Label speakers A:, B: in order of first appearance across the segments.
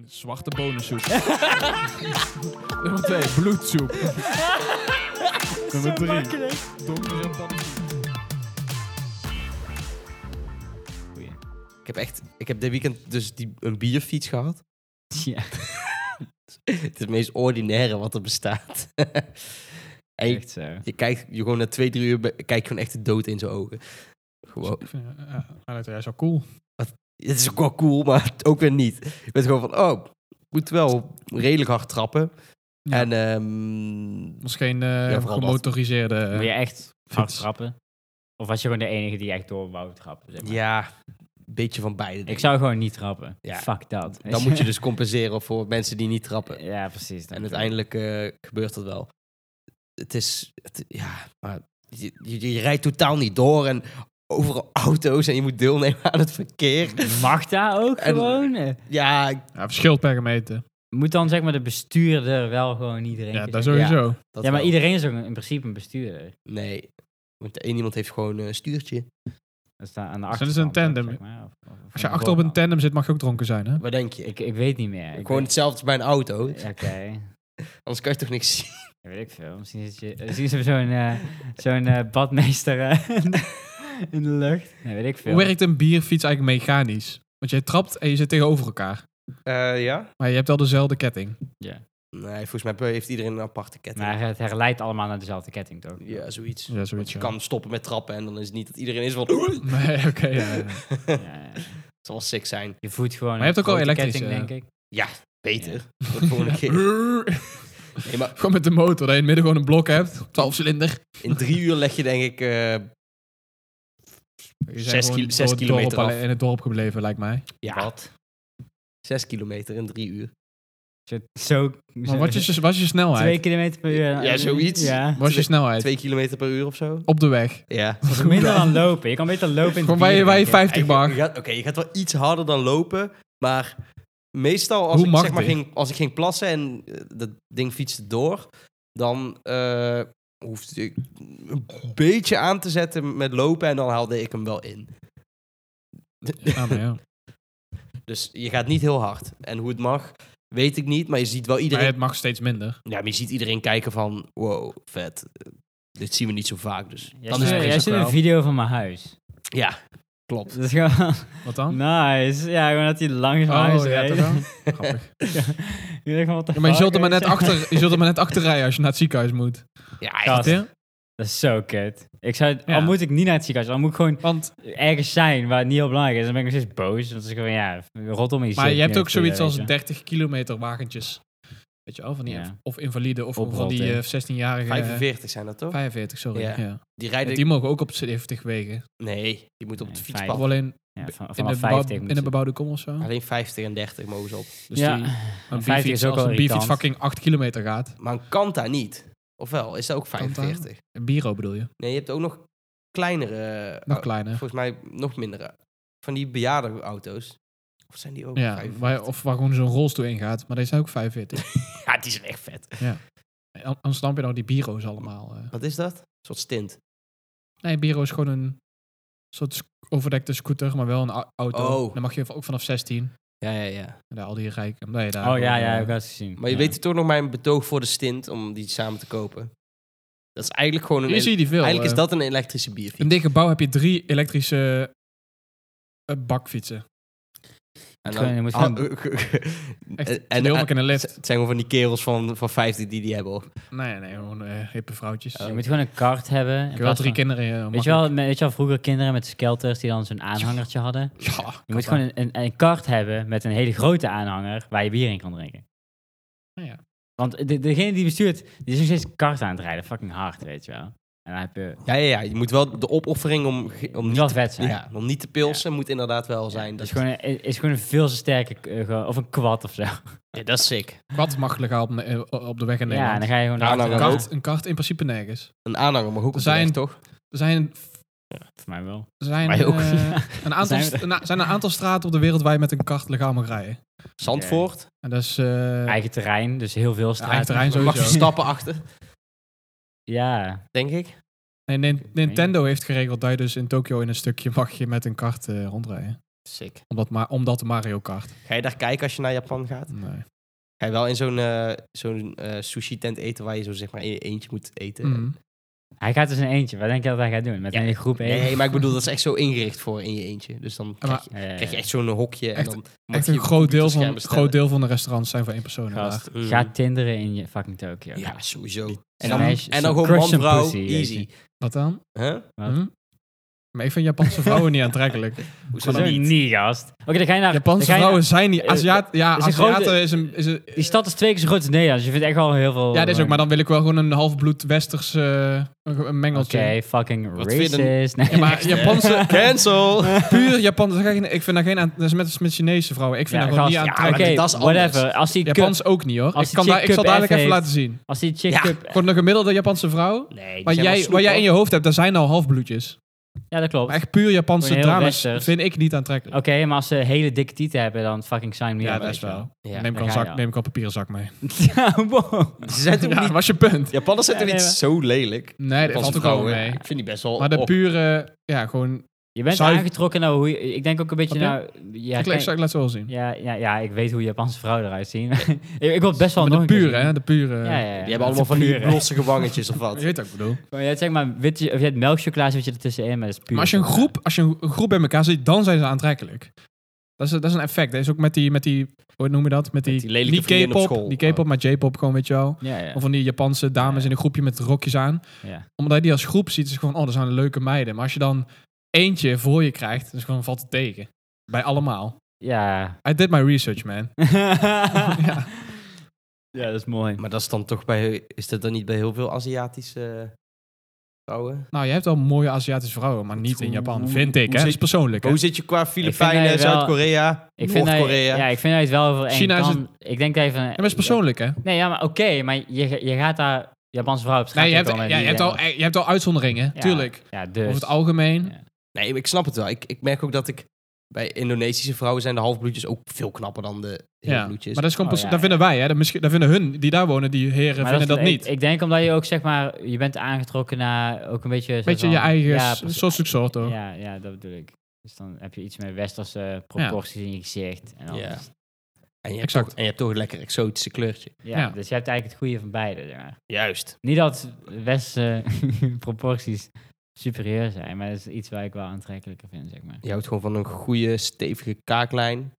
A: 1. Zwarte bonensoep. Nummer 2. Bloedsoep. Nummer 3. Donkere paddensoep.
B: Ik heb echt, ik heb dit weekend dus die, een bierfiets gehad.
C: Ja.
B: Het is het meest ordinaire wat er bestaat. en je,
C: Echt zo.
B: je kijkt je gewoon na twee, drie uur, be- kijk je gewoon echt de dood in zijn ogen. Gewoon,
A: Ik vind, eh, eh, Alex, hij is wel cool.
B: het is ook wel cool, maar ook weer niet. Je bent gewoon van, oh, ik moet wel redelijk hard trappen.
A: Ja.
B: En ehm,
A: Het was geen eh,
B: vooral dat.
A: gemotoriseerde... eh,
C: Wil je echt hard
A: fiets.
C: trappen? Of was je gewoon de enige die echt door wou trappen? Zeg maar?
B: ja, een beetje van beide. denk
C: Ik
B: ik.
C: zou gewoon niet trappen.
B: Ja.
C: Fuck dat.
B: Dan moet je dus compenseren voor mensen die niet trappen.
C: Ja, precies.
B: En uiteindelijk eh, gebeurt dat wel. Het is, het- ja, maar je, je, je rijdt totaal niet door en overal auto's en je moet deelnemen aan het verkeer.
C: Mag daar ook
B: En-
C: gewoon? Eh,
B: Ja, ik-
A: Ja, verschilt per gemeente.
C: Moet dan zeg maar de bestuurder wel gewoon iedereen...
A: Ja, dat
C: gezegd-
A: sowieso.
B: dat
C: Ja, maar
B: wel.
C: iedereen is ook een- in principe een bestuurder.
B: Nee, want één iemand heeft gewoon een stuurtje.
C: Dat staat aan de
A: Zijn
C: achterkant.
A: ze een tandem?
C: ook, zeg maar, of- of- of
A: Als je achter
C: een
A: op een
C: voorkant.
A: tandem zit, mag je ook dronken zijn, hè?
B: Wat denk je?
C: Ik, ik weet niet meer. Ik
B: gewoon
C: weet-
B: hetzelfde als bij een auto.
C: Ja, Oké,
B: Anders kan je toch niks zien.
C: dat weet ik veel. Misschien zit je, misschien is er zo'n eh, zo'n eh, badmeester eh, in de lucht. Nee, weet ik veel.
A: Hoe werkt een bierfiets eigenlijk mechanisch? Want jij trapt en je zit tegenover elkaar.
C: Eh,
B: ja?
A: Maar je hebt wel dezelfde ketting.
B: Nee, volgens mij heeft iedereen een aparte ketting.
C: Maar het herleidt allemaal naar dezelfde ketting, toch?
B: Ja, zoiets.
A: Ja,
B: Want
A: zoiets.
B: je
A: ja.
B: kan stoppen met trappen en dan is het niet dat iedereen is van... Het
A: Nee, oké. ja, ja.
C: Ja,
B: zal wel sick zijn.
C: je voet gewoon.
A: Maar je
C: een
A: hebt ook al eh.
C: grote
A: elektrische,
C: Ketting, denk ik.
B: Beter. De volgende keer. Nee, maar
A: Gewoon met de motor, dat je in het midden gewoon een blok hebt. 12 cilinder.
B: in drie uur leg je denk ik... eh,
A: Je bent
B: Zes
A: gewoon
B: kil-
A: door
B: zes
A: het dorp
B: kilometer
A: alleen-
B: af.
A: in het dorp gebleven, lijkt mij.
B: ja, zes kilometer in drie uur.
C: Zo, zo,
A: Maar wat is je, wat is je
C: twee
A: snelheid?
C: kilometer per uur.
B: Ja, zoiets.
C: Ja.
A: Wat is je
B: twee-
A: snelheid?
B: Twee kilometer per uur of zo.
A: Op de weg.
B: Ja.
C: Dat is minder dan lopen. Je kan beter lopen in
A: Gewoon waar je, waar je
C: vijf.
A: 50 mag.
B: Je gaat- Oké, je gaat wel iets harder dan lopen, maar meestal als
A: Hoe
B: ik
A: mag
B: zeg maar
A: dit?
B: ging, als ik ging plassen en eh, dat ding fietste door, dan eh hoefde ik een beetje aan te zetten met lopen en dan haalde ik hem wel in.
A: Ah, maar ja.
B: Dus je gaat niet heel hard. En hoe het mag, weet ik niet, maar je ziet wel
A: Maar
B: iedereen.
A: het mag steeds minder.
B: Ja, maar je ziet iedereen kijken van, wow, vet. Eh, Dit zien we niet zo vaak, dus
C: Jij
B: dan is het
C: stuurt- Jij
B: prima.
C: stuurt een video van mijn huis.
B: Ja, klopt.
C: Dat is gewoon
A: Wat dan?
C: nice. Ja, gewoon dat hij langs mijn huis
A: Oh, ja,
C: rijdt.
A: toch wel? Grappig.
C: Je denkt van, what the
A: Ja, maar je
C: fuck,
A: zult, er maar
C: weet
A: net achter, je zult er maar net achter rijden als je naar het ziekenhuis moet.
B: Ja, echt.
C: Gast.
A: Snap je?
C: Dat is zo kut. Ik zou,
A: Ja.
C: Al moet ik niet naar het ziekenhuis, al moet ik gewoon
A: Want,
C: ergens zijn waar het niet heel belangrijk is. Dan ben ik nog steeds boos. Want is gewoon, ja, rot om je
A: maar
C: zit
A: je hebt
C: niet
A: ook
C: met
A: zoiets als
C: weet
A: 30 kilometer wagentjes. Weet je wel, van die
C: Ja.
A: inv- of invalide of
C: Oprotten.
A: van die eh, 16-jarige...
B: 45 zijn dat toch?
A: 45, sorry.
B: Ja.
A: Ja.
B: Die
A: Want
B: rijden...
A: Die mogen ook op 70 wegen.
B: Nee, je moet op het
C: Nee,
B: fietspad.
A: Of alleen
C: je. Ja, van,
A: in
C: vanaf
A: de, bebouw-
C: 50
A: in
C: moet
A: de
C: je-
A: bebouwde kom of zo.
B: Alleen 50 en 30 mogen ze op.
A: Dus
C: ja.
A: die,
C: En
A: een
C: 50
A: bierfiets,
C: is ook
A: als
C: al
A: een bierfiets
C: irritant.
A: fucking 8 kilometer gaat.
B: Maar een Kanta niet. Ofwel, is dat ook 45?
A: Een bureau bedoel je?
B: Nee, je hebt ook nog kleinere...
A: Nog
C: Nou,
B: au-
A: kleiner.
B: Volgens mij nog mindere. Van die bejaardenauto's. Of zijn die ook
A: Ja,
B: 45?
A: waar, of waar gewoon zo'n rolstoel in gaat. Maar die zijn ook 45.
B: Ja, die zijn echt vet.
A: An- Anders snap je nou die bureaus allemaal. eh.
B: Wat is dat? Een soort stint.
A: Nee, Biro is gewoon een soort sc- overdekte scooter, maar wel een au- auto.
B: Oh.
A: Dan mag je v- ook vanaf 16.
B: Ja, ja, ja.
A: En Daar al die rijken. Nee, daar
C: Oh ja, ja, ik heb
A: eh,
C: dat gezien.
B: Maar je
C: Ja.
B: weet toch nog mijn betoog voor de stint om die samen te kopen? Dat is eigenlijk gewoon een...
A: Hier zie je die veel.
B: Eigenlijk is
A: eh.
B: dat een elektrische bierfiets.
A: In dit gebouw heb je drie elektrische eh, bakfietsen.
B: En
C: Gewoon, je moet
B: Ah,
C: gaan-
B: eh, ge- ge-
A: Echt,
B: en-
A: en, die
B: en-
A: ook in een
B: Het
A: lift.
B: zijn gewoon van die kerels van, van 50 die die hebben. hoor.
A: Nee, nee, gewoon eh, hippe vrouwtjes.
C: Oh, Je
A: ik
C: moet gewoon een kart hebben. in
A: heb wel
C: plaats
A: drie
C: van-
A: kinderen. eh,
C: Weet je,
A: makkelijk.
C: wel, me- weet je wel, vroeger kinderen met skelters die dan zo'n aanhangertje hadden?
A: Ja,
C: Je moet gewoon een, een, een kart hebben met een hele grote aanhanger waar je bier in kan drinken.
A: Ah, ja.
C: Want de, degene die bestuurt, die is nog steeds een kart aan het rijden. Fucking hard, weet je wel. En dan heb je...
B: Ja, ja, ja, je moet wel de opoffering om, ge- om,
C: Moet
B: niet,
C: wel vet
B: te,
C: zijn.
B: ja, om niet te pilsen moet inderdaad wel zijn.
C: Ja,
B: dat,
C: is, gewoon een, is gewoon een veel te sterke... eh, gewoon- of een kwad of zo.
B: ja, dat is sick.
A: Wat mag legaal op, eh, op de weg in
C: Ja, en
A: Nederland?
C: dan ga je gewoon...
B: Ja,
C: erachter-
B: nou,
A: een,
B: dan
C: Ja,
A: kart, een kart in principe nergens.
B: Een aanhanger, maar ook
A: Er
B: op
A: zijn-
B: zijn toch?
A: Er zijn,
C: Voor mij wel.
A: er zijn,
B: Wij ook.
A: eh, een aantal,
C: Zijn we
A: st- een a- zijn een aantal straten op de wereld waar je met een kart legaal mag rijden.
B: Zandvoort,
A: En dat is... eh,
C: Eigen terrein, dus heel veel straten.
A: eigen terrein
B: mag je
A: sowieso.
B: stappen achter,
C: Ja.
B: denk ik.
A: Nee, Nin- Nintendo heeft geregeld dat je dus in Tokio in een stukje mag je met een kart eh, rondrijden.
B: Sick.
A: Omdat, maar, omdat Mario Kart.
B: Ga je daar kijken als je naar Japan gaat?
A: Nee.
B: Ga je wel in zo'n eh, zo'n eh, sushi-tent eten waar je zo zeg maar in je eentje moet eten?
A: Mhm.
C: Hij gaat dus in eentje. Wat denk je dat hij gaat doen? Met
B: Ja.
C: een hele groep
B: Nee,
C: eten?
B: maar ik bedoel, dat is echt zo ingericht voor in je eentje. Dus dan krijg je,
C: Ja, ja, ja.
B: krijg je echt zo'n hokje. en
A: Echt-
B: dan mag
A: Echt
B: je
A: een groot deel, van,
B: computerscherm
A: groot deel van de restaurants zijn voor één persoon.
C: Gast,
A: inderdaad.
B: Mm.
C: ga tinderen in je fucking Tokyo.
B: bestellen. Ja, sowieso. En
C: Zo'n
B: dan,
C: meisje-
B: en
C: zo'n
B: dan gewoon
C: crush
B: man,
C: en
B: vrouw,
C: pussy, weet je.
B: easy.
A: Wat dan?
B: Huh?
C: Wat?
A: Hm? Maar ik vind Japanse vrouwen niet aantrekkelijk.
B: Hoezo
C: Hoezo
B: niet?
C: niet, gast? Oké, dan ga je naar...
A: Japanse
C: dan ga je
A: vrouwen zijn niet...
C: eh,
A: Aziat, ja,
C: is een
A: Aziaten
C: grote-
A: is een... Is een
C: naar- Die stad is twee keer zo groot als Nederland. Dus je vindt echt wel eh, heel veel...
A: ja, dat is ook. Maar dan wil ik wel gewoon een halfbloed westers eh, een- een
C: Oké,
A: mengeltje.
C: fucking
B: Wat vind je dan-
C: racist. Nee.
A: Ja, maar Japanse...
B: Cancel!
A: Puur Japanse... daar ga ik geen- Ik vind daar geen... aan- Dat is met, met Chinese vrouwen. Ik vind
C: Ja,
A: daar gewoon
C: gast,
A: niet
B: ja,
C: Oké,
A: aantrekkelijk.
B: dat is anders.
C: whatever. Als die cup,
A: Japans ook niet, hoor.
C: Als
A: Ik,
C: die
A: kan daar,
C: chick
A: ik zal
C: cup
A: dadelijk
C: F
A: even
C: heeft-
A: laten zien.
C: als die chick
B: Ja.
C: cup...
A: Gewoon een gemiddelde Japanse vrouw.
B: Nee, die
A: Waar
B: zijn wel
A: jij,
B: snoep,
A: waar jij
B: hoor.
A: in je hoofd hebt, daar zijn al halfbloedjes.
C: Ja, dat klopt.
A: Maar echt puur Japanse
C: Gewoon heel
A: dramas
C: westers.
A: vind ik niet aantrekkelijk.
C: Oké, maar als ze hele dikke tieten hebben, dan fucking sign me
A: ja,
C: up,
A: dat
C: weet
A: is
C: je
A: wel.
B: Ja.
A: neem, ik al
C: daar
A: een
C: ga
A: zak,
C: je al.
A: neem ik al een papieren zak mee.
C: Ja, wow.
B: Ze zijn toch
A: Ja, dat
B: niet...
A: was je punt.
B: Japanners zijn toch
C: Ja,
B: niet
C: nee, maar-
B: zo lelijk?
A: Nee, dat
B: Japanse
A: valt ook wel
B: vrouwen.
A: mee.
B: Ik vind die best
C: Oh,
B: wel...
A: Maar de
B: op.
A: pure, ja, gewoon...
C: Je bent
A: Zuiver-
C: aangetrokken naar hoe je... Ik denk ook een beetje
A: Snap
C: naar... Ja,
A: ik,
C: kijk-
A: laat- zal ik laat zo wel zien.
C: ja, ja, ja, ik weet hoe Japanse vrouwen eruit zien. ik, ik wil best wel
A: Maar de
C: nog een keer
A: pure, hè? De pure.
C: zien. Ja, ja, ja.
B: Die hebben allemaal van die
C: Pure.
B: blossige wangetjes of wat.
A: Je weet wat ik bedoel.
C: Maar je hebt zeg maar wit, of je hebt melkchocola zit je er tussenin, maar dat is puur.
A: Maar als je een groep, als je een een groep bij elkaar ziet, dan zijn ze aantrekkelijk. Dat is, dat is een effect. Dat is ook met die, met die hoe noem je dat? Met die,
B: die lelijke
A: niet
B: vriendin op
A: K-pop,
B: school.
A: die K-pop, maar J-pop gewoon, weet je wel.
C: Ja, ja.
A: Of van die Japanse dames
C: Ja.
A: in een groepje met rokjes aan.
C: ja.
A: Omdat je die als groep ziet, is het gewoon, oh, dat zijn leuke meiden. Maar als je dan eentje voor je krijgt, dan is het gewoon valt het tegen. Bij allemaal.
C: Ja.
A: I did my research, man.
C: ja. dat is mooi.
B: Maar dat is dan toch bij... Is dat dan niet bij heel veel Aziatische eh, vrouwen?
A: Nou, je hebt wel mooie Aziatische vrouwen, maar niet in Japan.
B: Hoe-
A: Vind ik,
B: hoe
A: hè?
B: zit-
A: Dat is persoonlijk, hè?
B: Hoe zit je qua
C: vind
B: Filipijnen,
C: hij wel-
B: Zuid-Korea,
C: Ik vind dat,
B: Noord-Korea?
C: ja, ik vind dat je het wel over één
A: China is
C: kam- Ik denk dat even.
A: Ja, maar het is persoonlijk, hè?
C: Nee, ja, maar oké, maar je, je gaat daar Japanse vrouw op straat.
A: Nee, je hebt,
C: komen en
A: ja, je,
C: die
A: hebt al,
C: denken-
A: je hebt al uitzonderingen,
C: Ja,
A: tuurlijk.
C: Ja, dus.
A: Over het algemeen.
C: Ja.
B: Nee, ik snap het wel. Ik, ik merk ook dat ik... Bij Indonesische vrouwen zijn de halfbloedjes ook veel knapper dan de
A: Ja, maar
B: heelbloedjes.
A: dat is gewoon
C: Oh,
A: perso-
C: ja,
A: dat vinden wij, hè? Dat, misschien, dat vinden hun die daar wonen, die heren,
C: Maar
A: vinden dat, e-
C: is-
A: niet.
C: Ik, ik denk omdat je ook zeg maar, je bent aangetrokken naar ook een beetje. soort
A: Beetje je
C: van-
A: eigen
C: ja,
A: s-
C: precies.
A: soort soort, hoor.
C: Ja, ja, dat bedoel ik. Dus dan heb je iets meer westerse proporties in je gezicht. En alles.
B: Ja.
C: Ja.
B: En je, hebt
A: Exact.
B: toch, en je hebt toch een lekker exotische kleurtje.
A: Ja.
C: Dus je hebt eigenlijk het goede van beide. zeg maar.
B: Juist.
C: Niet dat westerse proporties superieur zijn, maar dat is iets waar ik wel aantrekkelijker vind, zeg maar.
B: Je houdt gewoon van een goede, stevige kaaklijn.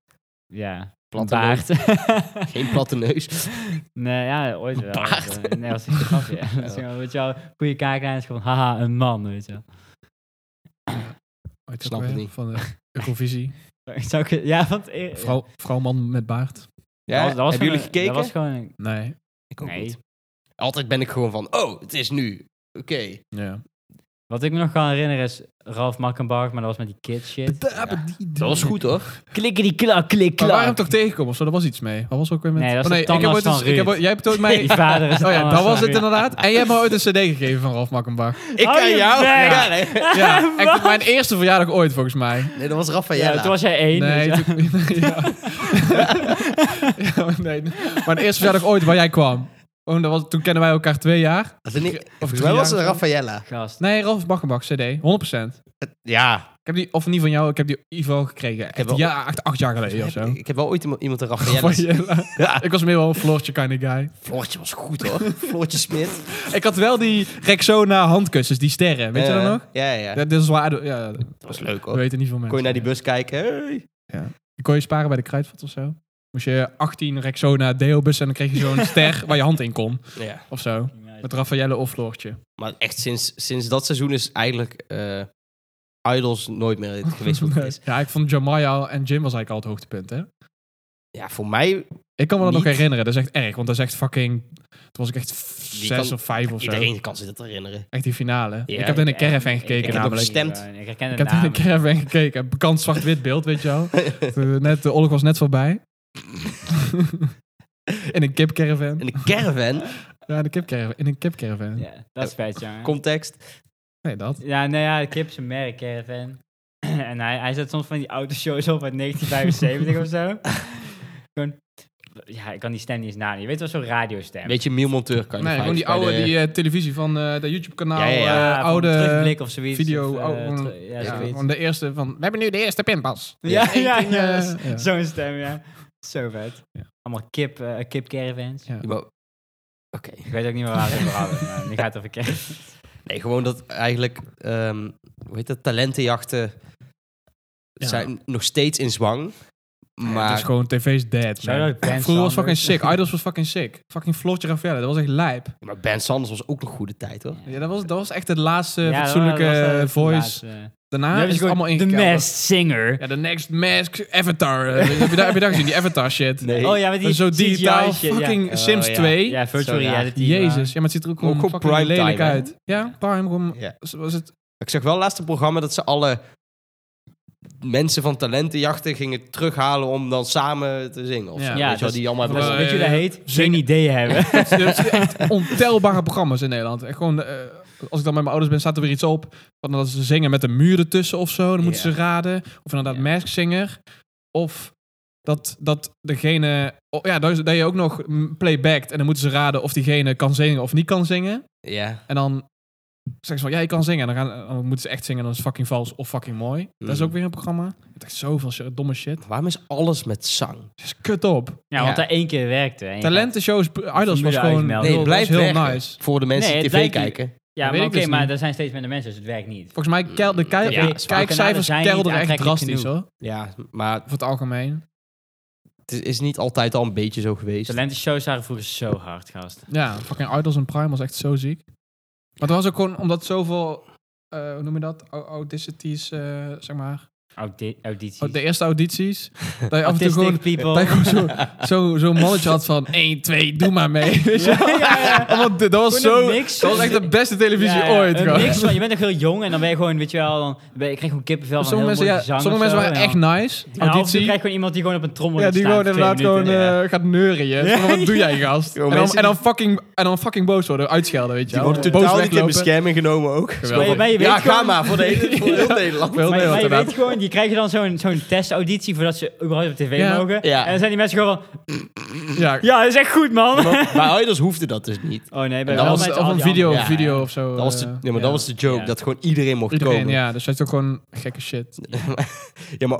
C: Ja.
B: Platte
C: baard.
B: Geen platte neus.
C: nee, ja, ooit wel.
B: baard. Oh.
C: Nee, dat was een grapje. Dat is gewoon, Weet je wel, goede kaaklijn is gewoon, haha, een man, weet je wel.
A: Oh, het is
B: Snap
A: ook
B: het
A: weer
B: niet.
A: Van de Eurovisie.
C: Zou ik, ja, want... eh,
A: Vrouw, vrouw, man met baard.
B: Ja,
C: dat was- dat was
B: hebben
C: gewoon
B: jullie
C: een- eh,
B: gekeken?
C: Dat was gewoon een-
A: Nee.
B: Ik ook
C: Nee.
B: niet. Altijd ben ik gewoon van, oh, het is nu. Oké.
A: Ja.
C: Wat ik me nog kan herinneren is Ralf Makkenbarg, maar dat was met die kid shit.
B: Dat was goed hoor.
C: Klikken die klak, klik,
A: Maar
C: klak.
A: waarom toch tegenkomen of zo? Dat was iets mee. Wat was ook weer met... Oh,
C: Nee, dat was de
A: ik heb
C: tandarts
A: ooit eens-
C: van
A: ik heb
C: Ruud.
A: ooit- Jij hebt ooit mij...
C: Die vader is
A: Oh ja,
C: tandarts
A: dat was
C: van
A: het
C: Ruud.
A: inderdaad. En jij hebt me ooit een cd gegeven van Ralf Makkenbach.
B: Ik
C: Hou
B: ken
C: je
B: jou.
C: bek.
B: Ja, nee.
A: Ja, echt
C: Wat?
A: op mijn eerste verjaardag ooit volgens mij.
B: Nee, dat was
C: Ja,
B: Rafaela.
C: toen was jij één.
A: Nee,
C: dus ja.
A: toen- ja. Ja, maar nee. Mijn eerste verjaardag ooit waar jij kwam. Oh, dat was, toen kennen wij elkaar twee jaar.
B: Of drie- Volgens
A: drie
B: mij was
A: jaar
B: het
A: of zo.
B: Rafaela.
C: Gast.
A: Nee, Ralf Bakkenbak, CD. 100%.
B: Ja.
A: Ik heb die, of niet van jou, ik heb die Ivo gekregen.
B: heb
A: Echt,
B: wel-
A: ja, echt acht jaar geleden of
B: Ik,
A: zo.
B: ik heb wel ooit iemand- iemand een
A: Van
B: Rafaela.
A: Jelle.
B: Ja.
A: Ik was meer wel een Floortje kind of guy.
B: Floortje was goed hoor. Floortje Smit.
A: Ik had wel die Rexona handkussens, die sterren. Weet je
B: Eh,
A: dat nog?
B: Ja, ja.
A: Ja, dit is waar. Ja, dat
B: Dat was leuk hoor.
A: weten niet veel mensen.
B: Kon je naar die bus kijken. Hey.
A: Kon je sparen bij de kruidvat of zo? Moest je 18 Rexona Deobus en dan kreeg je zo'n ster waar je hand in kon.
B: Ja.
A: Of zo. Met Raffaelle of Floortje.
B: Maar echt sinds, sinds dat seizoen is eigenlijk eh, Idols nooit meer het geweest wat het is.
A: Ja, ik vond Jamaya en Jim was eigenlijk al het hoogtepunt, hè?
B: Ja, voor mij,
A: Ik kan me dat nog
B: Niet?
A: herinneren. Dat is echt erg, want dat is echt fucking... Toen was ik echt f-
B: Die
A: zes
B: kan-
A: of vijf of zo.
B: iedereen kan zich dat herinneren.
A: Echt die finale.
B: Ja,
A: ik heb in de caravan gekeken
B: heb ook
A: namelijk.
B: gestemd.
C: Ik herken
A: Ik
C: de
A: heb in de
C: naam.
A: caravan gekeken. Bekend zwart-wit beeld, weet je wel. De- Net, de oorlog was net voorbij. in een kipcaravan.
B: In de caravan,
A: Ja, in een kipcaravan. In een kipcaravan.
C: Ja, dat is
A: Oh,
C: vet, jongen.
B: context.
A: Nee, dat.
C: Ja, nou ja, Kip is een merk, caravan. en hij, hij zet soms van die autoshows op uit 1975 of zo. Gewoon, Ja, ik kan die stem niet eens nadoen. Je weet wel, zo'n radiostem.
B: Beetje mielmonteur kan je
A: Nee, gewoon die oude die, eh, televisie van eh dat YouTube-kanaal.
B: Ja, ja, ja.
A: eh,
C: van
A: oude
C: Terugblik of zoiets.
A: video,
C: of, eh,
A: oude-
C: teru- ja,
A: ja,
C: zoiets.
A: van de eerste van... We hebben nu de eerste pinpas.
C: Ja,
A: Eén
C: ja,
A: ding,
C: ja,
A: eh,
C: dat is
A: ja.
C: Zo'n stem, ja. Zo vet.
A: Ja.
C: Allemaal kip, eh kip caravans.
A: Ja.
B: Oké.
C: Ik weet ook niet meer waar we het over hadden, maar nu gaat het over caravans.
B: Nee, gewoon dat eigenlijk, ehm, hoe heet dat, talentenjachten
A: Ja.
B: zijn nog steeds in zwang.
A: Ja,
B: Maar
A: het is gewoon tv's dead, man.
C: Shout-out Brand
A: Vroeger was fucking
C: Sanders.
A: sick. Idols was fucking sick. Fucking Floortje Ravelle, dat was echt lijp.
B: Maar Ben Sanders was ook nog goede tijd, hoor.
A: Ja, dat was, dat was echt het laatste
C: Ja, dat
A: fatsoenlijke
C: was, eh, de
A: voice.
C: laatste. Nu
A: Daarna
C: hebben
A: is
C: ze
A: het
C: dus gewoon
A: allemaal
C: The
A: ingekeld.
C: Masked Singer.
A: Ja, de Next Mask Avatar. Eh, heb, je daar, heb je daar gezien, die Avatar shit?
B: Nee.
C: Oh ja, met die
A: Zo
C: CGI
A: digitaal,
C: shit, ja.
A: fucking
B: Oh,
A: Sims
B: ja.
A: 2.
C: Ja, virtual
B: Zo raar.
C: reality. maar-
A: Jezus, ja, maar het ziet er ook
B: Ook
A: gewoon
B: op
A: fucking
B: prime
A: lelijk
B: time, hè?
A: uit. Ja, prime, gewoon-
B: Ja.
A: was het...
B: Ik zag wel laatst een programma dat ze alle mensen van talentenjachten gingen terughalen om dan samen te zingen. Of
A: Ja.
B: zo.
A: Ja,
B: Weet je wel,
C: dat-
B: die allemaal
A: dat
C: Dus
A: Eh,
C: weet je hoe dat heet? Geen
A: zingen.
C: idee hebben.
A: het zijn echt ontelbare programma's in Nederland. Echt gewoon, eh, als ik dan met mijn ouders ben, staat er weer iets op. Van dat ze zingen met een muur ertussen of zo. Dan moeten
B: Ja.
A: ze raden. Of inderdaad
C: Ja.
A: maskzinger. Of dat, dat degene... oh, ja, dat, is- dat je ook nog mm, playbackt. En dan moeten ze raden of diegene kan zingen of niet kan zingen.
B: ja.
A: En dan zeggen ze van, ja, je kan zingen. En dan, gaan, dan moeten ze echt zingen. En dan is het fucking vals of fucking mooi. Dat is
C: Mm.
B: Mhm.
A: ook weer een programma. Het is echt zoveel shit- domme shit.
B: Waarom is alles met zang?
A: Het is kut op.
C: Ja, want dat één keer werkte. en je
A: Talentenshows, Idols was
C: Formule
A: gewoon...
C: uitmelden.
B: Nee,
A: heel-
B: het
A: dat
B: blijft
A: is heel
B: weg.
A: nice.
B: Voor de mensen
C: Nee,
B: die
C: het
B: tv
C: lijkt-
B: kijken.
C: gaat-
A: dat
C: Ja,
A: weet
C: maar
A: ik
C: oké,
A: dus
C: maar
A: niet.
C: er zijn steeds minder mensen, dus het werkt niet.
A: Volgens mij kel, de kei-
B: Ja,
A: de kijkcijfers
C: kanalen zijn
A: kelderen
C: niet
A: echt
C: aantrekkelijk
A: drastisch
C: genoeg.
A: hoor.
B: Ja, maar
A: Voor het algemeen.
B: het is- is niet altijd al een beetje zo geweest.
C: Talentenshows waren vroeger zo hard, gast.
A: Ja, fucking Idols en Prime was echt zo ziek. Maar dat was ook gewoon omdat zoveel, eh, hoe noem je dat? Au- Audicities, eh, zeg maar.
C: Audi audities.
A: Oh, de eerste audities. dat je af en toe
C: Autistic
A: gewoon, dat je
C: people.
A: gewoon zo'n zo, zo'n mannetje had van 1, 2, doe maar mee. Weet je?
C: Ja, ja, ja.
B: Oh,
A: Want dat was
C: Gewoon een
A: zo...
C: mix.
A: Dat was echt de beste televisie
C: Ja, ja,
A: ooit.
C: een
A: gewoon.
C: mix van- je bent nog heel jong en dan ben je gewoon, weet je wel, dan ben je, ik krijg gewoon kippenvel van
A: Sommige mensen,
C: heel
A: ja,
C: mooie zang
A: sommige
C: of
A: mensen
C: zo,
A: waren
C: en
A: echt
C: dan-
A: nice.
C: Ja, of je
A: Auditie.
C: krijgt gewoon iemand die gewoon op een trommel
A: Ja, die
C: staat
A: gewoon
C: voor
A: inderdaad
C: twee
A: gewoon
C: minuten. Ja.
A: eh, gaat neuren. je.
C: Ja.
A: Van, Wat doe jij, gast?
B: Yo,
A: en, dan,
B: mensen
A: en, dan fucking, en dan fucking boos worden, uitschelden, weet je
B: Die
A: wel.
B: worden
A: Boos
B: totaal niet in
A: weglopen.
B: bescherming genomen ook.
A: Geweldig.
C: Maar je- maar je
B: ja,
C: weet
B: ga
C: gewoon-
B: maar voor, de hele, voor heel
A: Ja.
B: Nederland.
A: Heel
C: Maar, je- maar
A: Nederland
C: je weet
A: inderdaad.
C: gewoon, die krijgen dan zo'n zo'n testauditie voordat ze überhaupt op tv
A: Ja.
C: mogen.
B: Ja.
C: En dan zijn die mensen gewoon van,
A: Ja,
C: ja, dat is echt goed, man.
B: Maar Idols hoefde dat dus niet.
C: Oh nee, bij
A: dat
C: wel
A: was
C: met
A: of
C: al
A: een
C: die
A: video,
C: andere-
B: ja,
A: video of zo.
B: Dat was de,
A: eh,
B: nee, maar
A: ja.
B: dat was de joke,
C: Ja.
B: dat gewoon iedereen mocht
A: Iedereen,
B: komen. Ja.
A: ja. Dus dat is ook gewoon gekke shit.
B: maar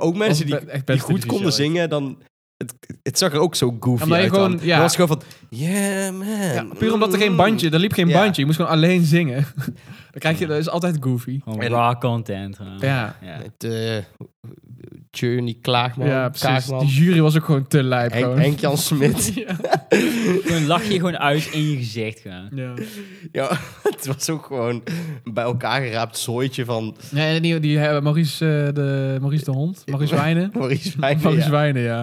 A: Dat
B: ook
A: was
B: mensen die,
A: be- echt best
B: die goed
A: televisie,
B: konden
A: hoor.
B: zingen, dan... Het, het zag er ook zo goofy
A: Omdat je
B: uit
A: gewoon-
B: dan.
A: ja.
B: Het was gewoon van, yeah man. Mm.
A: Ja, puur omdat er geen bandje, er liep geen
B: Ja.
A: bandje. Je moest gewoon alleen zingen. Dan krijg je, dat is altijd goofy.
C: Gewoon
B: En-
C: raw content. gewoon.
A: Ja.
C: Ja.
B: Met eh, Journey Klaagman,
A: Ja, precies.
B: Kaagman,
A: Die jury was ook gewoon te lijp.
B: Henk,
A: gewoon.
B: Henk-Jan Smit.
A: Ja.
C: Gewoon lach je gewoon uit in je gezicht. Gewoon.
A: Ja.
B: ja, het was ook gewoon een bij elkaar geraapt zooitje van
A: Nee, die, die hebben Maurice, eh, de, Maurice de Hond. Maurice Wijnen.
B: Maurice Wijnen.
A: Maurice
B: ja.
A: Wijnen, ja.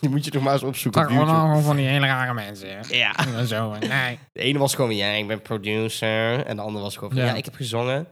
B: Die moet je nog maar eens opzoeken op
D: Toch
B: YouTube.
D: allemaal van die hele rare mensen. hè?
B: Ja.
D: En Zo, en nee.
B: De ene was gewoon, ja, ik ben producer. En de andere was gewoon, van, ja,
A: Ja.
B: ik heb gezongen.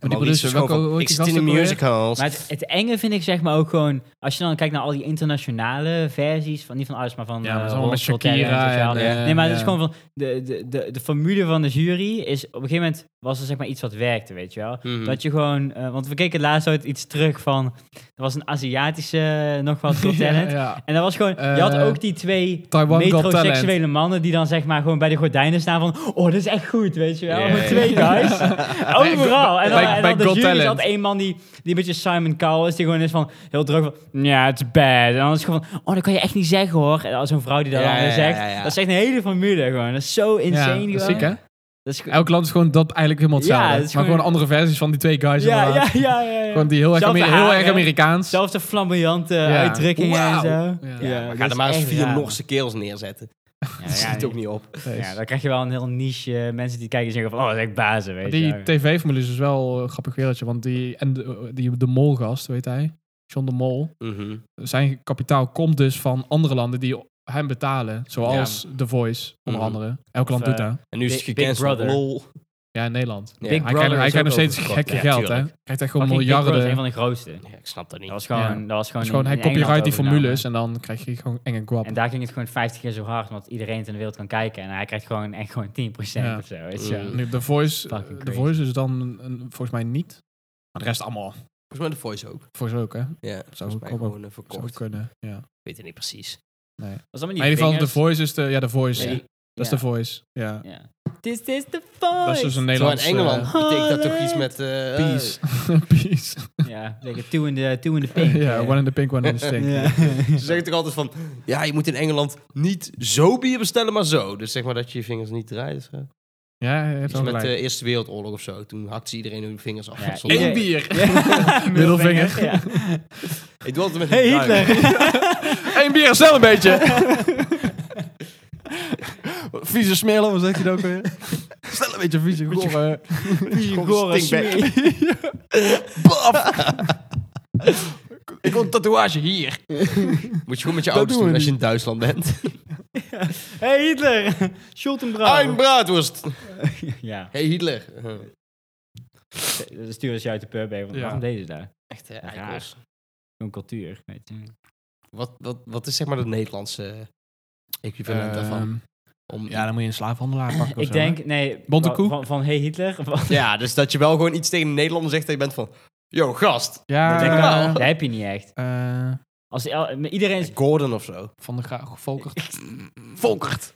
B: En
A: die
B: Maurice
A: producer,
B: was
A: welke-
B: gewoon van,
A: hoe heet
B: ik
A: die
B: zit in
A: gast
B: de
A: ook alweer?
B: musicals.
C: Maar het, het enge vind ik zeg maar ook gewoon, als je dan kijkt naar al die internationale versies, van, niet van alles, maar
A: Ja,
C: van
A: maar
C: eh,
A: het is allemaal met
C: Hollands Hotel
A: Shakira
C: Talent en
A: en,
C: zo.
A: eh,
C: nee, maar het
A: ja.
C: is gewoon van, de, de, de, de formule van de jury is, op een gegeven moment was er zeg maar iets wat werkte, weet je wel.
A: Hmm.
B: Mhm.
C: Dat je gewoon, eh, want we keken laatst ooit iets terug van, er was een Aziatische eh, nog wat talent.
A: Ja.
C: En dat was gewoon, je had
A: Eh,
C: ook die twee
A: Taiwan Got
C: metroseksuele mannen die dan zeg maar gewoon bij de gordijnen staan van, oh, dat is echt goed, weet je wel.
B: Ja,
C: Gewoon
B: ja,
C: twee guys. Overal. En dan,
A: Bij-
C: en
A: bij
C: dan de
A: Got
C: jury
A: Talent.
C: zat één man die, die een beetje Simon Cowell is, die gewoon is van, heel druk van, ja, het is bad. En dan is het gewoon, van, oh, dat kan je echt niet zeggen hoor. En als zo'n vrouw die dat
B: Ja,
C: dan
B: ja, ja,
C: zegt,
B: ja, ja.
C: dat is echt een hele formule gewoon. Dat is zo
A: Ja,
C: insane
A: dat is
C: gewoon.
A: ziek, hè?
C: Dat is ge-
A: Elk land is gewoon dat eigenlijk helemaal
C: Ja,
A: hetzelfde.
C: het is
A: maar
C: gewoon-
A: gewoon andere versies van die twee guys.
C: ja,
A: inderdaad.
C: ja, ja, ja, ja.
A: Gewoon die heel erg,
C: Zelfde
A: Ameri- heel erg
C: haren.
A: Amerikaans.
C: Zelfs de flamboyante uitdrukkingen en
B: Wauw.
C: zo.
A: Ja.
B: Maar
C: dat
B: ga
C: is
B: er maar eens
C: echt
B: vier
C: raar.
B: Norse kerels neerzetten.
C: Ja,
B: Dat
C: ja,
B: schiet ook niet op.
A: Nee.
C: Ja, dan krijg je wel een heel niche eh, mensen die kijken en zeggen van, oh, dat is echt bazen, weet je.
A: die
C: wel.
A: tv-formule is dus wel een grappig wereldje. Want die, en de, die, de Mol-gast, weet hij? John de Mol.
B: Mhm.
A: Zijn kapitaal komt dus van andere landen die hem betalen. Zoals The Voice, onder
B: Mhm.
A: andere. Elk land
C: Of,
A: doet
C: eh,
A: dat.
B: En nu is het
C: Big- Big
B: gecanceld.
C: Brother.
B: Lol.
A: Ja, in Nederland.
B: Ja.
C: Big
A: Hij krijgt,
C: Brother
A: hij
C: is
A: krijgt nog
C: ook
A: steeds
C: overgekort,
A: gekke
B: ja,
A: geld, hè? Hij
B: tuurlijk.
A: krijgt echt gewoon
C: Fucking Big Brother is
A: miljarden.
C: een van de grootste. Dat
B: Ja, ik snap dat niet.
C: was gewoon,
A: Ja.
C: dat was gewoon,
A: Dus gewoon,
C: in-
A: hij
C: in Engeland
A: copyright die
C: overgenomen.
A: formules en dan krijg je gewoon enge guap.
C: En daar ging het gewoon 50 keer zo hard, omdat iedereen het in de wereld kan kijken. En hij krijgt gewoon echt gewoon 10%
A: Ja.
C: of zo, weet je. wel.
B: Mm.
A: Nu, The Voice,
C: Fucking
A: eh, The
C: crazy.
A: Voice is dan een- een- volgens mij niet. Maar de rest allemaal.
B: Volgens mij de voice ook.
A: Volgens mij ook, hè?
B: Ja, volgens
A: ook
B: mij
A: wel-
B: gewoon eh,
A: Zou ook
B: verkocht. Ik
A: kunnen, ja.
B: weet het niet precies.
A: Nee.
C: Was allemaal die
A: Maar in ieder geval, de
C: vingers.
A: voice is de... Ja, de voice.
C: Nee, die-
A: Dat is
C: ja.
A: de voice. Ja.
C: Ja. This is the voice.
A: Dat is dus een
B: Terwijl in
A: Nederlands...
B: Engeland
A: eh,
B: betekent dat toch iets met... eh,
A: peace. peace.
C: Ja, zeker two in the, two in the
A: Ja,
C: pink.
A: one in the pink, one in the stink.
C: Ja.
B: eh, ze zeggen toch altijd van... Ja, je moet in Engeland niet zo bier bestellen, maar zo. Dus zeg maar dat je je vingers niet draait. of zo.
A: Ja, je hebt
B: Iets
A: wel
B: met
A: gelijk.
B: de Eerste Wereldoorlog of zo. Toen hakte ze iedereen hun vingers af.
C: eh, Ja,
B: met z'n
C: iedereen-
A: Eén
B: allen.
A: bier.
C: Ja.
A: Middelvinger.
C: Ja.
B: Ik doe altijd met
C: Hey
B: mijn duim.
C: Hitler.
A: Eén bier, snel een beetje. Vieze smelen, wat zeg je dan ook weer? Snel een beetje vieze gore.
C: Gore
B: stinkbek.
C: Smee.
A: Ik wil een tatoeage hier.
B: Moet je gewoon met je ouders
A: doen we
B: doen als je in Duitsland bent.
C: Hey Hitler.
B: Ein
A: Nou.
C: Schultenbrouw.
B: braadworst.
C: Ja,
B: Hey Hitler.
C: dan sturen ze je uit de pub even.
A: Ja.
C: Waarom deze daar?
B: Echt
A: eh,
B: hè,
C: raar.
B: eikels.
C: Zo'n cultuur. Weet je.
B: Wat, wat, wat is zeg maar het Nederlandse equivalent daarvan? Om,
A: Ehm, ja,
B: ja.
A: dan moet je een slaafhandelaar pakken. of
C: Ik
A: zo, hè?
C: denk, nee.
A: Bonte
C: wa-
A: koe?
C: Van, van Hey Hitler. Van,
B: dus dat je wel gewoon iets tegen een Nederlander zegt dat je bent van... Yo, gast.
A: Ja,
C: dat, heb-
B: normaal.
A: eh
C: dat heb je niet echt.
A: eh,
C: Als, el- iedereen is
B: Gordon of zo.
A: Van de Graag, Volkert.
B: Volkert.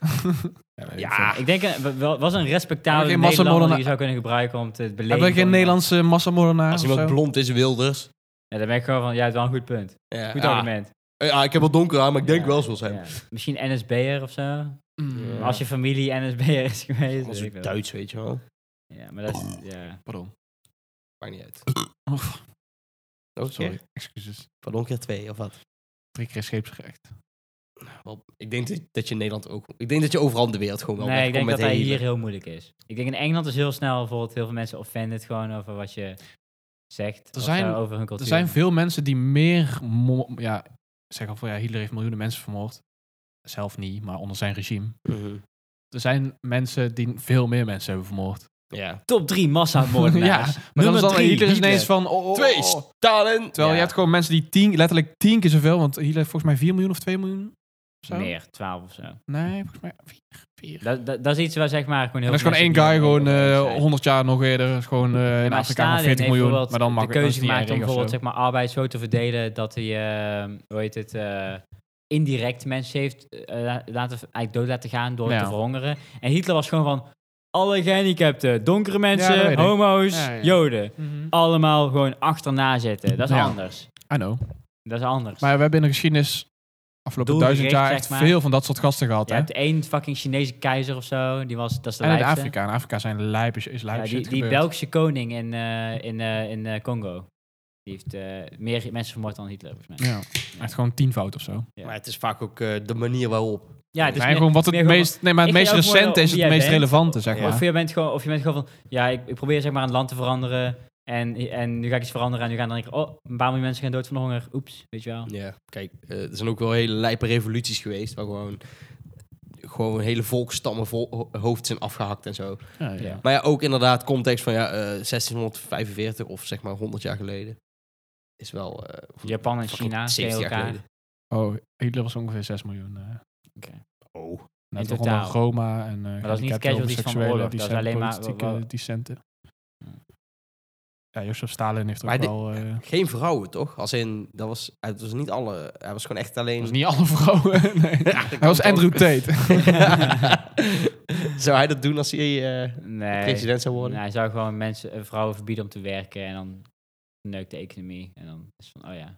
B: Ja.
C: Ik denk, een- wel- was een respectabele
A: Hebben we geen
C: Nederlander die
A: massamoordenaar-
C: je zou kunnen gebruiken om te beleven.
A: Hebben we geen Nederlandse massamoordenaar
B: Als
A: of
B: iemand
A: zo?
B: blond is, Wilders.
C: Ja, dan ben ik gewoon van, ja, het is wel een goed punt.
B: Ja,
C: Goed
B: ja.
C: argument.
B: Ja, ik heb wel donker aan, maar ik denk
C: Ja,
B: wel zoals hem.
C: ja. Misschien NSB'er of zo.
A: Mm,
B: Ja.
C: Maar Als je familie NSB'er is geweest.
B: Als
C: weet
B: een
C: ik wel.
B: Duits, weet je wel.
C: Ja, maar dat is, ja.
A: Pardon.
B: Maakt niet uit.
A: Oh,
B: Oh, sorry.
A: keer. Excuses.
B: Pardon keer twee, of wat?
A: Drie keer scheepsgerecht.
B: Wel, Ik denk dat- dat je in Nederland ook... Ik denk dat je overal in de wereld gewoon wel
C: Nee, ik denk
B: wegkomt
C: dat
B: met
C: hij
B: hey
C: hier
B: Hitler.
C: heel moeilijk is. Ik denk in Engeland is heel snel bijvoorbeeld heel veel mensen offended gewoon over wat je zegt. of
A: zijn-
C: zo, over hun cultuur.
A: Er zijn veel mensen die meer... mo- Ja, zeggen van ja, Hitler heeft miljoenen mensen vermoord. Zelf niet, maar onder zijn regime.
B: Mhm.
A: Er zijn mensen die veel meer mensen hebben vermoord.
B: Ja.
C: Top 3 massamoordenaars.
A: Ja, Maar dan is dan
C: Nummer drie,
A: Hitler is
C: Hitler.
A: ineens van... Oh, oh,
B: Twee,
A: oh.
B: Stalin.
A: Terwijl
C: Ja.
A: je hebt gewoon mensen die tien, letterlijk tien keer zoveel... Want Hitler heeft volgens mij 4 miljoen of 2 miljoen. of Zo?
C: Meer, 12 of zo.
A: Nee, volgens mij 4. vier.
C: Dat, dat, dat is iets waar zeg maar gewoon heel
A: En dat is
C: veel
A: gewoon één
C: mensen
A: guy, gewoon
C: die heel
A: eh,
C: erg zijn.
A: 100 jaar nog eerder. is Gewoon eh, in Afrika
C: Maar
A: nog
C: Stalin
A: 40
C: heeft
A: miljoen.
C: bijvoorbeeld
A: Maar dan mag
C: de keuze
A: dat is niet
C: gemaakt om
A: erg of zo.
C: bijvoorbeeld zeg maar, arbeid zo te verdelen dat hij, eh, hoe heet het, eh, indirect mensen heeft eh, la- laten, eigenlijk dood laten gaan door
A: Ja.
C: te verhongeren. En Hitler was gewoon van alle gehandicapten, donkere
A: dat
C: mensen,
A: weet ik.
C: homo's,
A: Ja, ja.
C: joden,
A: Mhm.
C: allemaal gewoon achterna zetten. Dat is
A: Ja.
C: anders.
A: I know.
C: Dat is anders.
A: Maar we hebben in de geschiedenis afgelopen
C: Doelgericht,
A: duizend jaar
C: zeg
A: echt
C: maar.
A: veel van dat soort gasten gehad.
C: je
A: hè?
C: hebt één fucking Chinese keizer of zo, die was, dat is de
A: En in
C: lijpste.
A: Afrika. In Afrika zijn lijpen, is
C: Ja,
A: lijpen
C: die, die Belgische koning in, eh, in, eh, in eh, Congo. Die heeft eh, meer mensen vermoord dan Hitler, volgens mij.
A: Ja, echt gewoon tienvoud of zo.
C: Ja.
B: Maar het is vaak ook eh, de manier waarop.
C: Ja, het is
A: Nee,
C: meer-
A: gewoon wat het
C: meer gewoon
A: meest, nee, maar het
C: Ik
A: meest
C: vind ook mooi
A: recente is
C: wie
A: het
C: jij
A: meest
C: bent.
A: relevante, zeg
C: Of
A: maar.
C: je, bent gewoon, of je bent gewoon van, ja, ik, ik probeer zeg maar een land te veranderen. En, en nu ga ik iets veranderen. En nu gaan dan denk ik, oh, een paar miljoen mensen gaan dood van de honger. Oeps, weet je wel.
B: Ja, kijk, eh, er zijn ook wel hele lijpe revoluties geweest. Waar gewoon, gewoon hele volkstammen vol, ho- hoofd zijn afgehakt en zo.
A: Ja, ja.
C: Ja.
B: Maar ja, ook inderdaad, context van ja, eh, 1645 of zeg maar 100 jaar geleden. Is wel. eh, of
C: Japan en
B: fucking
C: China tegen elkaar.
A: Oh, Hitler was ongeveer 6 miljoen. eh
B: Oh.
A: net
C: totaal.
A: onder Roma en eh
C: dat is niet
A: gehandicapten,
C: casualties van
A: homoseksuelen,
C: oorlog,
A: die
C: dat is
A: zijn
C: alleen maar- Hmm.
A: politieke
C: wa- wa-
A: dissenten. Ja, Jozef Stalin heeft ook
B: Maar die-
A: wel... eh
B: Geen vrouwen toch? Als in, dat was, het was niet alle. Hij was gewoon echt alleen.
A: was niet alle vrouwen. nee. Hij was Andrew Tate.
B: zou hij dat doen als hij eh,
C: Nee.
B: president zou worden?
C: Nee, hij zou gewoon mensen, eh, vrouwen verbieden om te werken. En dan neukt de economie. En dan is van, oh ja.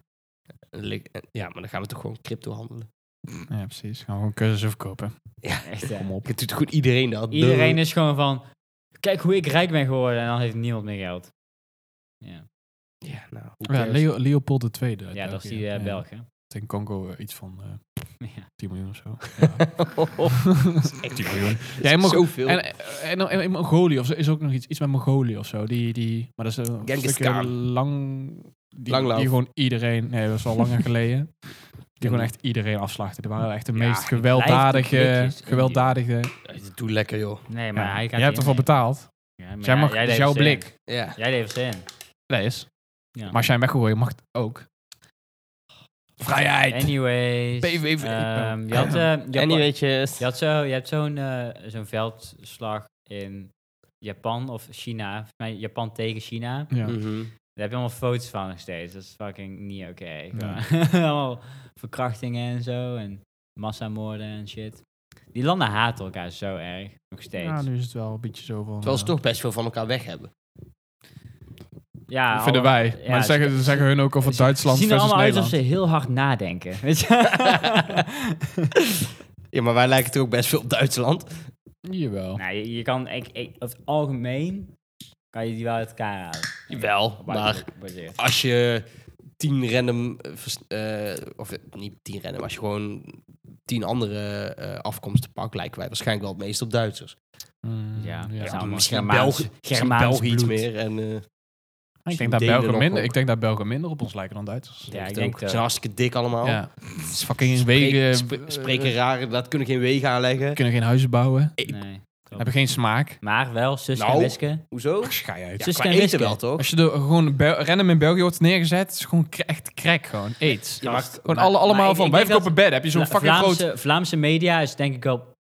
B: eh, Ja, maar dan gaan we toch gewoon crypto handelen.
A: ja, precies. Gaan we gewoon cursussen verkopen.
C: Echt, hè.
A: Kom op.
B: Het doet goed iedereen dat.
C: Iedereen is gewoon van, kijk hoe ik rijk ben geworden. En dan heeft niemand meer geld. Ja,
B: Ja, nou. who
A: Ja,
B: cares?
A: Leo, Leopold II. uit
C: ja dat
A: België.
C: is die eh,
A: Ja.
C: Belg, hè.
A: In Congo eh, iets van eh
C: Ja.
A: 10 miljoen of zo.
B: echt
A: 10 miljoen. Ja, in Mongo-
B: Zoveel.
A: en, en, en, en in Mongolië of zo is ook nog iets, iets met Mongolië of zo. Die, die, maar dat is een
B: Genghis
A: stukje
B: Khan.
A: lang. Die,
B: Langlauf.
A: die gewoon iedereen. Nee, dat is al langer geleden. Die gewoon echt iedereen afslachten. Die waren echt de
B: Ja,
A: meest
B: die
C: blijft de
A: gewelddadige.
C: klikjes in
A: Gewelddadige.
B: Doe lekker, joh.
C: Nee, maar
A: Ja.
C: hij gaat
A: Jij hebt
C: erin
A: ervoor
C: mee.
A: betaald.
C: Ja, maar
A: Dus jij
C: ja,
A: mag,
C: jij
A: dat is
C: levert
A: jouw
C: ze in.
A: blik.
B: Ja.
C: Jij levert ze in.
A: Nee, is.
C: Ja.
A: Maar als jij hem weggooien mag het ook. Vrijheid.
C: Anyways.
A: PVV.
C: ehm, je, had, eh, Japan-
B: Anyways.
C: je, had zo, je hebt zo'n eh, zo'n veldslag in Japan of China. Volgens mij Japan tegen China.
A: Ja.
B: Mhm.
C: Daar heb je allemaal foto's van nog steeds. Dat is fucking niet oké.
A: Ja.
C: Gewoon allemaal verkrachtingen en zo. En massamoorden en shit. Die landen haten elkaar zo erg, nog steeds.
E: Ja, nu is het wel een beetje zo van...
B: Terwijl ze
E: eh,
B: toch best veel van elkaar weg hebben.
C: Ja,
A: Dat vinden wij. maar dat zeggen, dat zeggen hun ook over Duitsland
C: zien er
A: versus
C: allemaal uit
A: Nederland.
C: alsof ze heel hard nadenken. Weet je?
B: Ja, maar wij lijken toch ook best veel op Duitsland.
E: Jawel.
C: nou, je, je kan, ik, ik, over het algemeen, kan je die wel uit elkaar halen.
B: Jawel, maar
C: Gebaseerd.
A: Ah,
B: als je tien random, eh, vers- eh, of eh, niet tien random, als je gewoon tien andere eh, afkomsten pakt, lijken wij waarschijnlijk wel het meest op Duitsers.
A: Mm,
C: Nou, Ja,
A: ja.
C: dat is
B: Ja,
C: allemaal
B: misschien
C: Germaans-
B: Belg- misschien
C: Germaans
B: België iets
C: bloed.
B: meer. En, eh,
A: Ik
B: misschien
A: denk, dat
B: Denen
A: Belgen
B: nog
A: minder,
B: ook.
A: ik denk dat Belgen minder op ons lijken dan Duitsers.
C: Ja, ik
B: Ook.
C: denk
B: Ze
C: dat-
B: zijn hartstikke dik allemaal.
A: eh, Ja. Het is fucking
B: Spreken-
A: wegen.
B: sp-
A: eh,
B: spreken raar, dat kunnen geen wegen aanleggen.
A: kunnen geen huizen bouwen.
C: Nee.
A: Hebben geen smaak.
C: Maar wel, zus en
B: Nou.
C: Wiske.
B: Hoezo?
A: Ach, schei uit.
B: Ja,
C: Suske
B: qua
C: en Wiske.
B: eten wel, toch?
A: Als je de, gewoon Bel- random in België wordt neergezet, is gewoon kra- echt crack gewoon. Aids.
C: Ja, maar-
A: Gewoon
C: maar-
A: alle, allemaal
C: maar ik-
A: van,
C: ik
A: wij
C: denk dat-
A: verkopen bed. Heb je zo'n
C: Vla-
A: fucking
C: Vlaamse,
A: groot...
C: Vlaamse media is denk ik wel,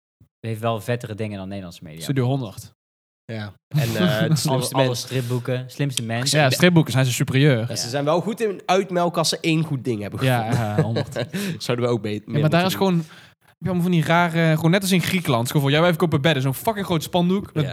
C: heeft wel vettere dingen dan Nederlandse media.
A: Studio 100.
B: Ja. En eh het
C: Alle,
B: slimste
C: alle
B: mens-
C: stripboeken, slimste mens.
A: Ja, stripboeken zijn ze superieur.
B: Ja, ze zijn wel goed in uitmelken als ze één goed ding hebben gevonden.
A: Ja, eh, 100.
B: Zouden we ook beter
A: Ja, maar daar is gewoon... heb je allemaal van die rare... Gewoon net als in Griekenland. Gewoon van, ja, wij verkopen bedden. Zo'n fucking groot spandoek met
B: Ja.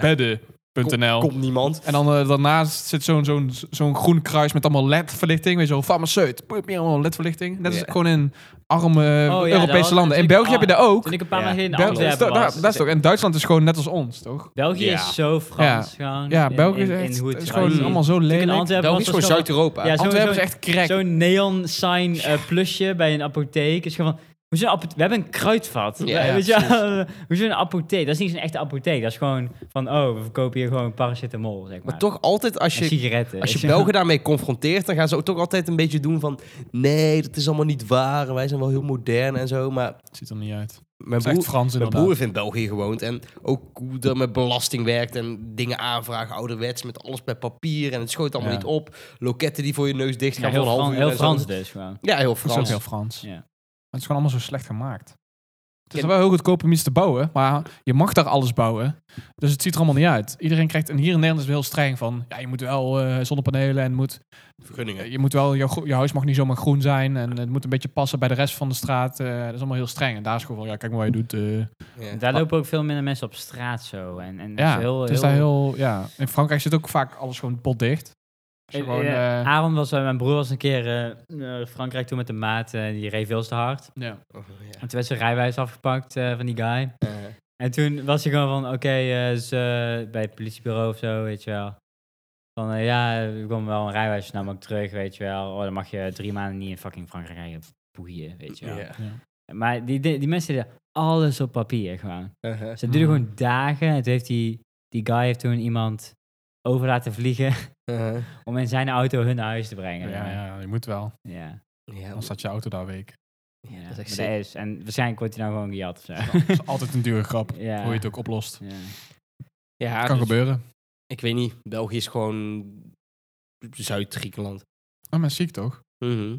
A: bedden.nl.
B: Komt niemand.
A: En dan eh, daarnaast zit zo'n zo'n zo'n groen kruis met allemaal ledverlichting. Weet je wel, farmaceut. Poep, ja, allemaal ledverlichting. Net als
B: Ja.
A: gewoon in arme eh,
C: Oh, dat was
A: Europese landen. In
C: natuurlijk-
A: België
C: ah,
A: heb je dat ook.
C: Toen ik een paar
B: Ja.
C: jaar geleden in
A: Bel-
C: Antwerpen
A: da-
C: was.
A: daar- dat is toch. En Duitsland is gewoon net als ons, toch?
C: België
B: Ja.
C: is zo Frans gewoon.
A: Ja,
C: in-
A: België is
C: in- in
A: echt...
C: hoe het
A: Het is
C: eruit
A: gewoon
C: ziet.
A: allemaal zo
C: Toen ik in
A: lelijk.
C: Antwerpen
B: België
C: was,
B: is gewoon
C: was zo-
B: Zuid-Europa.
C: Ja, zo-
A: Antwerpen is
C: zo-
A: echt crack.
C: Zo'n neon sign eh, plusje bij een apotheek. Is gewoon van, hoezo een apo- we hebben een kruidvat.
B: Ja, ja,
C: weet je, wel? hoezo een apotheek? Dat is niet zo'n echte apotheek. Dat is gewoon van, oh, we verkopen hier gewoon paracetamol, zeg maar.
B: Maar toch altijd als
C: En
B: je,
C: sigaretten.
B: als
C: weet
B: je
C: wel.
B: Belgen daarmee confronteert, dan gaan ze ook toch altijd een beetje doen van... Nee, dat is allemaal niet waar. En wij zijn wel heel modern en zo. Maar
A: Ziet er niet uit.
B: mijn
A: Het is echt
B: broer,
A: Frans
B: mijn
A: inderdaad.
B: broer heeft in België gewoond. En ook hoe er met belasting werkt en dingen aanvragen. Ouderwets met alles bij papier. En het schoot allemaal
A: Ja.
B: niet op. Loketten die voor je neus dicht
C: Ja,
B: gaan
C: heel,
B: voor een half
C: Fran-
B: uur.
C: heel
B: en zo.
C: Frans dus gewoon.
B: Ja, heel
A: Dat is ook
B: Frans.
A: heel Frans.
C: Ja.
A: Maar het is gewoon allemaal zo slecht gemaakt. Het is
B: Ja.
A: wel heel goedkoop om iets te bouwen, maar je mag daar alles bouwen. Dus het ziet er allemaal niet uit. Iedereen krijgt, en hier in Nederland is het heel streng van, ja, je moet wel eh, zonnepanelen en moet,
B: Vergunningen.
A: je moet wel, jouw, gro- je huis mag niet zomaar groen zijn en het moet een beetje passen bij de rest van de straat. eh, dat is allemaal heel streng. En daar is gewoon van, ja, kijk maar wat je doet. eh.
B: Ja.
C: Daar lopen ook veel minder mensen op straat zo. En, en
A: ja,
C: zo heel,
A: het is
C: heel,
A: daar heel, ja. In Frankrijk zit ook vaak alles gewoon potdicht. Als je
C: Eh,
A: gewoon,
C: eh,
A: eh,
C: Aaron was, eh, mijn broer was een keer eh, naar Frankrijk toe met de maat. eh, die reed veel te hard.
A: ja.
C: En toen werd zijn rijwijs afgepakt eh, van die guy.
B: Oh, Eh,
C: En toen was hij gewoon van, oké, eh, dus, eh, bij het politiebureau of zo, weet je wel. Van, eh, ja, ik kom wel een rijwijs namelijk terug, weet je wel. Oh, dan mag je drie maanden niet in fucking Frankrijk rijden. Boeien, weet je wel.
B: ja.
C: Maar die, die, die mensen deden alles op papier gewoon.
B: Eh, eh.
C: Ze duurde
A: Mhm.
C: gewoon dagen. En toen heeft die, die guy heeft toen iemand over laten vliegen
B: Eh,
C: om in zijn auto hun naar huis te brengen.
A: Ja, ja, je moet wel.
C: ja.
B: ja.
A: Dan staat je auto daar week.
C: Ja,
B: dat is echt
C: maar dat
B: sick.
C: is. En waarschijnlijk wordt hij nou gewoon gejat of zo.
A: Dat is altijd een dure grap,
C: ja.
A: hoe je het ook oplost.
C: Ja.
B: Ja,
A: kan
B: dus-
A: gebeuren.
B: Ik weet niet. België is gewoon Zuid-Griekenland.
A: Ah, maar ziek toch?
B: Mhm.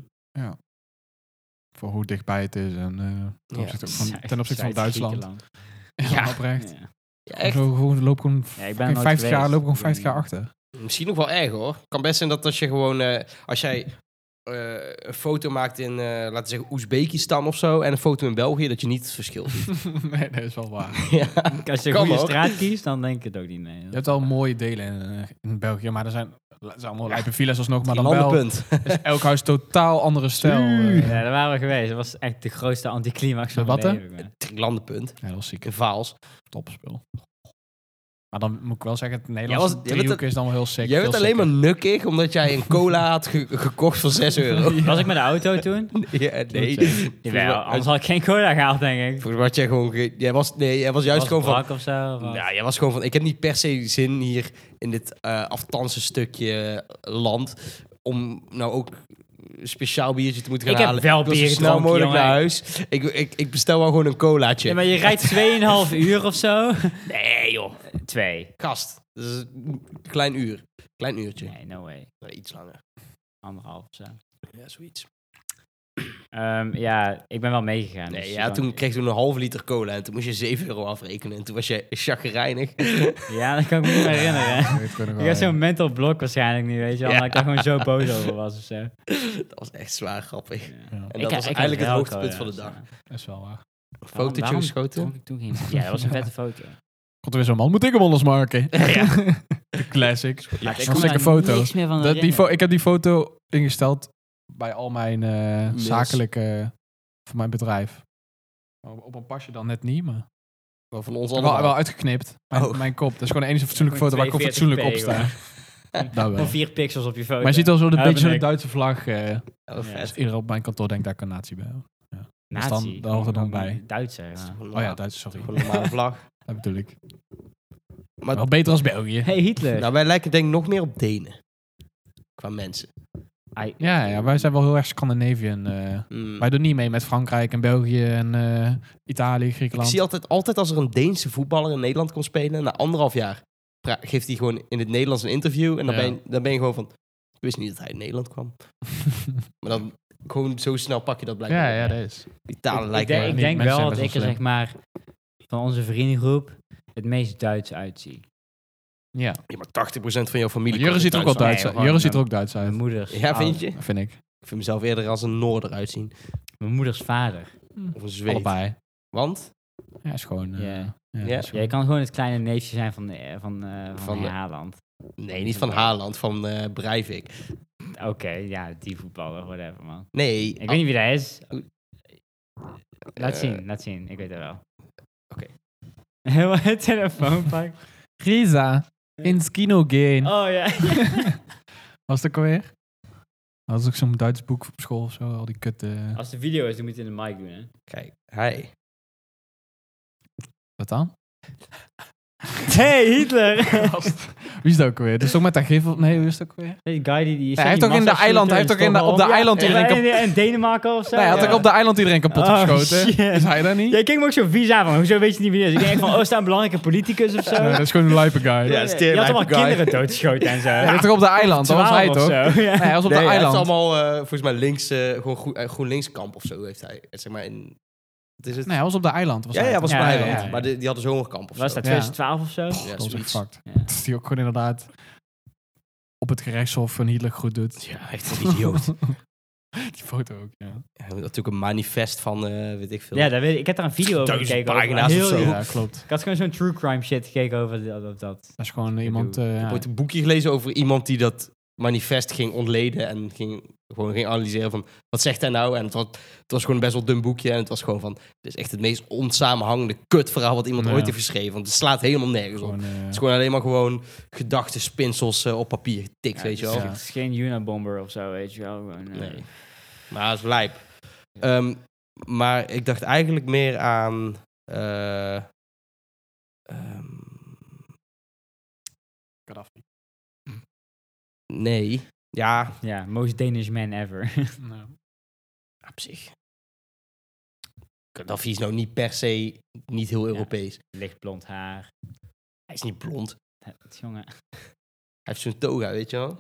A: Voor hoe dichtbij het is en eh, ten
B: Ja.
A: opzichte van,
C: Zuid-
A: ten opzichte van Duitsland.
C: Zuid-Griekenland.
A: Ja, oprecht.
C: Ja.
B: Ja, echt.
A: Zo, gewoon, loop gewoon,
C: Ja, ik ben
A: fucking
C: nooit
A: 50 jaar,
C: geweest.
A: loop gewoon
C: Ik
A: 50
C: ben-
A: jaar achter.
B: Misschien nog wel erg hoor. Kan best zijn dat als je gewoon. eh, als jij eh, een foto maakt in, eh, laten we zeggen, Oezbekistan of zo. en een foto in België, dat je niet het verschil ziet.
A: nee, dat is wel waar.
B: ja.
C: Als je een
B: Kan
C: goede
B: ook.
C: straat kiest, dan denk ik het ook niet mee.
A: Je hebt al mooie delen in, eh, in België, maar er zijn, er zijn allemaal lijpe villas alsnog. Maar
B: Die
A: dan wel
B: landenpunt.
A: is elk huis totaal andere stijl. eh.
C: Ja, daar waren we geweest. Dat was echt de grootste anticlimax van
A: Wat,
C: mijn
A: hè?
C: leven. man.
B: Drie landenpunt.
A: Ja, dat is ziek.
B: In Vaals.
A: Topspul. Maar dan moet ik wel zeggen, het
B: Jij
A: Nederlandse
B: was- jij bent
A: driehoek is dan wel heel sick.
B: Jij
A: veel
B: werd alleen maar
A: sicker.
B: nukkig omdat jij een cola had ge- gekocht voor 6 euro.
C: Was ik met de auto toen?
B: ja, nee.
A: Goed, hè.
C: Jawel, anders had ik geen cola gehaald, denk ik.
B: Volgens mij had jij gewoon. ge- jij was, nee, jij was juist
C: was
B: gewoon van.
C: brak of zo. of wat?
B: Ja, Nou, jij was gewoon van, ik heb niet per se zin hier in dit eh aftanse stukje land om nou ook een speciaal biertje te moeten gaan
C: Ik heb
B: halen.
C: wel
B: wil zo
C: bier
B: snel
C: gedronken,
B: mogelijk naar
C: jongen.
B: huis. Ik, ik, ik bestel wel gewoon een colaatje.
C: Ja, maar je rijdt 2,5 uur of zo. Eh,
B: Nee joh,
C: Twee.
B: gast. Dat is een klein uur. Klein uurtje.
C: Nee, no way.
B: Nee, Iets langer.
C: Anderhalf of zo.
B: Ja, zoiets.
C: Ehm, ja, ik ben wel meegegaan.
B: Nee,
C: dus
B: ja,
C: dan-
B: toen kreeg je een halve liter cola en toen moest je 7 euro afrekenen. En toen was je chagrijnig.
C: Ja, dat kan ik me niet meer herinneren.
A: Ja, weet ik ook nog
C: Ik
A: wel,
C: had zo'n mental block waarschijnlijk niet, weet je wel.
B: Ja.
C: Maar ik daar gewoon zo boos over was of zo.
B: dat was echt zwaar grappig.
A: ja. Ja,
B: En dat was eigenlijk het hoogtepunt van de dag.
A: dat is wel waar.
B: Een
C: dus, eh. Waarom-
B: fotootje
C: waarom
B: geschoten.
C: trok ik toen geen- Ja, dat was een vette foto.
A: Komt er weer zo'n man, moet ik hem anders maken? De classic.
B: Ja,
C: ik
A: nog
C: kon
A: gekke
C: daar
A: foto's.
C: niks meer van
A: Dat, die fo-
C: herinneren.
A: ik heb die foto ingesteld bij al mijn eh, zakelijke, voor mijn bedrijf. Op op een pasje dan net niet, maar
B: Wel van ons
A: wel,
B: allemaal.
A: wel uitgeknipt. Mijn,
B: Oh.
A: mijn kop. Dat is gewoon de enige fatsoenlijke
C: Ja,
A: foto waar ik op
C: 42p
A: fatsoenlijk op sta. Dat Nou, wel.
C: Gewoon vier pixels op je foto.
A: Maar je ziet al zo een
C: Ja,
A: beetje
C: ben
A: zo'n
C: ik.
A: Duitse vlag. eh
B: Oh,
C: Ja.
B: vet.
A: dus iedereen op mijn kantoor denkt daar kan nazi bij.
C: Nazi.
A: dan- daar hoort het dan bij.
C: Duitser.
B: Dat is
C: ja.
B: gewoon
A: Oh ja,
B: normaal.
A: Duits, sorry.
B: Gewoon een normale vlag.
A: Dat bedoel ik.
B: Maar-
A: Maar wel beter als België.
C: Hey Hitler.
B: Nou, wij lijken denk ik nog meer op Denen. Qua mensen.
C: Ai,
A: Ja, ja, wij zijn wel heel erg Scandinavian. eh.
B: Mm.
A: Wij doen niet mee met Frankrijk en België en eh, Italië,
B: Ik
A: Griekenland.
B: zie altijd, altijd als er een Deense voetballer in Nederland komt spelen, na anderhalf jaar pra- geeft hij gewoon in het Nederlands een interview. En dan,
A: Ja.
B: ben, je, dan ben je gewoon van, ik wist niet dat hij in Nederland kwam. maar dan gewoon zo snel pak je dat blijkbaar.
A: ja,
B: op.
A: ja, dat is.
B: Die talen
C: ik
B: lijken
C: denk,
B: wel-
C: ik
A: niet.
C: denk
A: Mensen zijn
C: wel dat
A: best
C: ik er
A: wel
C: zeg
A: slim.
C: maar van onze vriendengroep het meest Duits uitzie.
A: Ja.
B: Ja, maar 80% van jouw familie
A: Jurre
B: komt
A: ziet er ook wel
B: uit
A: Duits
C: Nee,
A: uit.
C: gewoon,
A: Jurre ziet er
C: eh,
A: ook Duits uit,
C: Mijn moeders, oh,
B: Duitsland. Ja, vind
C: ouder-
B: je?
A: vind ik.
B: Ik vind mezelf eerder als een Noorder uitzien.
C: Mijn moeders vader.
B: Of een Zweed.
A: Allebei.
B: Want?
A: Ja, is gewoon... eh,
C: Ja.
A: ja,
B: Ja.
A: is gewoon-
C: Ja, je kan gewoon het kleine neefje zijn van, eh, van, eh, van,
B: Van de-
C: Haaland.
B: Nee, niet van Haaland, van eh Breivik.
C: Oké, ja, die voetballer, whatever man.
B: Nee.
A: Ah.
B: oh,
C: Ik weet niet wie dat is.
A: Oh.
C: Laat
B: eh,
C: zien, laat zien. Ik weet het wel.
B: Oké.
C: Helemaal het telefoon pak.
A: Grisa, ins Kino gehen.
C: Oh ja.
A: Was dat ook alweer? Dat was ook zo'n Duits boek op school of zo. Al die kut... eh,
C: Als de video is, dan moet je het in de mic doen hè.
B: Kijk, hij.
A: Wat dan?
C: Hey Hitler!
A: Wie is dat ook alweer? Dus ook met dat gif... op- Nee, wie is dat ook alweer?
C: Die guy die... die
A: hij heeft ook in de eiland- hij heeft ook in de- op de eiland
C: in,
A: iedereen
C: in, in Denemarken of zo?
A: Nee, hij had
C: ja.
A: ook op de eiland iedereen kapot
C: Oh,
A: geschoten.
C: shit.
A: Is hij daar niet?
C: Jij keek me ook zo vies aan van, hoezo weet je niet wie het is? Ik denk van, oh, is daar een belangrijke politicus of zo?
A: Nee, dat is gewoon een lijpe guy.
B: Ja,
A: Ja.
B: dat is
C: je had allemaal
B: teerlijpe guy.
C: kinderen doodgeschoten en zo.
A: Hij ligt toch op de eiland? Dat was hij
C: Twaalf
A: toch?
C: of
A: Nee,
C: zo, ja.
A: hij was op
B: Nee,
A: de
B: Hij
A: eiland.
B: is allemaal, eh, volgens mij, links, eh, gewoon groen, eh, GroenLinkskamp of zo heeft hij. eh, Zeg maar in... Wat is het?
A: Nee, hij was op de eiland. Was
B: ja,
A: hij.
B: ja, was
C: Ja,
B: op een
C: ja,
B: eiland.
C: ja, ja.
B: Maar die, die hadden zo'n hongerkamp of
C: Was
B: zo.
C: dat 2012 of zo?
B: Ja,
A: dat was echt
B: zoiets.
A: fucked.
C: Ja.
A: Dat die ook gewoon inderdaad op het gerechtshof een Hitler goed doet.
B: Ja, echt een idioot.
A: Die foto ook, ja.
B: Ja, natuurlijk een manifest van, eh, weet ik veel.
C: Ja, dat weet ik. Ik heb daar een video over
B: Duizend
C: gekeken. over.
B: pagina's
C: Heel
B: of zo.
C: jong.
A: Ja, klopt.
C: Ik had gewoon zo'n true crime shit gekeken over dat. dat- dat.
A: Dat is gewoon iemand... eh,
B: Ik
A: ja.
B: heb ooit een boekje gelezen over iemand die dat manifest ging ontleden en ging, gewoon ging analyseren van wat zegt hij nou? En het was, het was gewoon een best wel dun boekje en het was gewoon van, dit is echt het meest onsamenhangende kutverhaal wat iemand
A: Ja.
B: ooit heeft geschreven. Want het slaat helemaal nergens op.
A: Gewoon, eh,
B: Het is gewoon alleen maar gewoon gedachtenspinsels eh, op papier getikt,
C: Ja,
B: weet je
C: het
B: wel.
C: is- Het is geen Unabomber of zo, weet je wel. Gewoon, eh,
B: Nee. Maar het is lijp. Ehm, maar ik dacht eigenlijk meer aan. eh, ehm, nee. Ja,
C: Ja, most Danish man ever.
A: nou,
B: op zich. Gaddafi is nou niet per se niet heel Europees.
C: Licht blond haar.
B: Hij is niet blond.
C: Het jongen.
B: Hij heeft zo'n toga, weet je wel.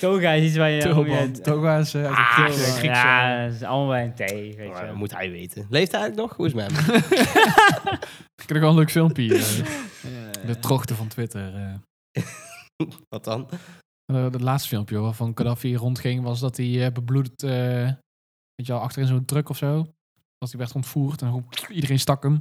C: Toga is iets waar je... om je-
A: Tulband. Toga's, eh, uit het
B: Ah,
A: Griekse-
B: Grieks,
C: ja, dat is allemaal bij een thee, weet je
B: Maar
C: wel.
B: dat moet hij weten. Leeft hij eigenlijk nog? Hoe is het met hem?
A: Ik heb nog wel een leuk filmpje. eh, de trochten van Twitter. eh.
B: Wat dan?
A: Eh, Het laatste filmpje waarvan Gaddafi rondging was dat hij eh, bebloed, eh, weet je wel, achterin zo'n truck of zo. Als hij werd ontvoerd en gewoon iedereen stak hem.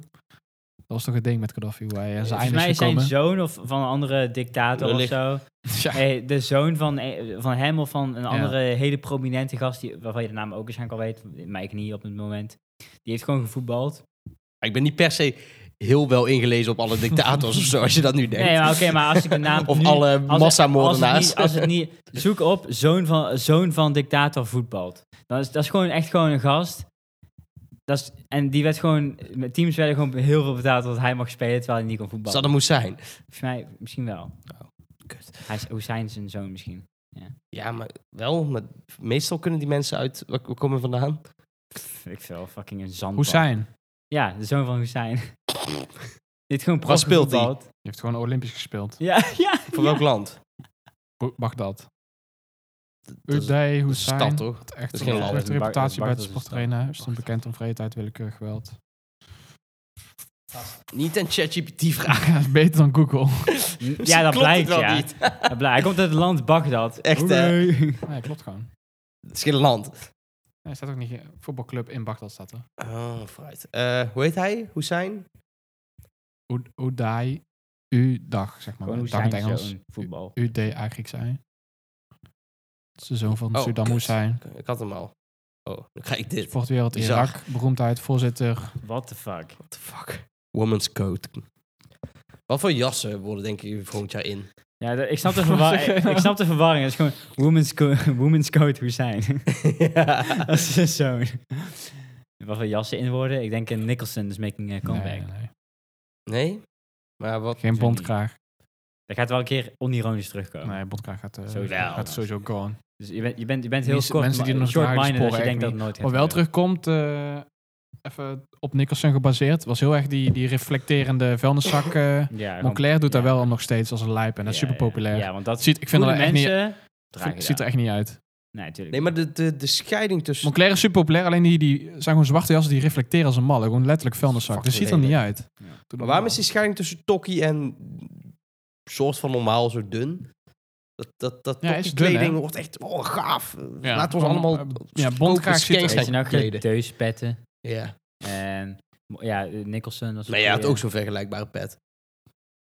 A: Dat was toch het ding met Gaddafi, hoe hij aan zijn
C: Volgens
A: einde
C: mij
A: is
C: zijn
A: gekomen.
C: zoon of van een andere dictator of
B: Wellicht.
C: zo.
A: Ja.
C: Eh, de zoon van, eh, van hem of van een andere hele prominente gast, die, waarvan je de naam ook waarschijnlijk al weet, maar ik niet op het moment. Die heeft gewoon gevoetbald.
B: Ik ben niet per se heel wel ingelezen op alle dictators of zo, als je dat nu denkt.
C: Nee, maar oké, maar als ik de naam.
B: Of
C: nu-
B: alle
C: als-
B: massamoordenaars.
C: Als, het niet- als het niet. Zoek op zoon van, zoon van dictator voetbalt. Dat is, dat is gewoon echt gewoon een gast. Dat is, en die werd gewoon. met Teams werden gewoon heel veel betaald dat hij mag spelen terwijl hij niet kon voetballen.
B: Zou dat moest zijn?
C: Volgens mij misschien wel.
B: Oh, kut.
C: Hij is Hoesijn zijn zoon misschien.
B: Ja, maar wel. Maar meestal kunnen die mensen uit... Waar waar komen we vandaan?
C: Pff, Ik veel fucking een zand.
A: Hussein. Die
C: Ja, de zoon van Hoesijn. Dit gewoon
B: Waar
C: prof
B: speelt hij?
C: gevoetbald.
A: heeft gewoon Olympisch gespeeld.
C: Ja, ja.
B: Van welk land?
A: Bo- Bagdad.
B: dat is-
A: Uday
B: Dat is een
A: Hussein.
B: stad, toch?
A: had Echt
B: Dat is
A: een
B: geen land.
A: slechte reputatie bij
C: Bagdad
A: de
C: is een stad.
A: sportarena. Is stond bekend om vreedheid, willekeurig geweld.
B: Niet aan ChatGPT vragen.
A: Ja, is beter dan Google.
C: Ja, dat
B: Klopt het
C: blijkt
B: wel
C: ja.
B: niet.
C: Dat blijkt. Hij komt uit het land Bagdad.
B: Echt, hè?
C: Hooray.
A: Nee, klopt gewoon.
B: Het is geen land.
A: Nee, staat ook niet. eh, Voetbalclub in Bagdad staat er.
B: Oh, vooruit. Eh, hoe heet hij? Hussein?
A: Oed- Oudai. U-dag, zeg maar.
C: Gewoon hoe
A: dag in
C: zijn
A: het Engels.
C: zo'n voetbal.
A: UDA Grieks zijn. Het is de zoon van
B: Oh,
A: Saddam
B: kut.
A: Hussein.
B: Ik had hem al. Oh, dan krijg ik dit. What
A: Sportwereld
B: Bizar.
A: Irak. Beroemdheid, voorzitter.
C: What the fuck?
B: the fuck? Woman's coat. Wat voor jassen worden denk ik volgend jaar in?
C: Ja, de- ik, snap de verwar- ik, ik snap de verwarring. Het is gewoon women's, co women's code Hussein.
B: ja.
C: Dat is een zoon. Wat voor jassen in worden? Ik denk een Nicholson is making a comeback.
A: Nee, nee, nee.
B: Nee? Maar wat?
A: Geen
C: niet.
A: bondkraag.
C: Dat gaat wel een keer onironisch terugkomen.
A: Nee, bondkraag gaat, eh,
C: Sowieso.
A: gaat sowieso gone.
C: Dus je bent, je bent, je bent heel
A: Mensen-
C: kort,
A: mensen die
C: ma-
A: nog
C: short-minded
A: draaisporen
C: dat je
A: echt
C: denkt dus dat
A: niet.
C: het nooit
A: Wat
C: gaat
A: wel
C: gebeuren.
A: terugkomt, eh, even op Nicholson gebaseerd, was heel erg die, die reflecterende vuilniszak. eh
C: Ja, gewoon-
A: Moncler doet daar
C: ja.
A: wel nog steeds als een lijp en dat is
C: Ja,
A: super populair.
C: Ja, ja, want dat
A: Ziet, ik vind dat
C: goede
A: echt niet,
C: mensen dragen
A: vind- ziet er echt niet uit.
C: Nee, natuurlijk.
B: Nee, maar de, de, de scheiding tussen...
A: Moncler is super populair, alleen die, die zijn gewoon zwarte jassen die reflecteren als een malle. Gewoon letterlijk vuilniszak.
B: Fucking
A: Dus ziet er niet
B: lelijk.
A: uit.
C: Ja. Maar
A: Doe
B: Maar
A: dat
B: waarom
A: wel.
B: is die scheiding tussen tokkie en soort van normaal zo dun? Dat, dat, dat
A: Ja, is
B: kleding
A: dun, hè?
B: wordt echt oh, gaaf.
A: Ja.
B: Laten we
A: Van,
B: ons allemaal...
A: eh, ja, bondkraag ziet er
B: skanks
C: Weet je
B: gaan
C: nou,
B: kleden.
C: gedeuspetten
B: Ja.
C: en mo- ja, Nicholson. was
B: Maar jij
C: ook
B: had
C: weer-
B: ook zo'n vergelijkbare pet.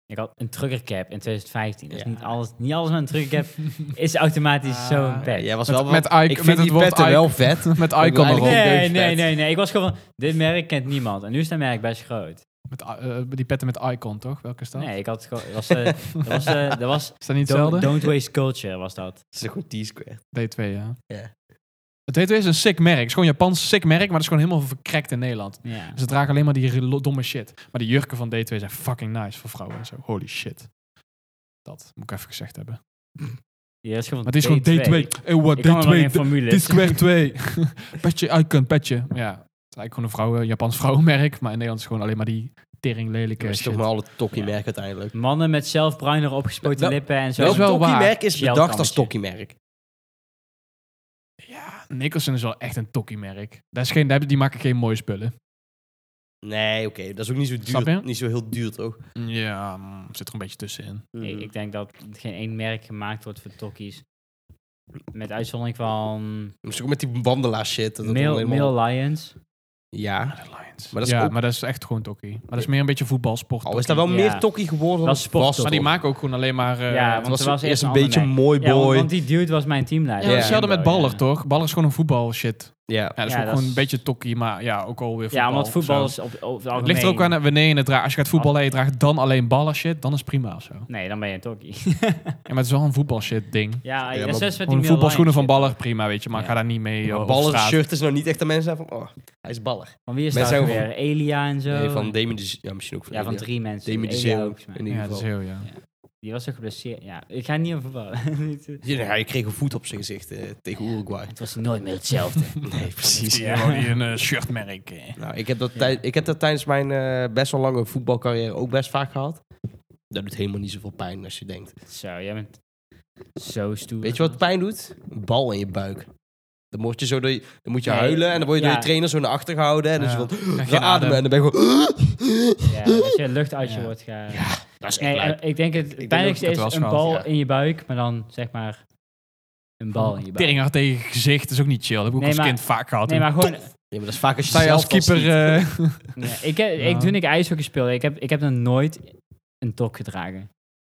C: Ik had een truckercap in 2015. Dus
B: Ja.
C: niet, alles, niet alles met een truckercap is automatisch
A: Ah.
C: zo'n pet.
B: Jij was
A: Met-
B: wel...
A: met Ike-
B: ik vind
A: met het
B: die
A: woord
B: petten
A: Ike.
B: wel vet.
A: Met icon
B: eigenlijk-
A: erop.
B: Gewoon
C: Nee,
B: deuspet.
C: nee, nee, nee. Ik was gewoon van, dit merk kent niemand. En nu is dat merk best groot.
A: Met, eh, die petten met icon, toch? Welke is dat?
C: Nee, ik had gewoon, dat was, eh, dat was, eh, dat was
A: Is dat niet
C: don't,
A: hetzelfde?
C: don't Waste Culture was dat.
B: Dat is een goed T-square.
A: D2, ja.
B: Ja.
A: Het D2 is een sick merk. Het is gewoon een Japans sick merk, maar dat is gewoon helemaal verkrekt in Nederland.
C: Ja.
A: Ze dragen alleen maar die relo- domme shit. Maar die jurken van D2 zijn fucking nice voor vrouwen en zo. Holy shit. Dat moet ik even gezegd hebben.
C: Die is gewoon
A: Maar het is gewoon D2. Eh, wat
C: Ik kan wel in
A: D2.
C: formule.
A: Dit is square 2. petje, icon, petje. Ja, het is eigenlijk gewoon een vrouwen, Japans vrouwenmerk. Maar in Nederland is het gewoon alleen maar die tering
B: Dat
A: lelijke
B: is
A: shit.
B: toch maar alle tokkie-merk uiteindelijk.
C: Mannen met zelfbruiner opgespoten
B: Dat-
C: lippen en zo.
A: dat is wel
B: Welk tokkie-merk
A: waar.
B: is bedacht als
C: Sjelkammetje.
B: tokkie-merk?
A: Ja, Nicholson is wel echt een tokkie-merk. Dat is geen, daar hebben- die maken geen mooie spullen.
B: Nee, oké. Dat is ook niet zo
A: Snap je?
B: duur. Niet zo heel duur, toch? Hmm.
A: Ja, mm, zit er een beetje tussenin.
C: Ik, ik denk dat geen één merk gemaakt wordt voor tokkies. Met uitzondering van
B: Misschien ook met die wandelaar-shit. dat het
C: Male,
B: allemaal-
C: male Lions.
B: Ja.
A: De Lions.
B: Maar dat is
A: ja,
B: ook-
A: maar dat is echt gewoon tokkie. Maar dat is meer een beetje voetbalsport.
B: Al Oh, is daar wel
C: Ja.
B: meer tokkie geworden dan
C: Dat is sport,
B: was,
C: toch?
A: maar
B: toch?
A: die maken ook gewoon alleen maar... eh,
C: Ja,
A: het
C: want
B: Het
C: er
B: was
C: was
B: eerst
C: eerst
B: een
C: een
B: beetje
C: ander
B: mooi
C: Ja, want,
B: boy.
C: want die dude was mijn teamleider.
A: Ja,
B: Ja.
A: hetzelfde met baller,
C: Ja.
A: toch? Baller is gewoon een voetbal shit.
B: Ja.
A: Ja, dat is
C: Ja,
A: ook
C: dat
A: gewoon
C: is-
A: een beetje tokkie, maar ja, ook alweer voetbal.
C: Ja, omdat voetbal
A: zo.
C: is op, op het
A: Het ligt er ook aan eh, wanneer je het draagt. Als je gaat voetballen en je draagt dan alleen ballen shit, dan is het prima of zo. Ja,
C: Nee, dan ben je een tokkie.
A: maar het is wel een voetbal shit ding.
C: ja,
B: Ja,
C: ja,
B: maar
C: zes met die
A: Gewoon
C: Male
A: voetbalschoenen van
C: Lions
A: baller, prima, weet je. Maar
C: Ja.
A: ga daar niet mee eh,
B: Maar
A: op
B: ballen
A: straat.
B: shirt is nou niet echt dat mensen zeggen van, oh, hij is baller.
C: shit. Van wie is
B: Mensen
C: dat ook
B: zijn
C: weer? Elia en zo.
B: Nee, van Damien de Z- Ja, misschien ook van
C: ja, van
B: Elia.
C: drie mensen.
B: Damien de
C: Elia
B: Zeeuw
C: ook, volgens mij.
B: in
A: Ja,
B: ieder
A: dat is
B: geval.
A: heel, ja.
C: Die was ook geblesseerd. Ja, ik ga niet over voetballen.
B: Ja, hij kreeg een voet op zijn gezicht eh, tegen Uruguay.
C: het was nooit meer hetzelfde.
B: Nee, precies.
A: Die hebben ook niet een eh, shirtmerk. eh.
B: Nou, ik heb, dat tij- ik heb dat tijdens mijn eh, best wel lange voetbalcarrière ook best vaak gehad. Dat doet helemaal niet zoveel pijn als je denkt.
C: zo, jij bent zo stoer.
B: Weet je wat pijn doet? Een bal in je buik. Dan, word je zo door je- dan moet je
C: Nee,
B: huilen en dan word je door
C: ja.
B: je trainer zo naar achter gehouden. En dan is
A: Ja. dus
B: je van,
A: Krijg
B: "Ga
A: geen
B: ademen. En
A: adem.
B: dan ben je gewoon...
C: Ja, dat je lucht uit je
A: Ja.
C: wordt gaan.
B: Dat is echt
C: Nee,
B: lijp.
C: eh, ik denk het
B: denk
C: pijnlijkste
A: dat ik
C: is
A: het
C: een
A: wel eens
C: bal
B: gehad, ja.
C: in je buik, maar dan zeg maar een bal in je buik.
A: Tering hard tegen je gezicht is ook niet chill. Dat heb ik ook
C: Nee,
A: als
C: maar-
A: kind vaak gehad.
C: Nee, maar gewoon,
B: Ja, maar dat is vaak als je
A: Sta je
B: zelf
A: als
B: al
A: keeper...
B: schiet.
A: eh,
C: ja, ik, heb,
A: Ja.
C: ik, toen ik ijshockey speelde, ik heb, ik heb nog nooit een tok gedragen.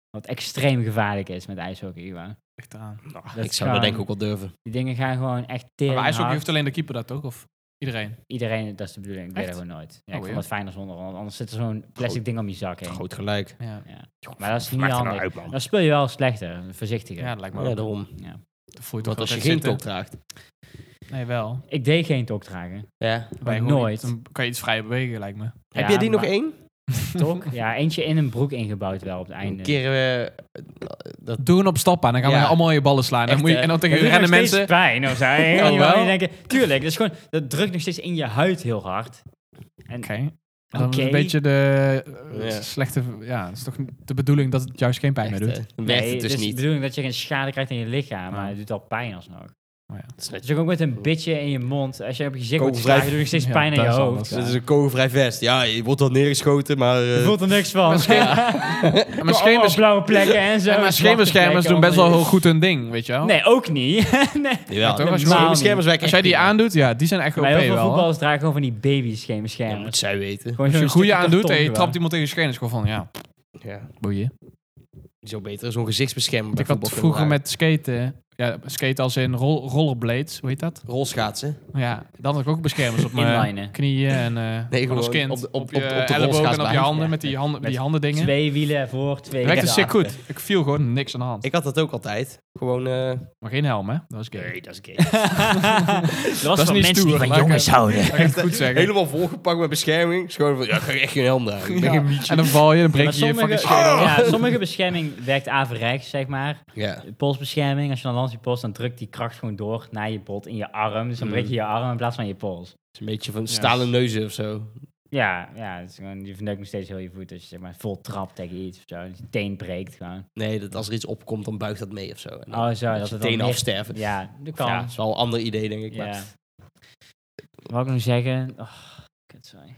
C: Wat extreem gevaarlijk is met ijshockey. gewoon.
A: echt aan.
C: Dat
B: ik zou dat
C: gaan-
B: denk ik ook wel durven.
C: Die dingen gaan gewoon echt tering
A: Maar ijshockey
C: hard.
A: heeft alleen de keeper dat toch? Of iedereen?
C: Iedereen, dat is de bedoeling. Ik deed dat
A: Echt?
C: gewoon nooit. Ja,
A: Oh,
C: ik
A: ja.
C: vond het fijner zonder, want anders zit er zo'n plastic
B: Groot-
C: ding om je zak heen.
B: Groot gelijk.
A: Ja,
C: Maar dat is niet
B: Maakt er nou
C: handig.
B: uit, man.
C: Dan speel je wel slechter, voorzichtiger.
A: ja dat lijkt me
B: Ja,
A: ook.
B: daarom.
C: Ja.
A: Dat voel je toch
B: Want als
A: altijd
B: je geen
A: zitten.
B: top draagt.
A: Nee, wel.
C: Ik deed geen tok dragen.
B: Ja.
A: Ben je
C: Maar
A: gewoon
C: nooit.
A: iets- Dan kan je iets vrijer bewegen, lijkt me.
B: Heb jij die nog
C: maar-
B: één?
C: Tok? Ja, eentje in een broek ingebouwd wel op het einde.
B: Een keer... eh, dat,
A: Doe een op stap aan, dan gaan
B: Ja.
A: we allemaal je ballen slaan. Dan
B: Echt,
A: moet je,
B: hè?
A: en dan tegen
C: Dat doet
A: rennen
C: nog steeds
A: mensen.
C: pijn of zo.
A: Oh,
C: En je
A: wel?
C: wel? denken, tuurlijk, dat, is gewoon, dat drukt nog steeds in je huid heel hard. En
A: Oké. Dan is
C: Oké.
A: een beetje de eh,
B: Ja.
A: slechte. Ja, het is toch de bedoeling dat het juist geen pijn
B: echt,
A: meer doet.
B: eh, dan
C: nee,
B: werkt het dus
C: is de
B: niet.
C: bedoeling dat je geen schade krijgt in je lichaam, maar
A: Ja.
C: het doet al pijn alsnog.
A: Maar ja.
B: Dat is net-
C: Dus ook met een bitje in je mond. Als je op je gezicht wordt
B: Kogelvrij.
C: geslagen, doe je nog steeds
A: Ja,
C: pijn in je
A: dat is
C: hoofd.
A: anders.
B: dat Dus is een kogelvrij vest. Ja, je wordt dan neergeschoten, maar... eh,
C: Je voelt er niks van.
F: Maar
C: Allemaal
F: schemerschermers
C: blauwe plekken en zo.
F: maar schemerschermers doen best wel heel goed hun ding, weet je wel?
C: Nee, ook niet. nee.
B: Jawel.
F: toch, als je-
B: Schermen-
C: Normaal niet.
B: schermers werken
F: Als jij
B: echt
F: die
B: prima.
F: aandoet, ja, die zijn echt OP
C: Maar heel veel
F: wel. hoor.
C: voetballers dragen gewoon van die baby
B: Ja,
C: schemerschermers.
B: moet zij weten.
C: Gewoon
F: Als je
C: zo'n
F: een goede
C: stukje
F: aandoet en
C: karton
F: je
C: gewoon.
F: trapt iemand tegen je schenen, is gewoon van, ja,
B: Ja,
F: boeien.
B: die zou beter zo'n gezichtsbescherming bij
F: Ik had
B: voetbal kunnen
F: vroeger
B: dragen.
F: met skaten, ja, skaten als in rol- rollerblades, hoe heet dat? Nou
B: Rolschaatsen.
F: Ja, dan had ik ook beschermers op mijn
C: Inlinen.
F: knieën en eh
B: Nee,
F: als
B: gewoon
F: kind.
B: op de- op-
F: je
B: op- op de
F: ellebogen en op je
B: rolschaatsbaan.
F: handen
C: Ja,
F: met die handen,
C: met
F: die handen dingen.
C: Twee wielen voor, twee
F: Werkte
C: wielen
F: sick
C: achter.
F: goed. Ik viel gewoon niks aan de hand.
B: Ik had dat ook altijd. Gewoon... eh,
F: Maar geen helm, hè? Dat was gay.
B: Nee, dat is gay.
C: dat was
F: is
C: van
F: niet
C: mensen
F: stoer,
C: die van
F: laat ik
C: jongens
F: het-
C: houden.
F: Dat kan ik het
C: eh,
F: goed zeggen.
B: Helemaal volgepakt met bescherming. Het is gewoon van, ja, ik ga echt geen helm dragen. Ik ben geen mietje.
F: En dan val je, dan
C: Maar
F: breek je je
C: sommige,
F: fucking schedel.
C: ja, sommige bescherming werkt averechts, zeg maar.
B: Ja.
C: Polsbescherming, als je dan langs je pols, dan drukt die kracht gewoon door naar je bot in je arm. Dus dan
B: Mm.
C: breek je je arm in plaats van je pols.
B: Het is een beetje van stalen neuzen of zo.
C: Ja, ja het is gewoon, je verneukt nog steeds heel je voet als je zeg maar, vol trapt tegen iets of zo. Dat je teen breekt gewoon.
B: Nee, dat als er iets opkomt, dan buigt dat mee of zo. En dan
C: Oh, zo,
B: dat
C: dat
B: je
C: het dan
B: tenen
C: meer-
B: afsterven. Ja,
C: Ja, dat kan.
B: dat is wel een ander idee, denk ik. Maar
C: Ja. Wat wou ik nog zeggen? Oh, kut, sorry.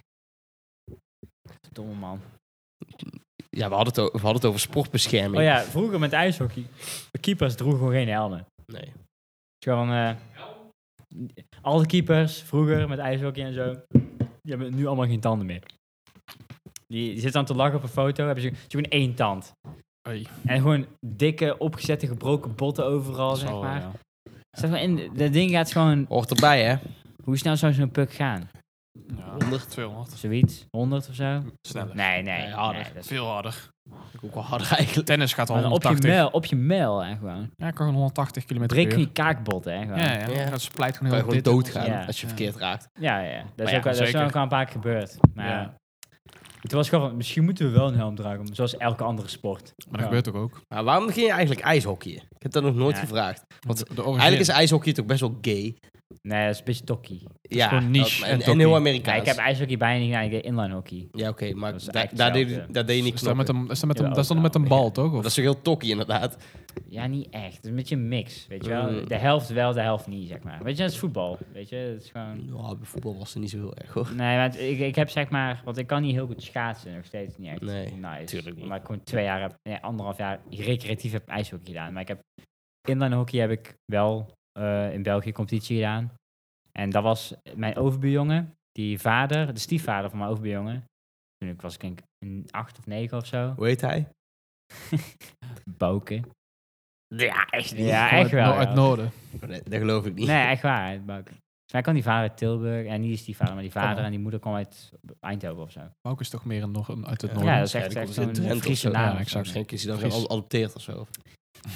C: Domme man.
B: ja we, hadden het o- we hadden het over sportbescherming.
C: Oh ja, vroeger met ijshockey. De keepers droegen gewoon geen helmen.
B: Nee.
C: Dus gewoon... eh, al de keepers vroeger met ijshockey en zo... Die hebben nu allemaal geen tanden meer. Die, die zitten dan te lachen op een foto. Hebben ze, ze hebben gewoon één tand.
F: Oei.
C: En gewoon dikke, opgezette, gebroken botten overal, zeg
F: Zal,
C: maar.
F: ja.
C: Zeg maar, en dat ding gaat gewoon...
B: Hoort erbij, hè?
C: Hoe snel zou zo'n puck gaan?
F: Ja, 200.
C: Zoiets? 100 of zo?
F: Sneller.
C: Nee, nee.
B: Nee, harder.
C: nee, dat is-
F: Veel harder.
B: Ook wel harder eigenlijk.
F: Tennis gaat al
C: maar dan op je
F: 180.
C: mel, op je mel, hè, gewoon.
A: Ja, ik kan gewoon 180 km
C: Breek je kaakbot, hè, gewoon.
F: Ja, ja.
B: Ja.
F: Dat splijt gewoon
B: Kan
F: heel
B: je gewoon
F: dit en
B: doodgaan
C: Ja.
B: als je verkeerd raakt.
C: Ja, ja. Dat is,
F: Maar ja,
C: ook, wel- dat is
F: zeker.
C: ook al een paar keer gebeurd. Maar
F: Ja.
C: ja. het was gewoon van, misschien moeten we wel een helm dragen, om- zoals elke andere sport.
F: dat. Maar
C: Ja.
F: dat gebeurt toch ook?
B: Maar waarom ging je eigenlijk ijshockeyen? Ik heb dat nog nooit
C: Ja.
B: gevraagd.
F: Want de origine-
B: Eigenlijk is ijshockey toch best wel gay.
C: Nee, dat is een beetje tokkie.
B: Ja,
F: gewoon niche
B: dat-
F: en
B: en, en
F: hockey.
B: heel
C: Ja,
B: Amerikaans.
C: ik heb ijshockey bijna niet gedaan, ik deed inline hockey.
B: Ja, oké, maar
C: Dat is
B: da-
C: eigenlijk
B: daar, deed,
C: hetzelfde.
B: daar deed je niet
F: Is dat
B: knoppen.
F: met een, is dat met
C: Ja,
F: een, dat is dan
C: ook
F: met een
C: wel.
F: bal, toch? Of?
B: Dat is toch heel tokkie, inderdaad.
C: Ja, niet echt. Het is een beetje een mix, weet je wel.
F: Eh.
B: Mm.
C: De helft wel, de helft niet, zeg maar. Weet je, dat is voetbal, weet je. Het is gewoon...
B: Nou, bij voetbal was het niet zo heel erg, hoor.
C: Nee, want ik, ik heb zeg maar, want ik kan niet heel goed schaatsen, nog steeds niet echt.
B: Nee,
C: nice.
B: tuurlijk niet.
C: Maar ik gewoon twee jaar, heb, nee, anderhalf jaar recreatief heb ijshockey gedaan. Maar ik heb inline hockey heb ik wel eh, in België competitie gedaan. En dat was mijn overbuurjongen, die vader, de stiefvader van mijn overbuurjongen. Toen ik was ik denk een acht of negen of zo.
B: Hoe heet hij?
C: Bouken. Ja, echt
B: niet.
C: Ja,
F: Gewoon
C: echt
F: uit,
C: wel.
F: no- uit
C: ja.
F: Noorden.
B: Nee, dat geloof ik niet.
C: Nee, echt waar, uit Bouken. Maar ik kan die vader uit Tilburg, en niet is die vader, maar die vader
F: Allemaal.
C: en die moeder kwam uit Eindhoven of zo.
A: Maar ook is toch meer een, nog een- uit het
B: Ja.
A: noorden.
C: Ja, dat is echt,
B: waarschijnlijk
C: echt
B: komt het in
C: zo'n
B: Drenthe
C: Friese
B: of zo.
C: naam.
A: Ja, exact.
B: Misschien is hij dan
A: Fries.
B: geadopteerd of zo.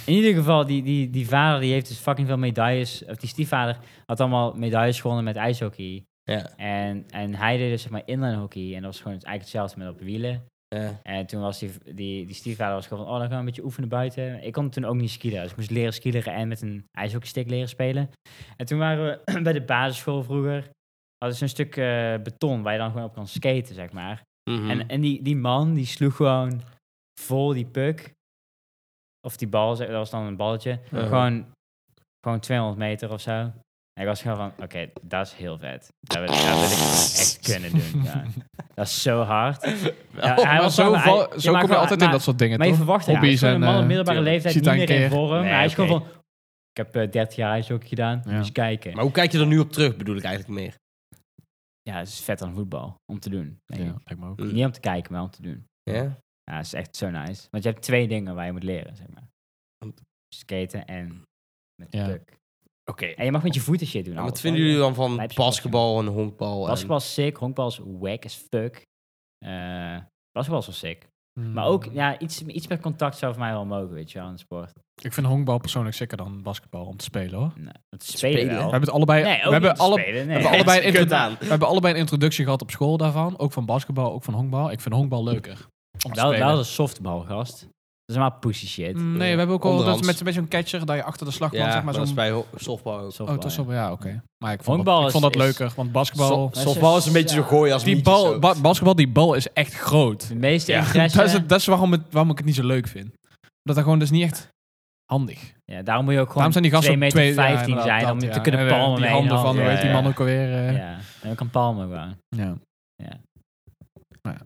C: In ieder geval, die, die, die vader die heeft dus fucking veel medailles. Of die stiefvader had allemaal medailles gewonnen met ijshockey.
B: Ja.
C: En, en hij deed dus zeg maar inline hockey. En dat was gewoon eigenlijk hetzelfde met op wielen.
B: ja.
C: En toen was die, die, die stiefvader was gewoon van, oh, dan gaan we een beetje oefenen buiten. Ik kon toen ook niet skiën. Dus ik moest leren skiën en met een ijshockeystick leren spelen. En toen waren we bij de basisschool vroeger. Hadden ze een stuk eh, beton waar je dan gewoon op kan skaten, zeg maar.
B: Mhm.
F: Hmm.
C: En, en die, die man die sloeg gewoon vol die puck. Of die bal, zeg- dat was dan een balletje.
B: Ja.
C: eh, Gewoon, gewoon 200 meter of zo. En ik was gewoon van, oké, dat is heel vet. Dat wil, dat wil ik echt kunnen doen. Ja. Dat is zo hard. Ja, hij
F: Oh, Maar
C: was
F: zo
C: gewoon- hij-
F: val-
C: ja,
F: zo
C: maar
F: kom je
C: gewoon-
F: altijd in
C: maar-
F: dat soort dingen,
C: Maar je
F: toch?
C: verwacht het. Ja,
F: Hobby's
C: is gewoon een
F: en,
C: man op
F: eh,
C: middelbare
F: tuurlijk.
C: leeftijd
F: Ziet
C: niet
F: hij
C: meer
F: een
C: in
F: keer.
C: vorm.
B: Nee,
C: hij is gewoon
B: oké.
C: van, ik heb eh, 30 jaar ijshockey gedaan,
A: Ja.
C: dus kijken.
B: Maar hoe kijk je er nu op terug, bedoel ik eigenlijk meer?
C: Ja, het is vet aan voetbal, om te doen. denk
A: Ja,
C: ik.
A: lijkt me ook.
B: Mm.
C: Niet om te kijken, maar om te doen.
B: Ja?
C: Ja, dat is echt zo nice. Want je hebt twee dingen waar je moet leren, zeg maar.
B: Want-
C: Skaten en met de
A: Ja.
C: puck.
B: Oké.
C: En je mag met je voeten shit doen.
B: Maar
C: alles,
B: wat vinden
C: hoor.
B: jullie dan van
C: Lijpsport,
B: basketbal en honkbal? en-
C: Nou, Basketbal is sick, honkbal is wack as fuck. Eh basketbal is wel sick. Maar ook,
A: Mm.
C: ja, iets, iets met contact zou voor mij wel mogen, weet je wel, in de sport.
A: Ik vind honkbal persoonlijk zeker dan basketbal om te spelen hoor.
C: Nee, het spelen,
B: Spelen?
C: wel.
A: We hebben het allebei.
C: Nee, ook
A: we, hebben
C: niet
A: alle,
C: spelen,
A: we
C: nee.
A: hebben allebei een
B: Kut
A: introdu-
B: aan.
A: we hebben allebei een introductie gehad op school daarvan. Ook van basketbal, ook van honkbal. Ik vind honkbal leuker. Om te
C: Wel,
A: spelen.
C: wel een softbal, gast. Dat is maar pussy shit.
A: Mm, Nee, we hebben ook al dat
B: Onderhands.
A: met, met zo'n catcher dat je achter de slagman
B: Ja,
A: zeg
B: maar
A: maar
B: dat is
A: zo'n.
B: bij ho- softbal ook.
A: Oh,
C: Softbal,
A: dat is
C: ja.
A: wel. Ja, oké. Maar ik vond,
C: Honkbal
A: dat, ik vond
C: is-
A: dat leuker, want basketbal.
B: So- softbal is een beetje zo gooien als
A: die
B: mietjes
A: bal,
B: ook.
A: ba- basketbal, die bal is echt groot.
C: De meeste
B: Ja.
C: interesse...
A: Dat is, het- dat is waarom, het, waarom ik het niet zo leuk vind. Omdat dat gewoon dus niet echt. handig.
C: Ja, daarom moet je ook
A: Daarom
C: gewoon
A: zijn die gasten
C: 2
A: op
C: meter
A: twee, ja,
C: 15
A: inderdaad,
C: zijn, om
A: dat,
C: te
A: ja.
C: kunnen
A: En we-
C: palmen
A: Die
C: mee.
A: handen
C: en
A: van, hoe
C: alles.
A: heet die
C: Ja,
A: man ook alweer? eh,
C: Ja, ja. en dan kan palmen gewoon.
A: ja.
C: Ja.
A: Nou ja,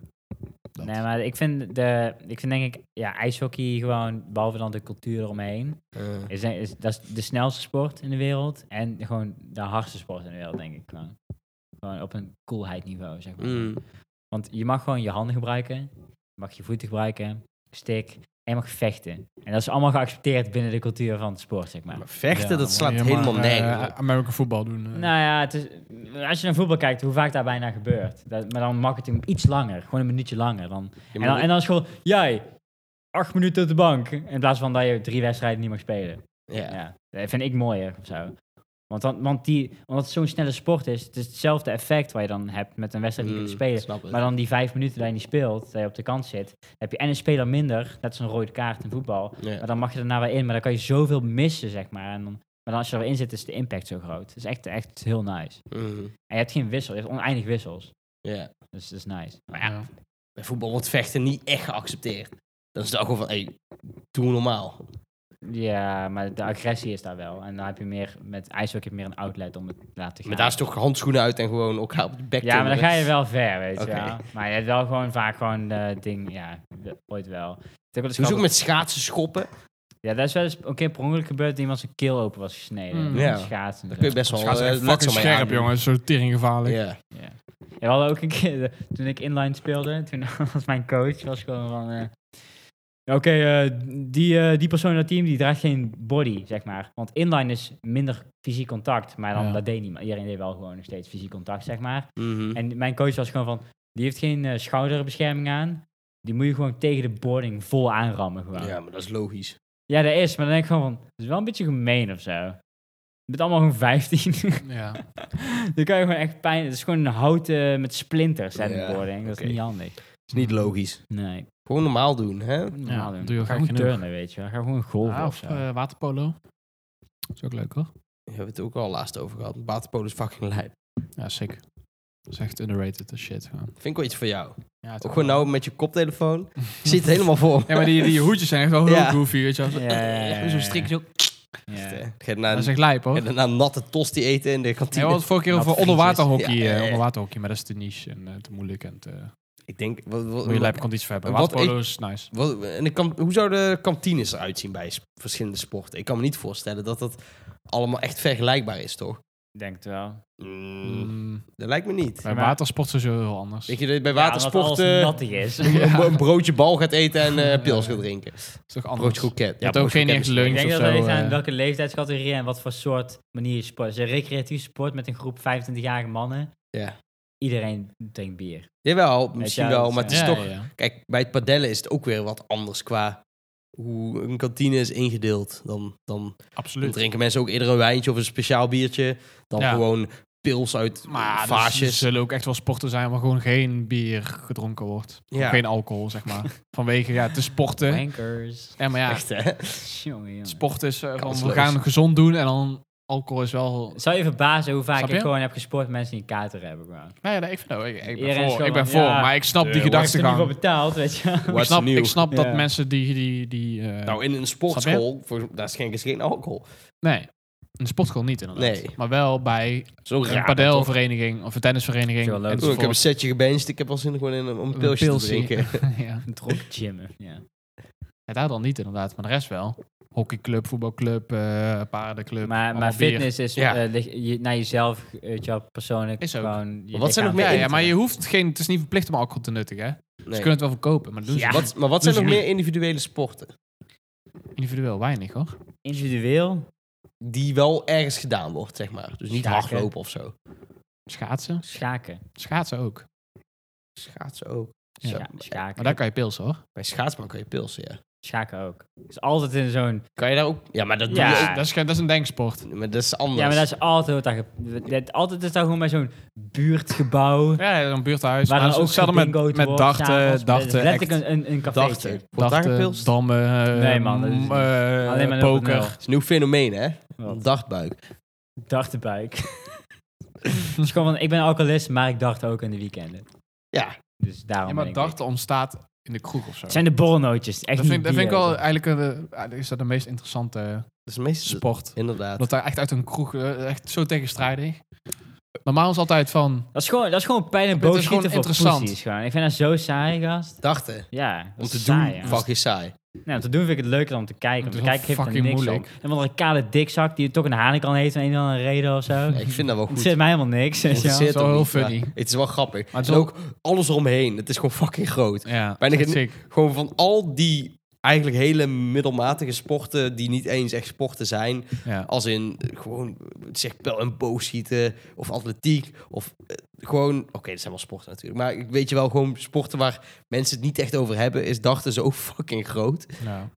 A: dat.
C: Nee, maar ik vind, de, ik vind denk ik, ja, ijshockey gewoon, behalve dan de cultuur eromheen,
B: Eh,
C: is, is, dat is de snelste sport in de wereld en gewoon de hardste sport in de wereld, denk ik. Gewoon, gewoon op een coolheidniveau, zeg maar.
B: mm.
C: Want je mag gewoon je handen gebruiken, je mag je voeten gebruiken, stick, en je mag vechten. En dat is allemaal geaccepteerd binnen de cultuur van het sport, zeg maar.
B: Maar vechten,
A: Ja,
B: dat
A: dan
B: slaat
A: moet je
B: helemaal
A: maar, eh,
B: nergens. op.
A: American voetbal doen. eh.
C: Nou ja, het is, als je naar voetbal kijkt, hoe vaak daar bijna gebeurt. Dat, maar dan marketing iets langer, gewoon een minuutje langer. Dan,
B: Je
C: en, dan,
B: moet-
C: en dan is gewoon, jij, acht minuten op de bank. In plaats van dat je drie wedstrijden niet mag spelen. Ja.
B: ja.
C: Dat vind ik mooier of zo. Want, dan, want die, omdat het zo'n snelle sport is, het is hetzelfde effect wat je dan hebt met een wedstrijd die je
B: Mm,
C: kunt spelen.
B: Snap het.
C: Maar dan die vijf minuten dat je niet speelt, dat je op de kant zit, heb je en een speler minder, net als een rode kaart in voetbal.
B: Ja.
C: Maar dan mag je daarna weer in, maar dan kan je zoveel missen, zeg maar. En dan, maar dan als je er weer in zit, is de impact zo groot. Het is echt, echt heel nice.
B: Mhm.
C: En je hebt geen wissel, je hebt oneindig wissels.
B: Ja.
C: Dus dat is nice. Maar ja,
A: ja.
B: Bij voetbal wordt vechten niet echt geaccepteerd. Dan is het ook gewoon van, hey, doe normaal.
C: ja, maar de agressie is daar wel. En dan heb je meer, met ijshockey heb je meer een outlet om het te laten gaan.
B: Maar daar is toch handschoenen uit en gewoon elkaar op de bek
C: Ja, maar dan
B: timmeren.
C: ga je wel ver, weet
B: Oké.
C: je wel. Maar je hebt wel gewoon vaak gewoon eh ding, ja, we- ooit wel. Het is ook wel eens
B: Hoe is het ook
C: grappig-
B: met schaatsen schoppen?
C: Ja, dat is wel eens een keer per ongeluk gebeurd dat iemand zijn keel open was gesneden.
A: Mm.
C: Met
B: Ja.
C: schaatsen. en
B: Daar
C: zo.
B: kun je best wel
A: Schaatsen
B: eh,
A: echt
B: letsel
A: fucking
B: mee
A: scherp,
B: aandoen.
A: jongens. Zo teringgevaarlijk.
B: Ja.
C: Ja. Ja, we hadden ook een keer, eh, toen ik inline speelde, toen was mijn coach was gewoon van... eh, ja, Oké, eh, die, eh, die persoon in dat team die draagt geen body, zeg maar. Want inline is minder fysiek contact, maar dan
A: Ja.
C: dat deed niemand. Iedereen deed wel gewoon nog steeds fysiek contact, zeg maar.
B: Mhm.
C: En mijn coach was gewoon van, die heeft geen eh, schouderbescherming aan. Die moet je gewoon tegen de boarding vol aanrammen gewoon.
B: Ja, maar dat is logisch.
C: Ja, dat is. Maar dan denk ik gewoon van, dat is wel een beetje gemeen of zo. Je bent allemaal gewoon 15.
A: Ja.
C: dan kan je gewoon echt pijn... Het is gewoon een houten met splinters en
B: Ja,
C: de boarding. Dat
B: oké.
C: is niet handig.
B: is niet logisch.
C: Nee.
B: Gewoon normaal doen, hè?
C: Normaal doen.
A: doe je
C: Ga
A: vaak
C: gewoon
A: genoeg.
C: turnen, weet je wel. Ga gewoon golven
A: Ja,
C: of
A: of
C: zo.
A: eh, waterpolo. is ook leuk hoor.
B: We hebben het ook al laatst over gehad. Waterpolo is fucking lijp.
A: Ja, sick. Dat is echt underrated as shit. Gewoon.
B: Vind ik wel iets voor jou.
A: Ja, het
B: Ook gewoon nou met je koptelefoon. Je ziet het helemaal voor.
A: Ja, maar die, die hoedjes zijn echt wel heel
B: Ja.
A: goofy, weet je wel.
C: Ja,
A: Zo-
C: ja, ja, ja.
A: Zo'n strikje ook.
C: Ja.
B: Eh, Ga je
A: Dat
B: daarna,
A: is echt lijp,
B: ga
A: hoor.
B: je daarna een natte tosti eten in de
A: Ja,
B: kantine?
A: we hadden het vorige keer over
B: Natte frietjes.
A: onderwaterhockey.
B: Ja, ja,
A: eh,
B: ja.
A: onderwaterhockey, maar dat is te niche en eh, te moeilijk. En te,
B: Ik denk... Wat, wat,
A: moet je lijp conditie voor hebben.
B: wat
A: Waterpolo is nice.
B: wat- en de kam- hoe zouden kantines eruit zien bij s- verschillende sporten? Ik kan me niet voorstellen dat dat allemaal echt vergelijkbaar is, toch?
C: Ik Denk het wel.
B: Mm,
A: Mm,
B: dat lijkt me niet.
A: bij
C: maar-
A: watersport is sowieso heel anders.
B: Weet je, dat je bij
C: Ja,
B: watersport
C: omdat alles
B: eh,
C: nattig is.
B: een- een, een broodje bal gaat eten en eh, pils
A: Ja.
B: gaat drinken.
A: is toch
B: Broodje
A: anders.
B: kroket.
A: Je hebt ook geen
B: broodje
A: echt
B: kroket
C: Ik
A: lunch
C: denk
A: of
C: dat het
A: zo.
C: ligt aan
A: eh.
C: welke leeftijdscategorie en wat voor soort manier je sport. Dus een recreatief sport met een groep 25-jarige mannen.
B: is- Ja.
C: Iedereen drinkt bier.
B: Jawel, misschien
C: ja,
B: wel,
C: dat
B: maar het is
C: zijn-
A: Ja,
B: toch...
A: ja, ja.
B: Kijk, bij het padellen is het ook weer wat anders qua hoe een kantine is ingedeeld. Dan, dan, dan
A: Absoluut.
B: drinken mensen ook eerder een wijntje of een speciaal biertje dan
A: Ja.
B: gewoon pils uit
A: Maar dus- er
B: vaasjes.
A: zullen ook echt wel sporten zijn waar gewoon geen bier gedronken wordt.
B: Ja.
A: Geen alcohol, zeg maar. Vanwege, ja, te sporten.
C: Wankers.
A: Ja, maar ja,
B: Echt, hè?
C: Jongen, jongen.
A: sport is eh, van, we
B: Kansloos.
A: gaan gezond doen en dan alcohol is wel...
C: Het zou je verbazen hoe vaak
A: Snap
C: ik
A: je?
C: gewoon heb gesport met mensen die kater hebben. Gewoon.
A: Nou ja, nee, ik, vind, nou, ik, ik ben
C: Iedereen is
A: voor,
C: gewoon
A: ik ben
C: van,
A: voor
C: ja,
A: maar ik snap die
B: eh,
C: Daar is er niet voor
A: gedachtegang.
C: betaald, weet je. wel.
A: Ik
B: What's
A: snap,
B: new?
A: ik snap dat
C: Ja.
A: mensen die... die, die eh,
B: Nou, in een sportschool, voor, daar schenken ze geen alcohol.
A: nee, in de sportschool niet inderdaad.
B: Nee.
A: Maar wel bij
B: Zo
A: een
B: raar. toch?
A: padelvereniging of een tennisvereniging.
C: Zo leuk.
A: enzovoort.
B: Oeh, ik heb een setje gebenched, ik heb wel zin gewoon in om een
A: Een
B: pilsje te
A: pilsie.
B: drinken.
A: ja.
C: Een dronken gymmen. Ja.
A: Ja, daar dan niet inderdaad, maar de rest wel. Hockeyclub, voetbalclub, eh, paardenclub.
C: Maar, maar
A: allemaal bier.
C: fitness is
B: Ja.
C: eh, lig- je, naar jezelf, eh, weet je wel, persoonlijk
A: Is ook.
C: gewoon... je
B: Maar wat zijn
C: lichaam
A: Ja,
B: nog meer-
A: ja,
C: eten.
A: maar je hoeft geen, het is niet verplicht om alcohol te nuttigen. Hè? Ze
B: Nee.
A: kunnen het wel verkopen, maar dat doen ze
C: Ja.
A: niet.
B: Wat, maar wat zijn
A: Dus
B: nog
A: niet.
B: meer individuele sporten
A: individueel weinig hoor.
C: Individueel?
B: die wel ergens gedaan wordt, zeg maar? Dus niet
C: Schaken.
B: hardlopen of zo.
A: Schaatsen,
C: Schaken.
A: schaatsen ook.
B: Schaatsen ook.
A: Ja.
B: Zo,
C: Ja, schaken.
A: Maar daar kan je pilsen hoor.
B: Bij schaatsman kan je pilsen, ja.
C: Schaken ook. Dus altijd in zo'n...
B: Kan je daar ook... Ja, maar dat
C: Ja.
B: doe je ook
A: Dat, is, geen- dat is een denksport.
B: Maar dat is anders.
C: Ja, maar dat is altijd wat daar... ge- dat- Altijd is daar gewoon bij zo'n buurtgebouw.
A: Ja, een buurthuis.
C: Waar
A: Maar
C: dan ook
A: hetzelfde
C: gebingo'd
A: met, met
C: wordt, s'avonds.
A: dachten, dachten,
C: Letterlijk
A: act,
C: een, een, een cafeetje.
B: Dachten. Wordt daar
A: dachten,
B: gepilst?
A: dammen, eh,
C: Nee, man, dat is
A: m,
C: niet.
A: eh,
C: Alleen maar nou,
A: poker.
B: is een nieuw fenomeen, hè?
C: Wat?
B: Dachtbuik.
C: Dachtenbuik. Het is gewoon van, ik ben alcoholist, maar ik dacht ook in de weekenden.
B: Ja.
C: Dus daarom
A: Ja,
C: ben
A: maar
C: ik
A: dachten ontstaat in de kroeg of zo.
C: Het zijn de borrelnootjes. Echt
A: dat vind,
C: niet
A: dat vind ik
C: bier, dus.
A: wel
C: weet
A: eigenlijk
C: je
A: eh, eh, is dat de meest interessante
B: Dat is de meeste...
A: sport.
B: Inderdaad.
A: Dat daar echt uit een kroeg, eh, echt zo tegenstrijdig. Normaal is altijd van,
C: wel. Dat is gewoon, dat is gewoon pijn en
A: Dit is
C: boogschieten voor
A: gewoon interessant.
C: pussies gewoon. Ik vind dat zo saai, gast.
B: Dachten.
C: Ja, dat
B: Om
C: is
B: te
C: saai,
B: doen,
C: ja.
B: fuck je saai.
C: Nee, om te doen vind ik het leuker dan om te kijken. Om
A: Het
C: te
A: is
C: kijken geeft
A: wel
C: het er
A: fucking
C: niks
A: moeilijk.
C: om. En want een kale dikzak die toch een hanenkam heeft om een of andere reden of zo.
B: Ja, ik vind dat wel
C: Het
B: goed.
C: zit mij helemaal niks. weet je wel.
B: Interesseert
A: Zo
B: ook
A: heel
B: niet, maar
A: funny.
B: Het is wel grappig.
A: Maar het
B: en
A: is
B: ook alles eromheen. Het is gewoon fucking groot.
A: ja,
B: Bijna
A: dat is
B: geen-
A: sick.
B: Gewoon van al die eigenlijk hele middelmatige sporten die niet eens echt sporten zijn.
A: Ja.
B: Als in eh, gewoon eh, zeg pijl en boogschieten of atletiek of eh, gewoon... Oké, dat zijn wel sporten natuurlijk. Maar ik weet je wel, gewoon sporten waar mensen het niet echt over hebben... is dachten zo fucking groot.
A: Ja.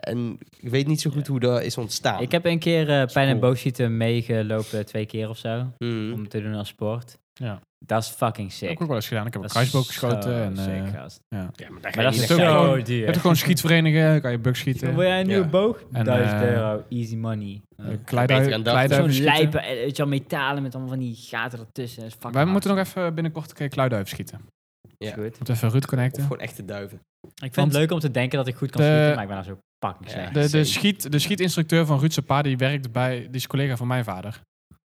B: En ik weet niet zo goed hoe dat is ontstaan.
C: Ik heb een keer eh, pijn en
B: cool.
C: boogschieten meegelopen twee keer of zo.
B: Hmm.
C: Om te doen als sport.
A: Ja.
C: Dat is fucking
A: Ik
C: sick.
A: heb ik ook wel eens gedaan. Ik heb een
C: Dat is
A: kruisboog geschoten.
C: zo
A: En, eh,
C: sick, gast.
B: Ja, maar daar ga je
C: Maar dat
B: niet
C: is
B: echt
A: ook
B: kijken.
C: zo
A: gewoon- je
C: duur.
A: hebt er gewoon schietverenigen, dan kan je bug schieten.
C: Wil jij een nieuwe
B: Ja.
C: boog?
A: En,
C: 1000
A: eh,
C: euro, easy money. Ja.
A: Eh,
B: Beter aan
A: Kleiduiven
B: dat.
A: kleiduiven
C: Zo'n
A: schieten.
C: lijpen, eh, weet je wel, metalen met allemaal van die gaten ertussen. Dat is fucking
A: Wij moeten nog
C: hard.
A: even binnenkort een keer kluiduiven schieten. We
B: Ja.
C: Goed.
A: moeten even Ruud
B: Of
A: connecten.
B: gewoon echte duiven.
C: Ik vind het leuk om te denken dat ik goed kan
A: De-
C: schieten, maar ik ben daar zo fucking
B: Ja.
C: slecht.
A: De, de,
B: Zeker.
A: schiet, de schietinstructeur van Ruudse Pa, die werkt bij, die is collega van mijn vader.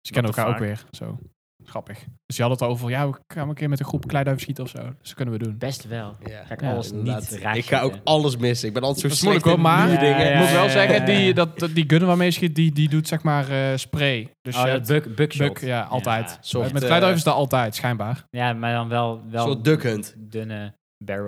A: Ze kennen
C: the
A: elkaar ook weer. Zo. Grappig. Dus die hadden het over, ja, we gaan een keer met een groep kleiduiven schieten of zo. Dus dat kunnen we doen.
C: Best wel.
B: Ja.
C: Ga ik
A: Ja,
C: alles
B: Inderdaad.
C: niet raak
B: Ik ga ook
C: schieten.
B: alles missen. Ik ben altijd zo
A: Dat is
B: slecht
A: moeilijk,
B: in
A: hoor, maar-
B: nieuwe dingen.
A: Ik
C: Ja,
A: moet wel zeggen,
C: ja, ja.
A: die, dat, die gun waarmee je schiet, die, die doet zeg maar eh, spray. Dus
C: Oh,
A: je
C: dat
A: hebt
C: buk, bukshot.
A: buk, ja, altijd.
C: Ja.
B: Soort,
A: Met
B: eh,
A: kleiduiven is dat altijd, schijnbaar.
C: Ja, maar dan wel,
B: Een
C: wel
B: soort duckhunt.
C: dunne barrel.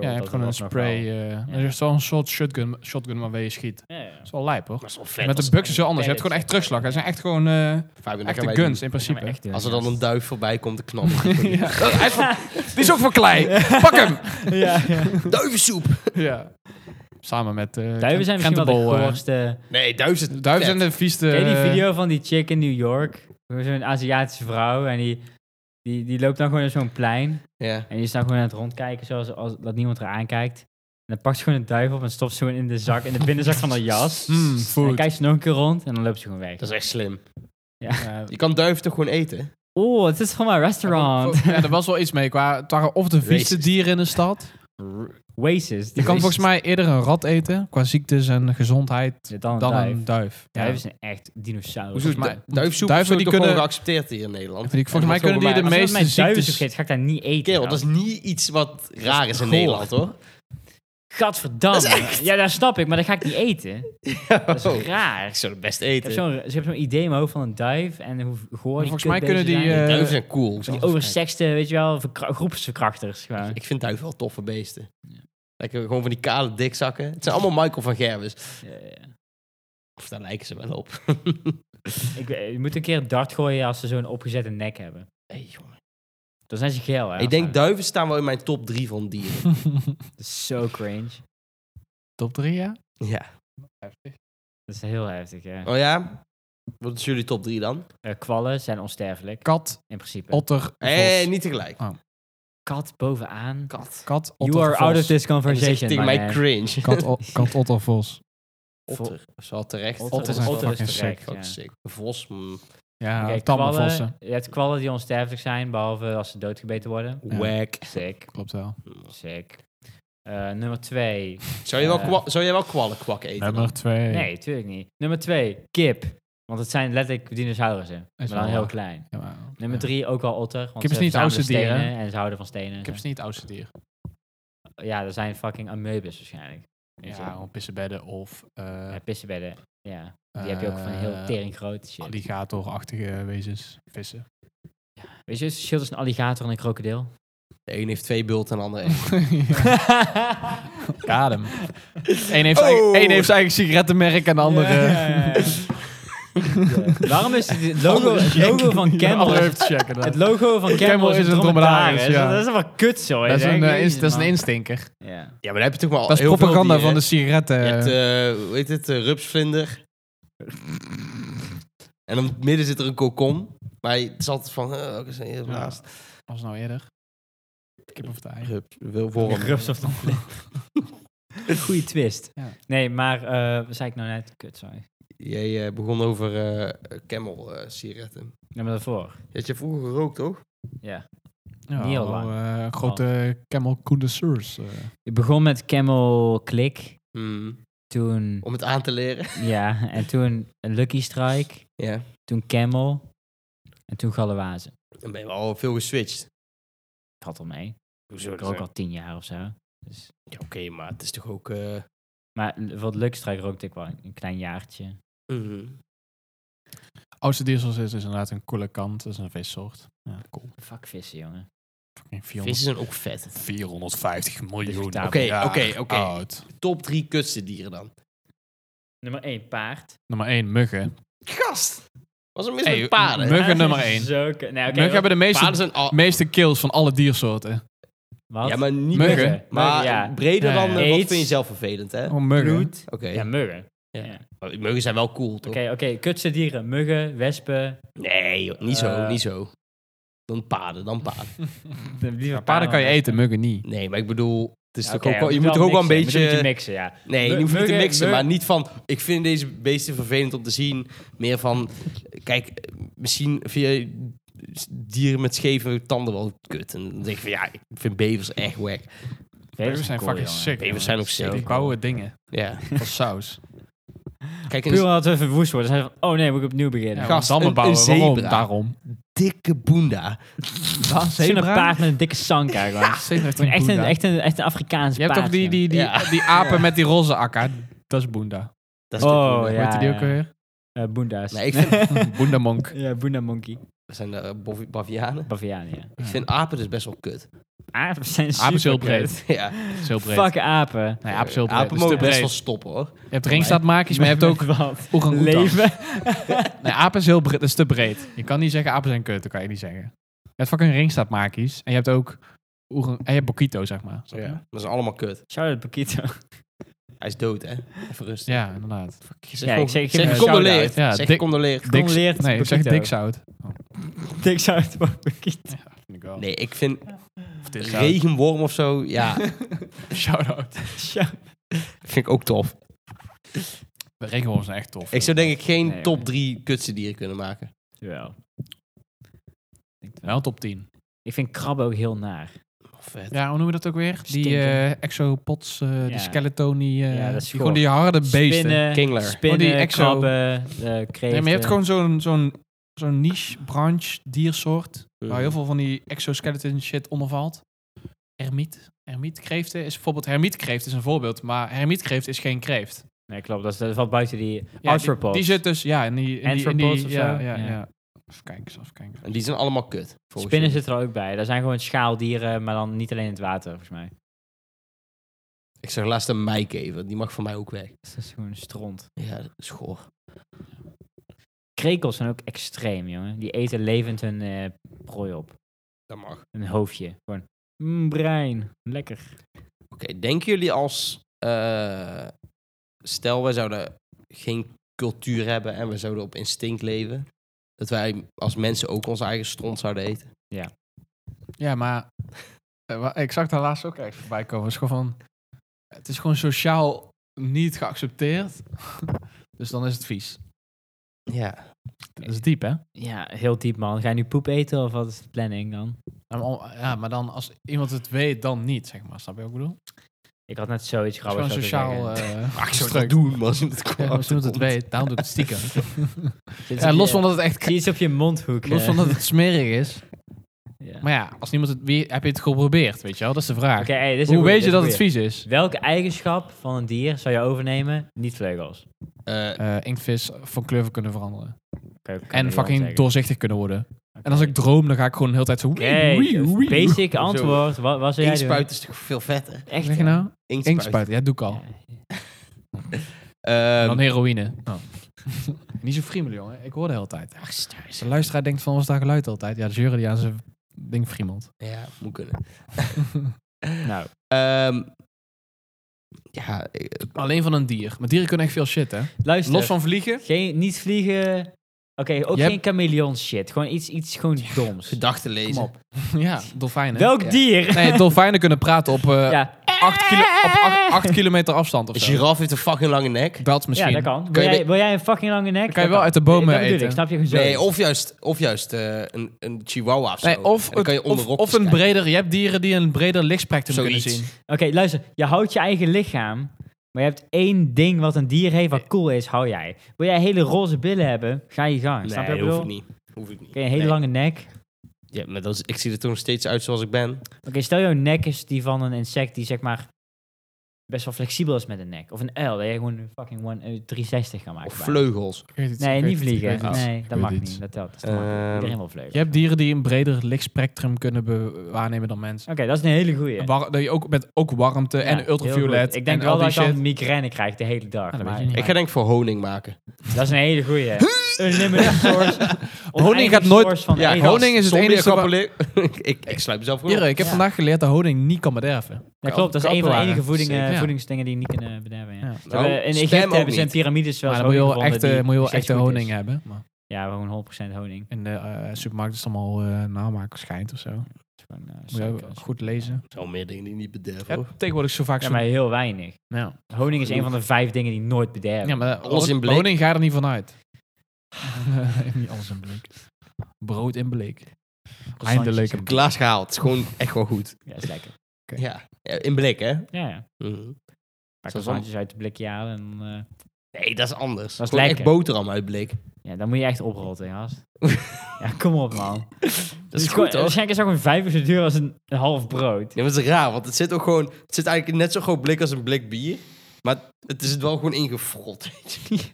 A: Ja, je
C: dat
A: hebt gewoon een
C: was nog
A: spray.
C: wel-
A: eh Er is wel een soort shotgun, shotgun waarmee je schiet. Dat
C: Ja, ja.
A: is wel lijp, hoor.
B: Maar zo vet.
A: Met
B: als-
A: de bugs is het anders. Je hebt
C: pellets.
A: gewoon echt terugslag. Dat zijn echt gewoon eh
B: Fabian, dat gaan
A: echte
B: wij
A: guns, in
C: Ja, maar
A: principe.
C: echt,
B: doen.
C: ja.
B: Als er dan een duif voorbij komt, dan knal ik.
A: Ja. Hij is van- die is ook van klei. Pak hem!
C: ja, ja.
B: Duivensoep!
A: Ja. Samen met... eh
C: Duiven zijn misschien wel de
A: krentenbol, eh,
C: goorste.
B: Nee, duiven.
A: Duiven zijn de vieste...
C: Ken je die
A: eh,
C: video van die chick in New York? Zo'n Aziatische vrouw en die, die, die loopt dan gewoon naar zo'n plein.
B: Ja.
C: En die is dan gewoon aan het rondkijken, zoals als, dat niemand haar aankijkt. En dan pakt ze gewoon een duif op en stopt ze gewoon in de zak, in de binnenzak van haar jas.
A: Mm,
C: En dan
A: food.
C: kijkt ze nog een keer rond en dan loopt ze gewoon weg.
B: Dat is echt slim.
A: Ja.
B: Je kan duiven toch gewoon eten?
C: Oh, het is van mijn restaurant.
A: Ja, er was wel iets mee. Qua, het waren of de vieste
B: Racist.
A: dieren in de stad.
C: Waces.
A: Je kan volgens mij eerder een rat eten, qua ziektes en gezondheid,
C: Dan,
A: dan
C: duif.
A: een duif. Ja.
C: Duiven zijn echt dinosaurus.
A: Hoezo
C: Als
A: is maar-
B: Du- duivensoep
A: duiven
B: is die
A: die
B: toch gewoon
A: kunnen-
B: geaccepteerd hier in Nederland.
A: Weet ik, volgens mij kunnen die de
B: de
A: meeste
C: ik mijn duiven
A: ziektes-
C: geeft, ga ik daar niet eten.
B: Kerel,
C: dan.
B: dat is niet iets wat raar is in
A: goor.
B: Nederland, hoor.
C: Gadverdamme. Ja, dat snap ik, maar dat ga ik niet eten. Dat is
B: Ik
C: raar.
B: zou het best
C: Ik heb
B: eten.
C: zo'n ik heb zo'n idee in mijn hoofd van een duif en hoe goor die
A: volgens mij kunnen
C: kutbeesten
A: die,
C: zijn.
A: eh,
B: Duiven zijn cool.
C: die oversexte, weet je wel, verkra- groepsverkrachters. Gewoon.
B: Ik vind duiven wel toffe beesten. Lekker gewoon van die kale dikzakken. Het zijn allemaal Michael van Gerwes.
C: Ja, ja.
B: Of daar lijken ze wel op.
C: Ik, weet- je moet een keer een dart gooien als ze zo'n opgezette nek hebben.
B: Hey, jongen.
C: Dan zijn ze geel, hè?
B: ik denk duiven staan wel in mijn top drie van dieren.
C: Dat is zo cringe.
A: Top 3, ja?
B: ja.
C: Dat is heel heftig, ja.
B: Oh ja? Wat is jullie top drie dan?
C: Eh, kwallen zijn onsterfelijk,
A: Kat,
C: in principe.
A: otter,
B: Hé, hey,
A: vos.
B: Eh, niet tegelijk.
C: kat bovenaan. Kat.
A: Kat, otter,
C: You are
A: vos.
C: out of this
B: En dan zeg ik
C: conversation,
B: tegen
C: my
B: mij
C: man.
B: cringe.
A: Kat, o- kat, otter, vos.
B: Otter. Zo terecht.
C: Otter
A: Otters
C: is
A: zijn
C: otter is
A: fucking
C: terecht,
B: Ook
C: ja.
B: sick. Vos. mm,
A: Ja,
C: Oké,
A: tamme
C: kwallen-
A: vossen.
C: Je hebt kwallen die onsterfelijk zijn, behalve als ze doodgebeten worden.
A: Ja.
B: Wack.
C: Sick,
A: Klopt wel.
C: sick. Eh, nummer twee.
B: Zou, je wel
C: Eh.
B: kwa- zou jij wel kwallen kwak eten? dan?
A: Nummer 2.
C: Nee, tuurlijk niet. Nummer twee, kip. Want het zijn letterlijk dinosaurussen. Maar
A: wel
C: dan heel
A: waar.
C: klein.
A: Ja, maar-
C: Nummer
A: ja.
C: drie, ook wel otter. Want
A: Kip is
C: ze
A: niet het oudste
C: verzamelen
A: dier, hè?
C: stenen En ze houden van stenen.
A: Ik heb ze niet het oudste dier.
C: Ja, er zijn fucking amoebes waarschijnlijk. Weet je
A: Ja,
C: wel.
A: gewoon pissenbedden of eh
C: Ja, pissenbedden. Ja, die heb je ook van heel
A: eh,
C: tering groot shit.
A: alligatorachtige wezens. Vissen.
C: Weet je, het verschil tussen een alligator en een krokodil?
B: De een heeft twee bulten en de ander één.
A: Kadem. Eén heeft,
B: Oh!
A: eigen- één heeft zijn eigen sigarettenmerk en de andere...
C: Ja, ja, ja, ja. Ja. Waarom is het logo, het logo van
A: De andere
C: Camel...
A: heeft te checken.
C: Het logo van Camel,
A: Camel
C: is een dromedaris. Ja. Dat is wel kut zo.
A: Dat is, een, eh, ins- dat is een instinker.
C: Ja.
B: Ja, maar daar heb je toch wel
A: Dat is
B: heel veel
A: propaganda
B: dieren.
A: Oh, van eh, de sigaretten.
B: Je hebt, eh, hoe heet het, eh, rupsvlinder. en om het midden zit er een kokon. Maar het is altijd van, eh, ook eens een heel
A: Ja.
B: blaast.
A: was nou eerder? Kip of de ei?
B: Rups, wil vorm.
C: Rups of
A: Oh,
C: de
A: eh,
C: Goeie twist.
A: Ja.
C: Nee, maar eh wat zei ik nou net? Kut, sorry.
B: Jij eh, begon over eh camel eh sigaretten.
C: Neem maar daarvoor.
B: Je had je vroeger gerookt, toch?
C: Ja.
A: Ja,
C: Niet heel
A: wel,
C: lang.
A: eh, grote Camel Condenseurs. eh.
C: Ik begon met Camel Click.
B: Hmm.
C: Toen,
B: Om het aan te leren.
C: ja, en toen een Lucky Strike.
B: Ja.
C: Toen Camel. En toen Galawazen.
B: Dan ben je wel al veel geswitcht.
C: Ik had al mee.
B: Hoezo
C: Ik
B: dan?
C: rook al tien jaar of zo. Dus.
B: Ja, Oké, maar het is toch ook... eh,
C: Maar l- voor het Luckstrike rookte ik wel een een klein jaartje.
B: mhm.
A: Oudste diesels is, is inderdaad een coole kant. Dat is een vissoort. Ja, cool.
C: Fuck vissen, jongen.
A: Fucking
B: Vissen
A: 400,
B: zijn ook vet.
A: 450 miljoen.
C: Oké,
B: oké,
A: jaar
B: oké, oké.
A: oud.
B: Top drie kutste dieren dan.
C: Nummer 1, paard.
A: Nummer 1, muggen.
B: Gast! Was er mis
A: Hey,
B: met paarden?
A: muggen
C: Paard
A: nummer
C: is
A: één.
C: Zo ke- nee, oké,
A: muggen hebben de meeste,
B: Paarden zijn al...
A: meeste kills van alle diersoorten.
C: Wat?
B: Ja, maar niet...
A: Muggen.
B: Maar
C: ja.
B: breder
A: Ja, ja.
B: dan... eh, wat
C: Aids.
B: vind je zelf vervelend, hè? Oké.
A: Oh, muggen.
C: Bloed. Ja, muggen.
B: Ja.
C: Ja.
B: Maar Muggen zijn wel cool, toch?
C: Oké, oké. Kutse dieren. Muggen, wespen.
B: Nee, joh, niet zo,
C: Eh.
B: niet zo. Dan paarden, dan paarden.
A: Maar paarden kan je eten, muggen niet.
B: Nee, maar ik bedoel, het is
C: Oké,
B: toch ook wel, je
C: moet
B: moet toch ook wel een
C: mixen,
B: beetje...
C: je moet een beetje mixen, ja.
B: nee, je
C: Mug-
B: hoeft niet te
C: muggen-
B: mixen,
C: mug-
B: maar niet van... Ik vind deze beesten vervelend om te zien. Meer van, kijk, eh, misschien vind je dieren met scheve tanden wel kut. En dan denk je van, ja, ik vind bevers echt wack.
A: Bevers zijn fucking sick.
B: Bevers zijn ook
A: Ja,
B: sick.
A: die bouwen dingen.
B: Ja.
A: Als saus.
B: Kijk,
C: Puur
B: een
C: omdat we verwoest worden. zijn we van, oh nee, moet ik opnieuw beginnen.
A: Ja,
B: Gast,
A: dammen
B: een-
A: bouwen.
B: een
A: Waarom?
B: zebra.
A: Daarom.
B: dikke boenda.
A: Wat?
C: Zo'n paard met een dikke sanka gewoon.
A: Zebra heeft
C: Echt een,
A: boenda.
C: echt, een, echt een Afrikaans
A: Je hebt toch
C: paard,
A: die,
C: joh.
A: die, die,
B: Ja.
A: die apen met die roze akka? Dat is boenda.
B: Dat is de
C: Oh,
B: boenda.
C: ja.
A: Weet je die ook
C: ja.
A: weer?
C: Eh, boenda's.
B: Nee, ik vind-
A: Boenda monk.
C: ja, boenda monkey.
B: Dat zijn de bav- bavianen.
C: Baviaan, ja.
B: Ik vind apen dus best wel kut.
C: Apen zijn
A: Apen is heel
C: superkut.
A: breed.
B: Ja.
A: Dat is heel breed.
C: Fuck apen.
A: Nee, apen is heel breed.
B: Apen
A: Dat is
B: mogen
A: te breed.
B: best wel stoppen, hoor.
A: Je hebt ringstaatmaakjes, maar je hebt ook
C: wat?
A: orangutans.
C: Leven.
A: Nee, apen is heel breed. Dat is te breed. Je kan niet zeggen apen zijn kut. Dat kan je niet zeggen. Je hebt fucking ringstaatmaakjes. En je hebt ook... orang- En je hebt Bokito, zeg maar. Snap je?
B: Ja. Dat is allemaal kut.
C: Shout-out Paquito.
B: Hij is dood, hè? Even rustig.
A: Ja, inderdaad.
B: Zeg
C: Ja,
B: gewoon-
C: ik zeg- ik geef
B: zeg
C: hem een
B: gecondoleerd.
C: shout-out.
A: Ja,
B: zeg
A: dik-
B: gecondoleerd.
A: Diks-
C: leert
A: Nee, ik zeg
C: Bokito.
A: dikzout.
C: Dik shout-out van Paquito.
B: Nee, ik vind
A: Of diszout.
B: regenworm of zo, ja,
A: Shout-out.
B: vind ik ook tof.
A: De regenworms zijn echt tof.
B: Ik zou denk ik geen
C: Nee,
B: top
C: maar-
B: drie kutse dieren kunnen maken.
C: Jawel.
A: Wel top 10.
C: Ik vind krabben ook heel naar.
B: Oh, vet.
A: Ja, hoe noemen we dat ook weer? Die
C: Stinken.
A: eh, exopods, eh, die
C: Ja.
A: skeletoni. eh,
C: Ja, dat is
A: die, gewoon die harde beesten.
C: Spinnen,
B: Kingler.
C: spinnen,
A: Oh, die exo.
C: krabben, eh kreeften.
A: Nee, maar je hebt gewoon
C: eh,
A: zo'n zo'n zo'n niche, branche, diersoort.
B: Mhm.
A: Waar heel veel van die exoskeleton shit onder valt. Hermiet. Hermietkreeften is bijvoorbeeld... Hermietkreeft is een voorbeeld, maar hermietkreeft is geen kreeft.
C: Nee, klopt. Dat, is, dat valt buiten die
A: Ja, die,
C: arthropods.
A: die zit dus... Ja, in die... In die, in die-
C: Arthropods of
A: ja,
C: zo?
A: ja,
C: Ja.
A: ja, Even kijken, eens, even kijken.
B: En die zijn allemaal kut. volgens
C: Spinnen
B: jullie.
C: zitten er ook bij. Dat zijn gewoon schaaldieren, maar dan niet alleen in het water, volgens mij.
B: Ik zag laatst een meikever, die mag voor mij ook weg.
C: Dat is gewoon een stront.
B: Ja, dat is goor.
C: Krekels zijn ook extreem, jongen. Die eten levend hun eh, prooi op.
B: Dat mag. Oké,
C: Een hoofdje. Gewoon, mm, brein. Lekker.
B: denken jullie als... eh, stel, wij zouden geen cultuur hebben en we zouden op instinct leven... dat wij als mensen ook ons eigen stront zouden eten?
A: Ja, maar eh, wa- ik zag daar laatst ook even voorbij komen. Het is gewoon van, het is gewoon sociaal niet geaccepteerd. dus dan is het vies.
B: Ja.
A: Dat is diep, hè?
C: Ja, heel diep, man. Ga je nu poep eten of wat is de planning dan?
A: Ja, maar al- Ja, maar dan als iemand het weet, dan niet, zeg maar. Snap je wat ik bedoel?
C: Ik had net zoiets
A: Het is
C: grappigs.
A: gewoon sociaal...
C: willen zeggen.
A: eh,
B: Maar Ah, ik zou
A: struik.
B: dat doen, man. Als iemand
A: Ja, als iemand het
B: komt.
A: weet, daarom doe ik het stiekem.
C: Zit
A: ja,
C: op
A: los
C: je-
A: van dat het echt...
C: eh, Zie iets op je mondhoek.
A: Los
C: eh.
A: van dat het smerig is.
C: Ja.
A: Maar ja, als niemand het... Wie, heb je het geprobeerd, weet je wel? Dat is de vraag.
C: Oké, hey, dit is een
A: Hoe
C: goeie,
A: weet je
C: dit
A: dat
C: is
A: het
C: een goeie.
A: vies is?
C: Welke eigenschap van een dier zou je overnemen? Niet vleugels.
B: Eh,
A: Eh inktvis van kleur kunnen veranderen.
C: Kan- kan
A: En
C: iemand
A: fucking
C: zeggen.
A: doorzichtig kunnen worden.
C: Oké.
A: En als ik droom, dan ga ik gewoon de hele tijd zo...
C: Oké,
A: wee, wee, wee.
C: basic antwoord. Wat, wat zou jij doen?
B: Inkspuit is toch veel vetter?
C: Echt?
A: Zeg je nou?
B: Inkspuit.
A: Inkspuit, ja, doe ik al.
C: Ja.
B: Ehm,
A: Dan Oh. heroïne. Niet zo friemelen, jongen. Ik hoor de hele tijd.
B: ach, stuis.
A: De luisteraar denkt van, was daar geluid altijd? Ja, de jury die aan zijn ding friemelt.
B: Ja, moet kunnen.
C: Nou,
B: Ehm, ja, eh,
A: Alleen van een dier. Maar dieren kunnen echt veel shit, hè?
C: luister.
A: Los van vliegen.
C: Geen, niet vliegen, ook
F: Je
C: geen chameleon shit. Gewoon iets, iets gewoon doms.
B: Gedachten
C: Kom
B: lezen.
C: op.
A: ja, dolfijnen.
C: Welk
B: Ja.
C: dier?
A: Nee, dolfijnen kunnen praten op, eh
C: ja.
A: 8, kilo, op 8, kilometer afstand of
B: Een
A: zo.
B: giraf heeft een fucking lange nek.
A: Belt misschien.
C: ja, dat kan. Wil
B: Kan je
C: jij,
B: be-
C: wil jij een fucking lange nek?
A: kan je
C: Dat
A: wel uit de bomen
C: Dat bedoel
A: eten.
C: Ik, snap je gezond?
B: Nee, of juist, of juist eh, een, een chihuahua of zo.
A: Nee, of,
B: En dan kan je
A: het-
B: onder
A: of,
B: rokjes
A: of een
B: kijken.
A: breder... Je hebt dieren die een breder lichtspectrum
B: Zoiets.
A: kunnen zien.
C: Oké, luister. Je houdt je eigen lichaam. Maar je hebt één ding wat een dier heeft wat cool is, hou jij. Wil jij hele roze billen hebben? Ga je gang. snap je
B: Nee,
C: wat ik
B: hoef ik
C: bedoel?
B: niet. Hoef ik niet.
C: Oké, een hele
B: Nee.
C: lange nek.
B: Ja, maar dat is, ik zie er toch nog steeds uit zoals ik ben.
C: Oké, stel jouw nek is die van een insect die zeg maar best wel flexibel is met een nek. Of een uil, dat je gewoon een fucking one, eh, 360 kan maken.
B: Of vleugels.
A: Ik weet het,
C: Nee,
A: ik weet
C: niet
A: het, ik weet
C: vliegen.
A: het.
C: Nee, dat
A: weet
C: mag
A: het.
C: niet. Dat telt. Dat is te makkelijk.
B: Ehm,
C: Iedereen wil vleugels.
A: Je hebt dieren die een breder lichtspectrum kunnen be- waarnemen dan mensen.
C: Oké, dat is een hele goeie.
A: War- dat je ook met ook warmte
C: Ja,
A: en
C: heel
A: ultraviolet.
C: goed. Ik denk
A: en
C: wel
A: al die
C: dat ik
A: shit.
C: dan migraine krijg de hele dag.
A: Ja, dat
C: maar-
A: weet je niet.
B: Ik ga denk ik voor honing maken.
C: dat is een hele goeie. Unlimited source. Oneindig
A: gaat nooit-
C: source van
B: Ja,
C: eten.
A: honing- is het
B: Zombie
A: enige wa-
B: apocalyp- ik, ik sluit mezelf gewoon op.
A: Dieren, ik heb
C: Ja.
A: vandaag geleerd dat honing niet kan bederven.
C: Ja, klopt. Dat is een van de
A: Kappelaren.
C: enige voedingen,
A: Oh, Zeker, ja.
C: voedingsdingen die je niet kunnen bederven. Ja.
A: Ja.
C: Ze
B: Nou,
C: hebben- in
B: stem
C: Egypte
B: ook
C: hebben ze in
B: niet.
C: piramides wel
A: Maar
C: eens
A: dan moet je wel
C: honing gevonden
A: echte,
C: die
A: moet je wel
C: nog steeds
A: echte
C: goed is.
A: honing hebben. Maar
C: Ja, gewoon 100% honing.
A: in de eh, supermarkt is het allemaal eh namaak schijnt of zo. Moet
C: Gewoon, eh,
A: je ook
C: suikers.
A: goed lezen.
B: Er zijn wel meer dingen die niet bederven.
A: Ja,
B: hoor.
A: tegenwoordig zo vaak
C: Ja,
A: zo'n-
C: maar heel weinig.
A: Ja.
C: Honing is een van de vijf dingen die nooit bederven.
A: Ja, maar
B: Alles in blik.
A: honing gaat er niet vanuit. niet alles in blik. Brood in blik. Eindelijk.
C: Croissantjes.
B: Glaas gehaald. Het is gewoon echt wel goed.
C: Ja, is lekker.
B: Ja. Ja, in blik, hè?
C: Ja, ja.
B: Mhm. Zoals
C: Pak croissantjes uit de blikje halen en... eh,
B: Nee, dat is anders.
C: Dat is
B: Gewoon
C: lekker.
B: echt boterham uit blik.
C: ja, dan moet je echt oprotten, gast. ja, kom op, man. Dus
B: Dat is
C: gewoon-
B: goed, hoor.
C: Waarschijnlijk is het ook een vijf uur zo duur als een, een half brood.
B: Ja, maar het is raar, want het zit ook gewoon... Het zit eigenlijk in net zo groot blik als een blik bier. Maar het is er wel gewoon ingefrot, weet je niet.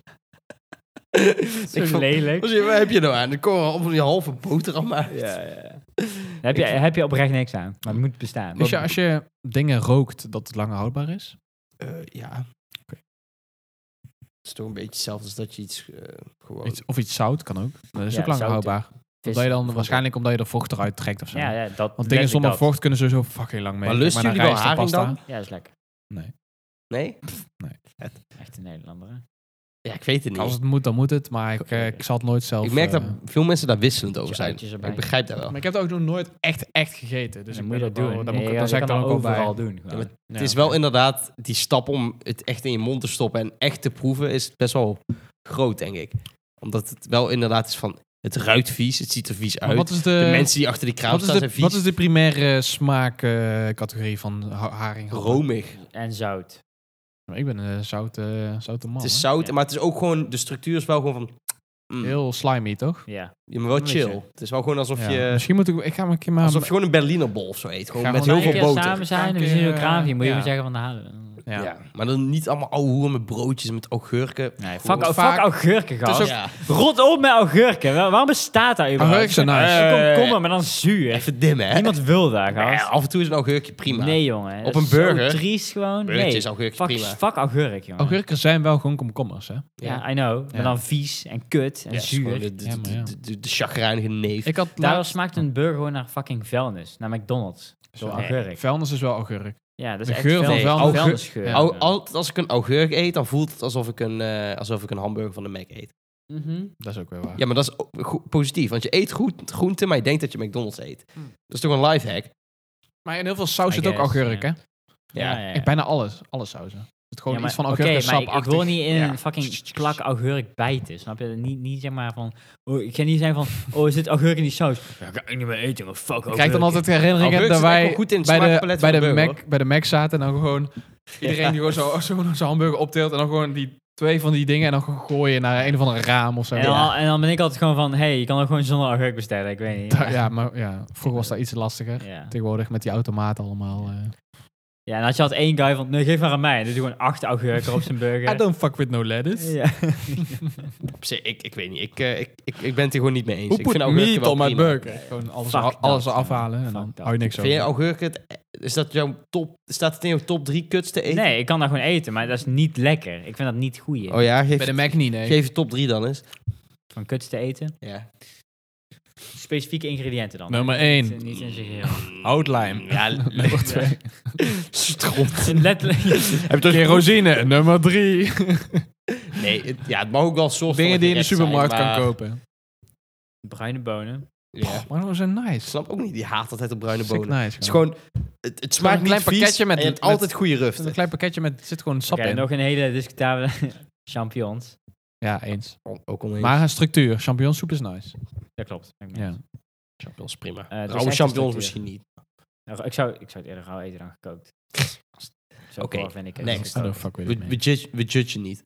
C: Zo
B: Ik vond-
C: lelijk.
B: Wat heb je nou aan? Dan komen we op van die halve boterham uit.
C: Ja, ja. Daar heb, je, heb je oprecht niks aan. Maar het moet bestaan.
A: Wist je Dus als je dingen rookt dat het langer houdbaar is?
B: Eh, ja. Het is toch een beetje hetzelfde als dat je iets eh, gewoon...
A: Iets- of iets zout kan ook. Dat is
C: Ja,
A: ook langer
C: zout,
A: houdbaar.
C: Vis.
A: Omdat je dan waarschijnlijk omdat je er vocht eruit trekt of zo.
C: Ja, ja, dat...
A: Want dingen
C: letterlijk
A: zonder
C: dat.
A: vocht kunnen sowieso fucking lang mee.
B: maar lusten
A: naar
B: jullie wel
A: rijst en
B: haring
A: pasta.
B: dan?
C: Ja, is lekker.
B: Nee?
C: Echt een Nederlander, hè?
A: Dus
B: Ja, ik weet het niet.
A: Als het moet, dan moet het. Maar ik, eh, ik zal het nooit zelf...
B: ik merk dat
A: eh,
B: veel mensen daar wisselend over
C: je
B: zijn.
C: uitjes erbij.
B: Ik begrijp dat wel.
A: Maar ik heb het ook nog nooit echt, echt gegeten. Dus
C: dan
A: ik
C: moet je
A: ben
C: dat
A: ook wel-
C: doen.
A: Dan,
C: Ja,
A: moet ik-
C: je
A: dan zeg ik
C: kan
A: dan ook
C: dat
A: wel bij.
C: overal doen. gewoon.
B: Ja, maar
A: Ja,
B: het is wel
A: oké.
B: inderdaad die stap om het echt in je mond te stoppen en echt te proeven is best wel groot, denk ik. Omdat het wel inderdaad is van, het ruikt vies, het ziet er vies
A: Maar
B: uit.
A: wat is de...
B: de mensen die achter die kraam
A: wat, is
B: staan
A: de
B: zijn vies.
A: wat is de primaire smaakcategorie van ha- haring?
B: Romig.
C: En zout.
A: Ik ben een zoute, zoute Oh, man.
B: het is
A: hè.
B: zout,
C: Ja.
B: maar het is ook gewoon, de structuur is wel gewoon van... mm,
A: Heel slimy, toch?
C: Ja.
B: ja, maar wel
C: Een beetje.
B: chill. Het is wel gewoon alsof
A: Ja.
B: je...
A: Misschien moet ik... Ik ga maar een keer maar...
B: Alsof je gewoon een Berliner bol of zo eet. Gewoon
A: Ga
B: met heel
A: gewoon
C: Als
B: veel
C: we
B: boter.
C: samen zijn en we
A: Dank
C: zien
A: je,
C: elkaar hier, moet
A: eh,
C: je
A: ja.
C: maar zeggen van de halen.
A: Ja.
B: Ja. Maar dan niet allemaal ouwe hoeren met broodjes, met augurken.
C: Nee, fuck,
B: Gewoon
C: fuck
A: vaak-
C: augurken, gast.
A: Het is
B: Ja,
C: Rot op met augurken. Waar- Waarom bestaat dat überhaupt?
A: Augurken zijn nice.
C: Eh, kom, kom maar, maar dan zuur.
B: even dimmen, hè?
C: Niemand wil daar,
B: Ja,
C: gast.
B: af en toe is een augurkje prima.
C: Nee, jongen.
B: Op
C: Dat
B: een
C: is zo
B: burger?
C: triest gewoon.
B: Burgertje
C: Nee.
B: is augurkje
C: fuck,
B: prima.
C: fuck augurk, jongen.
A: Augurken zijn wel gewoon komkommers, hè?
C: Ja, I know. Maar
A: Ja.
C: dan vies en kut en
B: Ja, het is gewoon
C: zuur.
B: De, de,
A: Ja, maar ja.
B: de, de, de chagrijnige neef.
A: Ik had
C: Daarom
A: laatst-
C: smaakt een burger gewoon naar fucking vuilnis. Naar McDonald's. Door
A: Nee,
C: augurk.
A: Vuilnis is wel augurk.
C: Ja, dat is
A: de
C: echt
A: geur van
C: vuilnis.
A: vuilnis.
C: vuilnisgeur.
A: Ja.
B: Au- altijd als ik een augurk eet, dan voelt het alsof ik een, eh, alsof ik een hamburger van de Mac eet.
C: Mhm.
A: Dat is ook weer waar.
B: Ja, maar dat is ook go- positief. Want je eet goed, groente, maar je denkt dat je McDonald's eet.
A: Hm.
B: Dat is toch een lifehack?
A: Maar in heel veel saus
C: I
A: zit ook
C: guess,
A: augurk,
C: ja.
A: hè?
B: Ja.
C: ja,
A: Ik bijna alles, alle sauzen. Het gewoon
C: Ja, maar-
A: iets van
C: oké,
A: augurk en
C: maar
A: sap.
C: ik, ik wil niet in
B: Ja.
C: een fucking plak augurk bijten, snap je? Niet, niet zeg maar van... Oh, ik ga niet zijn van... Oh, er zit augurk in die saus? Ja, ik ga niet meer eten, maar fuck augurk.
A: Ik krijg dan altijd de herinnering
B: Augurk
A: dat
B: zit echt
A: wij
B: wel goed in het
A: bij de,
B: smaakpalet
A: bij, de
B: van de burger,
A: Mac, bij de Mac zaten en dan gewoon iedereen die gewoon zo, zo zijn hamburger optilt en dan gewoon die twee van die dingen en dan gewoon gooien naar een of andere raam of zo.
C: En dan, en dan ben ik altijd gewoon van... hey, je kan ook gewoon zonder augurk bestellen, ik weet niet.
A: Ja, ja, maar ja, vroeger was dat iets lastiger.
C: Ja.
A: Tegenwoordig met die automaten allemaal. eh.
C: ja, en als je had één guy van... Nee, geef maar aan mij. Dus doe gewoon acht augurken op zijn burger.
A: I don't fuck with no lettuce.
C: Ja.
B: Op zich, ik, ik weet niet. Ik, eh, ik, ik, ik ben het hier gewoon niet mee eens.
A: Hoe
B: ik
A: put
B: vind nou
A: meat
B: augurken wel
A: on my
B: prima.
A: burger? Gewoon alles,
C: Fuck
A: er- alles
C: dat,
A: eraf
C: ja.
A: halen en
C: Fuck
A: dan
C: dat.
A: hou je niks
B: Vind je
A: over.
B: augurken... het- Is dat jouw top... Staat het in jouw top drie kuts te eten?
C: Nee, ik kan dat gewoon eten, maar dat is niet lekker. Ik vind dat niet goed.
B: Oh ja? Geef,
A: Bij de Mac niet, nee.
B: geef je top drie dan eens.
C: Van kuts te eten.
B: Ja.
C: Specifieke ingrediënten dan.
A: Nummer
C: Niet,
A: 1.
C: niet in zijn geheel.
A: Houtlijm.
B: Ja,
A: Nummer 2.
B: stront.
C: Letterlijk...
B: Heb je
A: Kerosine, nummer 3.
B: Nee, het, ja, het mag ook wel soort
A: Dingen
B: van
A: die je in de
B: gerecht
A: supermarkt
B: zijn, maar
A: kan kopen.
C: Bruine bonen.
B: Ja.
A: Maar nou zijn
B: Ik
A: nice.
B: snap ook niet die haat altijd het bruine
A: Sick
B: bonen.
A: nice.
B: Het is
A: gewoon
B: gewoon, het, het smaakt
A: een klein
B: niet vies
A: pakketje met-
B: en je hebt
A: met-
B: altijd goede ruft.
A: een klein pakketje met zit gewoon sap
C: Oké,
A: in.
C: nog een hele discutabele champignons.
A: Ja, eens.
B: Ook oneens.
A: Maar een structuur. Champignonsoep is nice.
C: Dat klopt. ben ik mee
A: Ja.
C: eens.
B: champignons prima.
C: Eh, het is
B: Rauwe
C: echt
B: champignons
C: een
B: misschien niet.
C: Nou, Ik zou, ik zou het eerder rauw eten dan gekookt. Zo
B: Oké,
C: goor vind ik het.
B: next.
A: I
C: Gekookt.
A: don't fuck with
B: We,
A: it,
B: we,
A: man.
B: judge, we judgen niet.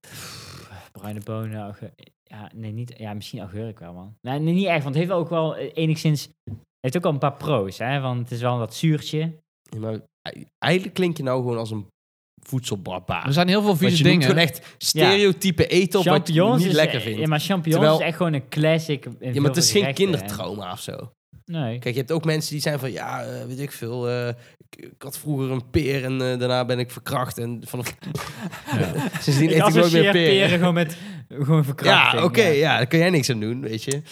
C: Bruine bonen, auge- ja, nee, niet, ja, misschien augurk wel, man. Nee, nee, niet echt, want het heeft ook wel eh, enigszins, het heeft ook wel een paar pro's, hè, want het is wel wat zuurtje.
B: Ja, maar ei- eigenlijk klink je nou gewoon als een voedselbarbaar.
A: Er zijn heel veel
B: Want
A: vieze
B: je noemt
A: dingen.
B: gewoon echt stereotype eten op wat je niet
C: is,
B: lekker
C: eh,
B: vindt.
C: Ja, maar champignons
B: Terwijl-
C: is echt gewoon een classic. in
B: Ja,
C: veel
B: maar het is geen
C: gerechten, hè.
B: kindertrauma of zo.
C: Nee.
B: Kijk, je hebt ook mensen die zijn van, ja, eh, weet ik veel. eh, ik, ik had vroeger een peer en eh, daarna ben ik verkracht. En vanaf... Sindsdien eet
C: Ik
B: ik nooit meer
C: associeer
B: peren.
C: peren gewoon met gewoon
B: Ja,
C: verkrachting.
B: oké, ja, daar kun jij niks aan doen, weet je.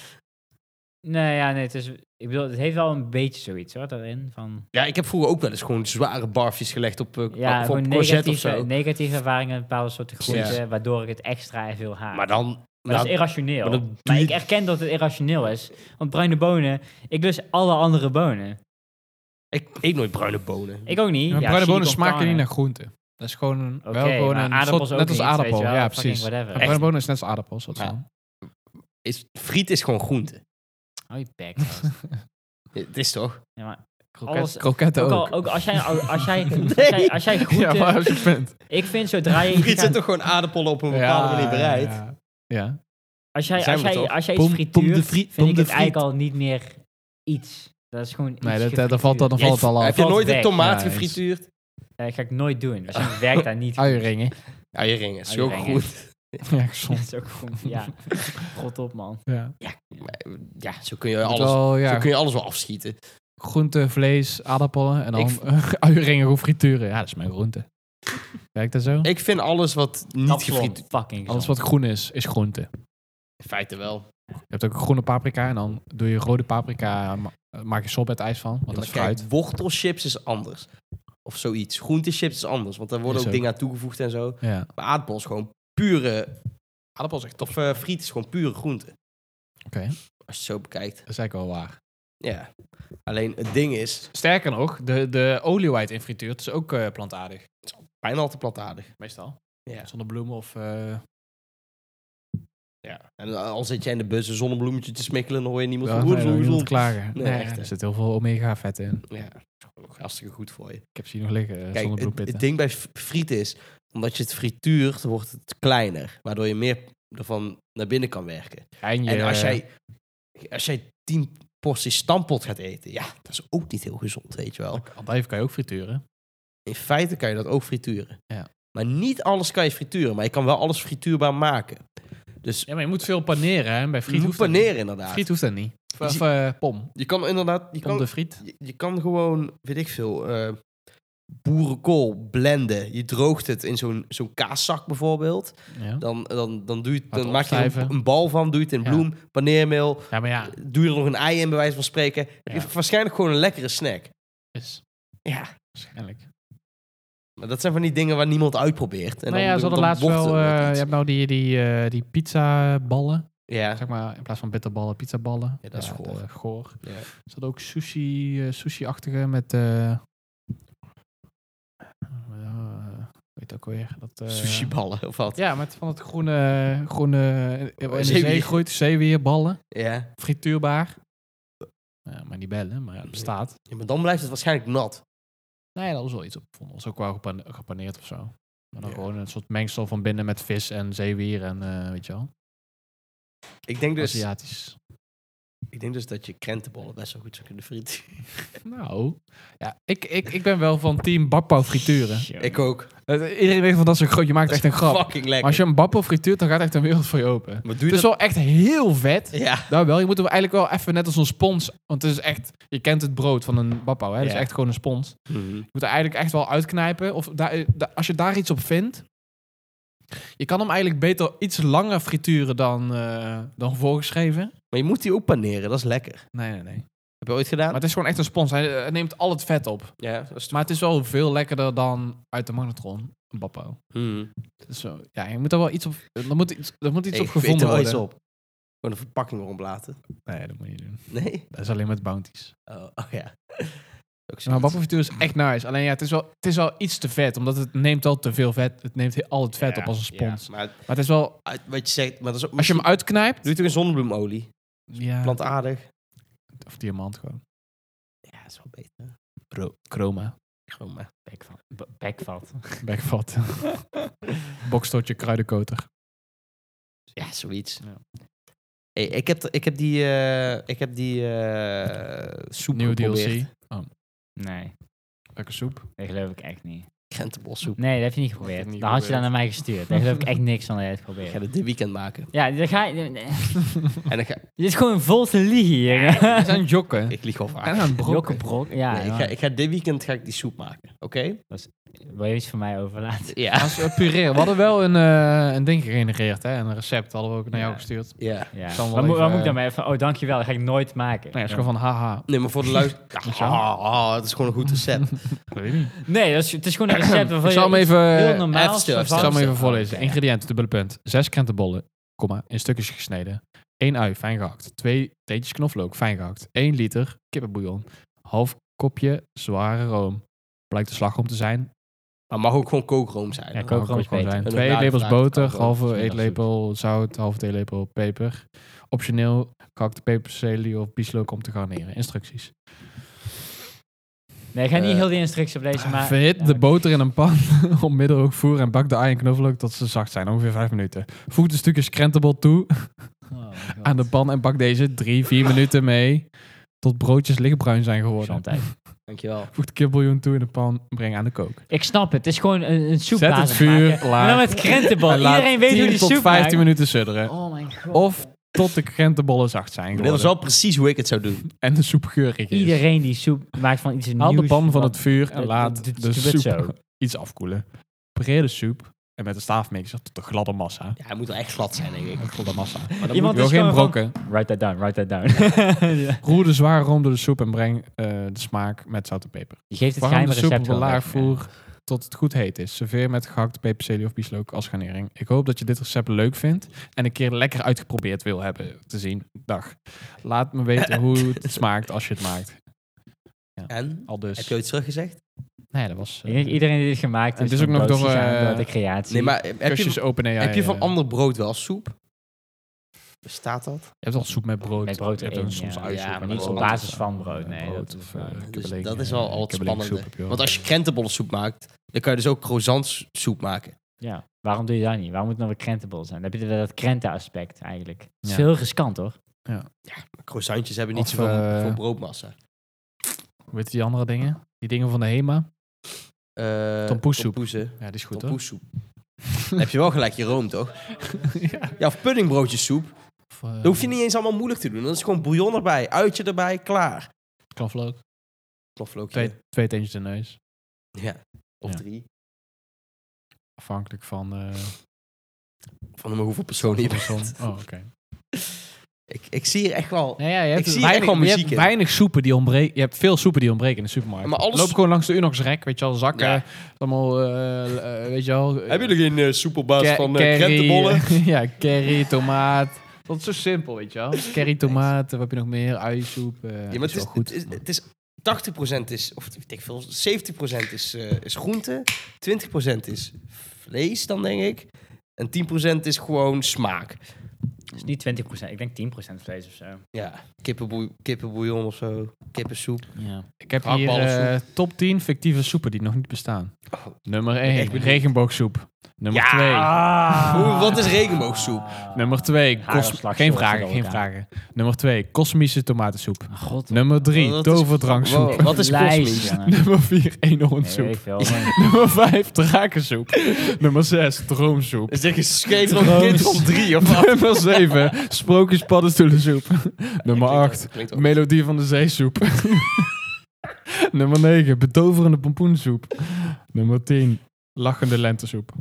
C: Nee, ja, nee, het is, ik bedoel, het heeft wel een beetje zoiets, hoor, daarin. Van,
B: Ja, ik heb vroeger ook wel eens gewoon zware barfjes gelegd op, eh,
C: ja,
B: of op
C: gewoon eh,
B: courgette of
C: negatieve,
B: zo.
C: negatieve ervaringen met bepaalde soorten
B: Precies.
C: groenten, waardoor ik het extra veel haat.
B: Maar dan...
C: Maar dat
B: dan-
C: is
B: maar
C: irrationeel. Maar,
B: dat doe je-
C: ik erken dat het irrationeel is. Want bruine bonen, ik lust alle andere bonen.
B: ik eet nooit bruine bonen.
C: Ik ook niet.
A: Maar
C: Ja,
A: bruine
C: chili
A: bonen
C: con
A: smaken
C: carne.
A: niet naar groente. Dat is gewoon
C: Oké,
A: wel gewoon
C: maar
A: een
C: aardappels
A: soort, net
C: ook
A: als
C: niet,
A: aardappel.
C: weet je wel,
A: Ja,
C: fucking
A: precies.
C: whatever.
A: Maar Bruine bonen is net als aardappel. soort
B: Ja.
A: van.
B: Is, friet is gewoon groente.
C: Oh, je bek, gast.
B: Het is toch?
C: Ja, maar
A: Kroket,
C: Alles-
A: kroketten
C: ook,
A: ook.
C: al, ook als jij, als jij, als jij, als jij
A: Ja,
C: groenten...
A: maar als je vindt.
C: Ik vind zodra je...
B: Friet
C: iets
B: zit
C: aan-
B: toch gewoon aardappelen op een bepaalde
A: Ja,
B: manier bereid?
A: ja, ja. Ja.
C: Als jij,
B: Zijn
C: als
B: we
C: jij,
B: toch?
C: als jij iets
A: Pom-
C: frituurt,
A: pom de friet, pom
C: vind ik
A: de
C: het
A: friet.
C: eigenlijk al niet meer iets. Dat is gewoon iets
A: Nee, dat, dat,
C: gefrituurd.
A: valt, dan
B: Jij
A: valt het al
B: Heb
A: af.
B: je
C: Valt
B: nooit een
C: weg.
B: tomaat
A: Ja, is-
B: gefrituurd?
C: Eh, Dat ga ik nooit doen. Waarschijnlijk werkt dat niet.
A: Uieringen.
B: Eieringen, is ook
C: Eieringen.
B: goed.
A: Ja,
C: Dat
A: gezond.
C: is ook gewoon... Ja, rot op, man.
A: Ja.
B: Ja, zo kun je
A: Alles,
B: alles, zo
A: ja,
B: kun je alles wel afschieten.
A: groente, vlees, aardappelen en dan
B: Ik-
A: uieringen of frituren. Ja, dat is mijn groente. Kijk dat zo?
B: Ik vind alles wat niet
C: Kapsalon,
B: gefrituurd...
C: Fucking
A: Alles
C: gezond.
A: wat groen is, is groente.
B: In feite wel.
A: Je hebt ook groene paprika en dan doe je rode paprika, ma- eh, maak je sorbet-ijs van, want
B: Ja,
A: dat
B: maar
A: is
B: kijk,
A: fruit.
B: wortelchips is anders. Of zoiets. Groentechips is anders, want daar worden
A: Is
B: ook
A: ook.
B: dingen aan toegevoegd en zo.
A: Ja.
B: Maar aardappel is gewoon pure... Aardappel is echt... Of eh, friet is gewoon pure groente.
A: Oké.
B: Als je het zo bekijkt.
A: Dat is eigenlijk wel waar.
B: Ja. Alleen het ding is...
A: Sterker nog, de, de olie waar je het in frituurt is ook eh, plantaardig.
B: Bijna altijd plantaardig.
A: Meestal.
B: Ja.
A: Zonder bloemen of... eh,
B: ja. En al zit jij in de bus een zonnebloemetje te smikkelen... dan hoor je niemand
A: ja,
B: van...
A: nee,
B: "Oeh,
A: dan
B: oeh,
A: niemand
B: oeh."
A: klagen.
B: Nee,
A: Nee,
B: echt, hè.
A: er zit heel veel omega-vetten in.
B: Ja, dat is gewoon ook hartstikke goed voor je.
A: Ik heb ze hier nog liggen, eh,
B: Kijk,
A: zonder
B: het, het
A: bloempitten.
B: ding bij f- friet is, omdat je het frituurt, wordt het kleiner. Waardoor je meer ervan naar binnen kan werken.
A: En, eh, je-
B: En als jij, als jij tien porties stampot gaat eten, ja, dat is ook niet heel gezond, weet je wel.
A: Andijven kan je ook frituren.
B: In feite kan je dat ook frituren.
A: Ja.
B: Maar niet alles kan je frituren, maar je kan wel alles frituurbaar maken. Dus
A: Ja, maar je moet veel paneren, hè? Bij friet
B: je moet
A: hoeft dat niet.
B: paneren inderdaad. Dus
A: Friet hoeft dat niet. Of,
B: Je
A: of
B: ziet-
A: eh, pom.
B: Je kan inderdaad, je
A: Pom
B: kan,
A: de friet.
B: je, je kan gewoon, weet ik veel, eh, boerenkool blenden. Je droogt het in zo'n zo'n kaaszak bijvoorbeeld.
A: Ja.
B: Dan, dan, dan, doe je, het-
A: Laat
B: dan maak je er een,
A: opstijven.
B: een bal van, doe je het in
A: Ja.
B: bloem, paneermeel,
A: ja, maar ja.
B: doe je er nog een ei in, bij wijze van spreken. Heb je
A: Ja.
B: waarschijnlijk gewoon een lekkere snack.
A: Is
B: Ja.
A: waarschijnlijk.
B: Maar dat zijn van die dingen waar niemand uitprobeert. En
A: nou ja,
B: dan,
A: ze hadden
B: dan
A: laatst
B: wordt
A: wel...
B: er
A: eh,
B: wat
A: je
B: iets.
A: hebt nou die, die, eh, die pizzaballen.
B: ja.
A: Zeg maar, in plaats van bitterballen, pizzaballen.
B: Ja, dat is goor.
A: de- eh, goor.
B: Ja.
A: Ze hadden ook sushi, eh, sushi-achtige met... eh ja, weet ook weer. Dat, eh,
B: sushiballen of wat. Ja.
A: Ja, met van het groene... groene in de
B: Zeewier.
A: zee groeit zeewierballen.
B: Ja.
A: frituurbaar. Ja, maar niet bellen, maar ja, het bestaat.
B: maar dan blijft het waarschijnlijk nat.
A: Nee, daar was wel iets op gevonden. Dat was ook wel gepan- gepaneerd of zo. Maar dan
B: Ja.
A: gewoon een soort mengsel van binnen met vis en zeewier en eh, weet je wel.
B: Ik denk, dus,
A: Aziatisch.
B: ik denk dus dat je krentenbollen best wel goed zou kunnen frituren.
A: Nou, ja, ik, ik, ik ben wel van team bakpauw frituren.
C: Jongen.
B: Ik ook.
A: Eh, Iedereen weet van dat is een groot, je maakt echt een grap.
B: Fucking lekker.
A: Maar als je Dus een bakpauw frituurt, dan gaat echt een wereld voor je open.
B: Maar doe
A: Het
B: je
A: is wel echt heel vet.
B: dat... Ja.
A: Nou wel, je moet hem eigenlijk wel even net als een spons, want het is echt, je kent het brood van een bakpauw, hè? Dat
B: Ja.
A: is echt gewoon een spons.
B: Mhm.
A: Je moet er eigenlijk echt wel uitknijpen. Of daar- da- als je daar iets op vindt. Je kan hem eigenlijk beter iets langer frituren dan, eh, dan voorgeschreven.
B: Maar je moet die ook paneren, dat is lekker.
A: Nee, nee, nee.
B: Heb je ooit gedaan?
A: Maar het is gewoon echt een spons. Hij eh, neemt al het vet op.
B: Ja, dat is toch...
A: Maar het is wel veel lekkerder dan uit de magnetron. Een Bappo.
B: Hmm.
A: Dus zo, ja, je moet er wel iets op... Er moet iets, er moet iets
B: Hey,
A: op
B: ik weet er
A: gevonden
B: wel
A: worden.
B: iets op. Gewoon de verpakking erop laten.
A: Nee, dat moet je niet doen.
B: Nee?
A: Dat is alleen met bounties.
B: Oh, oh ja. Ook
A: Maar
B: zoiets.
A: Bubble Future is echt nice. Alleen ja, het is, wel, het is wel iets te vet. Omdat het neemt al te veel vet. Het neemt he- al het vet
B: Ja,
A: op als een
B: ja,
A: spons.
B: maar
A: Maar het is wel...
B: uit- wat je zegt, maar dat is ook...
A: Als je hem uitknijpt...
B: Doe je toch een zonnebloemolie?
A: Ja,
B: Plantaardig.
A: of diamant gewoon.
B: Ja, is wel beter.
A: Bro, chroma.
B: Gewoon maar.
C: Bekvat. B- Bekvat.
A: Backvat. Bokstotje, kruidenkoter.
B: Ja, zoiets.
A: Ja.
B: Hey, ik, heb, ik heb die, eh, ik heb die eh soep
A: Nieuwe
B: geprobeerd.
A: DLC.
C: Nee,
A: Lekker soep.
C: dat geloof ik echt niet.
B: Krentenbolsoep.
C: Nee, dat heb je niet
F: Dat heb ik
C: geprobeerd.
F: niet
C: Dan had je dat
F: geprobeerd.
C: naar mij gestuurd. Daar geloof ik echt niks van dat je het
B: Ik ga
C: probeert.
B: het dit weekend maken.
C: Ja, dan ga je... nee.
B: En dan ga,
C: Je is gewoon vol te liegen hier.
A: We zijn jokken.
B: ik lieg al vaak.
A: En aan brokken.
C: Jokkenbrok. Ja,
B: Nee, ik, ga, ik ga dit weekend ga ik die soep maken. Oké?
C: wil je iets van mij overlaten?
B: Ja.
A: Als we pureren. We hadden wel een, eh, een ding gegenereerd, hè? Een recept hadden we ook naar jou
C: Ja.
A: gestuurd.
B: Ja.
C: Ja.
A: Kan wel
C: Wat, moet-
A: even,
C: wat moet ik
A: eh,
C: daarmee? Even, oh, dankjewel. Dat ga ik nooit maken.
A: Nee, het is gewoon van haha.
B: Nee, maar voor de luisteraar.
A: Moet je wel?
B: Ah, ah, het is gewoon een goed recept.
C: Nee, dat is, het is gewoon een recept waarvan
A: Ik zal
C: je
A: hem
C: iets
A: even- eh,
C: heel normaal
B: even stil, even
A: Ik zal hem even
B: Oh,
A: voorlezen.
B: oké, ja.
A: Ingrediënten, dubbele punt. Zes krentenbollen, komma, in stukjes gesneden. 1 ui, fijn gehakt. 2 teentjes knoflook, fijn gehakt. 1 liter kippenbouillon. Half kopje zware room. Blijkt de slagroom te zijn.
B: Maar mag ook gewoon kookroom zijn.
C: Ja,
B: hoor.
C: kookroom
A: Kan ook
C: is beter.
A: zijn.
B: En
A: Twee
B: daarna
A: lepels
B: gevraagd,
A: boter,
B: kan ook.
A: halve
C: Smiddags
A: eetlepel zout, halve theelepel peper. Optioneel gehakte peperselie of bieslook om te garneren. Instructies.
C: Nee, ik ga niet
B: Eh,
C: heel die instructies op deze maar...
A: Verhit
C: Ja,
A: de
C: maar-
A: boter in een pan op middelhoog voer en bak de ei en knoflook tot ze zacht zijn, ongeveer 5 minuten. Voeg de stukjes krentenbol toe
C: Oh my god.
A: aan de pan en bak deze 3, 4 minuten mee tot broodjes lichtbruin zijn geworden.
C: Gezondheid.
B: Dankjewel.
A: Voeg de kipbouillon toe in de pan, breng aan de kook.
C: Ik snap het. Het is gewoon een, een soep
A: Zet het vuur laag.
C: En dan met krentenbol.
A: En laat
C: Iedereen weet hoe
A: 10
C: die
A: tot
C: soep
A: 15
C: maakt.
A: minuten sudderen.
C: Oh my god.
A: Of tot de krentenbollen zacht zijn
B: Dit was
A: geworden
B: wel precies hoe ik het zou doen.
A: en de soep geurig is.
C: Iedereen die soep maakt van iets nieuws.
A: Haal de pan van
C: wat-
A: het vuur en
C: dat-
A: laat
C: dat- dat-
A: de
C: dat wordt
A: soep
C: zo.
A: iets afkoelen. Pareer de soep en met een staafmixer tot een gladde massa.
B: Ja, hij moet wel echt glad zijn, denk ik.
A: Een gladde massa. Maar dan
C: Iemand
A: moet je
C: is
A: wel geen
C: gewoon van-
A: brokken.
C: Write that down, write that down. Ja.
A: Roer de zware room door de soep en breng eh, de smaak met zout en peper.
C: Je geeft het
A: Warm
C: geheime
A: de soep
C: recept
A: op een
C: wel
A: laag
C: weg, ja.
A: voer tot het goed heet is. Serveer met gehakt peperselie of bieslook als garnering. Ik hoop dat je dit recept leuk vindt en een keer lekker uitgeprobeerd wil hebben te zien. Dag. Laat me weten hoe het smaakt als je het maakt.
B: En?
A: Al
B: Heb
A: dus.
B: je ooit teruggezegd?
A: Nee, dat was...
C: Ik denk
A: eh,
C: iedereen die dit gemaakt
A: En
C: heeft,
A: het is ook nog door, eh,
C: de creatie.
B: Nee, maar heb je,
A: Kusjes open AI.
B: heb je van
A: eh,
B: ander brood wel soep? Bestaat dat?
A: Je hebt al soep met brood.
C: Met brood
A: Je hebt
C: erin,
A: ook soms
C: ja.
A: uisoep
C: Ja, maar
A: met
B: niet
A: brood
B: op
A: of
C: basis
A: zo.
C: van brood,
A: Eh,
C: nee,
A: brood
C: dat-
A: of, eh,
B: Dus
A: kibbeling,
B: dat is
A: eh,
B: wel al het
A: kibbeling
B: spannende.
A: soep heb wel.
B: Want als je krentenbollensoep maakt, dan kan je dus ook croissantsoep maken.
C: Ja, waarom doe je dat niet? Waarom moet het nou weer krentenbol zijn? Dan heb je dat- dat krentenaspect eigenlijk. Het is
A: Ja.
C: heel riskant hoor.
B: Maar croissantjes hebben niet
A: Of,
B: zoveel
A: eh,
B: voor broodmassa.
A: Hoe heet die andere dingen? Die dingen van de HEMA?
B: Eh
A: Tompoessoep.
B: tompoesen.
A: Ja, die is goed hoor.
B: Tompoessoep. Dan heb je wel gelijk je room, toch? Ja, of puddingbroodjessoep.
A: Of, eh,
B: Dat hoef je niet eens allemaal moeilijk te doen. Dan is gewoon bouillon erbij, uitje erbij, klaar.
A: knoflook.
B: Knoflookje.
A: Twee, twee teentjes de neus.
B: Ja. Of
A: Ja.
B: drie.
A: Afhankelijk van... eh,
B: Van de hoeveel personen je
A: van de som.
B: bent.
A: Oh, oké.
B: Ik, ik zie hier echt wel...
A: Nee, ja, je hebt,
B: zie hier
A: weinig,
B: echt wel
A: je hebt
B: muziek in.
A: weinig soepen die ontbreken. Je hebt veel soepen die ontbreken in de supermarkt.
B: Maar alles-
A: Loop gewoon langs de Unox rek, weet je wel. Zakken,
B: Ja.
A: allemaal, eh, eh, weet je wel.
B: Hebben jullie geen uh, soepelbaas
A: Ke-
B: van
A: curry,
B: eh krentenbollen?
A: ja, curry, tomaat. Dat is zo simpel, weet je wel. Curry, tomaat, wat heb je nog meer? Uiensoep. eh,
B: Ja, maar
A: is
B: het is,
A: wel goed.
B: het is, het is 80% is, of weet ik veel, 70% is, eh, is groente, 20% is vlees dan denk ik, en 10% is gewoon smaak.
C: Dus niet 20%, ik denk 10% vlees of zo.
B: Ja, kippenboe- kippenbouillon of zo, kippensoep.
C: Ja.
A: Ik heb hier eh,
B: Hakballensoep.
A: top 10 fictieve soepen die nog niet bestaan.
B: Oh.
A: Nummer 1,
B: benieuwd.
A: regenboogsoep. Nummer 2,
C: Ah.
B: Hoe- wat is regenboogsoep?
A: nummer 2,
C: Hagelslag,
A: geen
C: soort
A: vragen,
C: van
A: geen
C: elkaar.
A: vragen. Nummer 2, kosmische tomatensoep.
C: Ah, God.
A: Nummer 3,
B: Wat is-
A: toverdranksoep.
B: Wow, Wat is
C: Lijst,
B: kosmisch?
C: jongen.
A: Nummer 4,
C: Nee,
A: eenhoornsoep.
C: weet ik veel. maar-
A: Nummer 5, drakensoep. Nummer 6, droomsoep.
B: Is dit een scheet op kind
C: Trouwens.
B: op drie of wat?
A: Nummer 7, sprookjespaddenstoelensoep. Nummer 8,
B: Klinkt wel-
A: melodie van de zeesoep. Nummer 9, betoverende pompoensoep. Nummer 10, lachende lentesoep.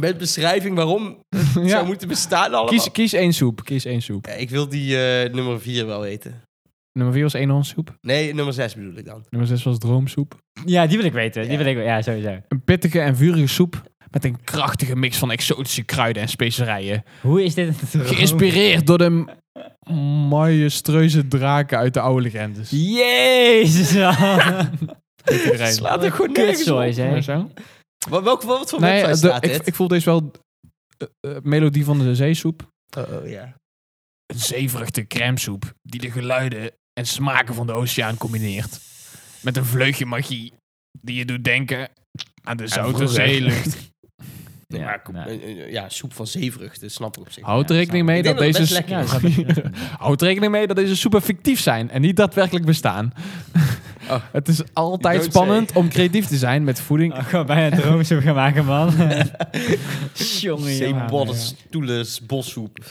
B: Met beschrijving waarom het zou
A: Ja.
B: moeten bestaan allemaal.
A: Kies, kies één soep, kies één soep.
B: Ja, ik wil die eh, nummer 4 wel weten.
A: Nummer 4 was eenhoornsoep.
B: Nee, nummer 6 bedoel ik dan.
A: Nummer 6 was droomsoep.
C: Ja, die wil ik weten. Die wil ik, ja, sowieso.
A: Een pittige en vurige soep Met een krachtige mix van exotische kruiden en specerijen.
C: Hoe is dit een droom?
A: Geïnspireerd door de m- majestueuze draken uit de oude legendes.
C: Jezus.
A: Weet iedereen.
B: Slaat er gewoon nergens op.
C: Kutzooi, hè.
A: Zo.
B: Wat, welk, wat voor
A: Nee,
B: website
A: de-
B: staat
A: ik,
B: dit?
A: ik voel deze wel eh, eh, melodie van de zeesoep.
B: Oh, oh, ja.
A: Een zeverige crèmesoep die de geluiden en smaken van de oceaan combineert. Met een vleugje magie die je doet denken aan de zoute
B: vroeger.
A: zeelucht.
B: Ja,
C: Ja, nou.
B: kom-
C: ja.
B: eh, eh, ja, soep van zeevruchten, snap ik op zich.
A: Houd
C: Ja,
A: er rekening mee
B: ik
A: dat
B: denk dat
A: deze...
B: het
A: s-
B: best lekker
C: Ja,
B: is.
C: dat is- dat is-
A: Houd er rekening mee dat deze soepen fictief zijn en niet daadwerkelijk bestaan.
B: Oh.
A: Het is altijd
B: Don't
A: spannend om creatief te zijn met voeding.
C: Oh, gewoon bijna droomsoep gaan maken, man. Jongen, jongen.
B: Zeebodden, stoelen, bossoep.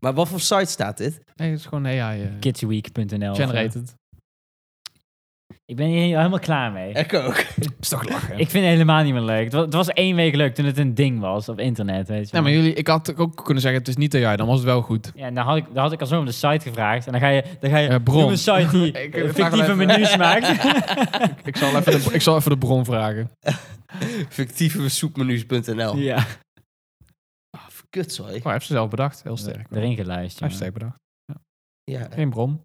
B: Maar wat voor site staat dit?
A: Nee, het is gewoon AI. eh,
C: Kidsweek.nl.
A: generated.
C: Ik ben hier helemaal klaar mee.
B: Ik ook.
A: Is toch lachen.
C: Ik vind het helemaal niet meer leuk. Het was, het was één week leuk toen het een ding was op internet, weet
A: Nou,
C: je wel.
A: maar jullie, ik had ook kunnen zeggen, het is niet AI, dan was het wel goed.
C: Ja, en dan had, ik, dan had ik al zo om de site gevraagd. En dan ga je, dan ga je
A: Eh, bron.
C: noem een site die
A: Ik-
C: eh,
A: ik vraag
C: fictieve
A: wel even-
C: menus maakt.
A: Ik zal even de, ik zal even de bron vragen.
B: Fictieve soepmenu's.nl. Ja.
C: ja.
B: Kut, sorry.
A: Maar Oh, hij heeft ze zelf bedacht, heel sterk. Hij
C: Erin geluisterd.
A: heeft
C: jongen.
A: sterk bedacht.
B: Ja.
A: Geen bron.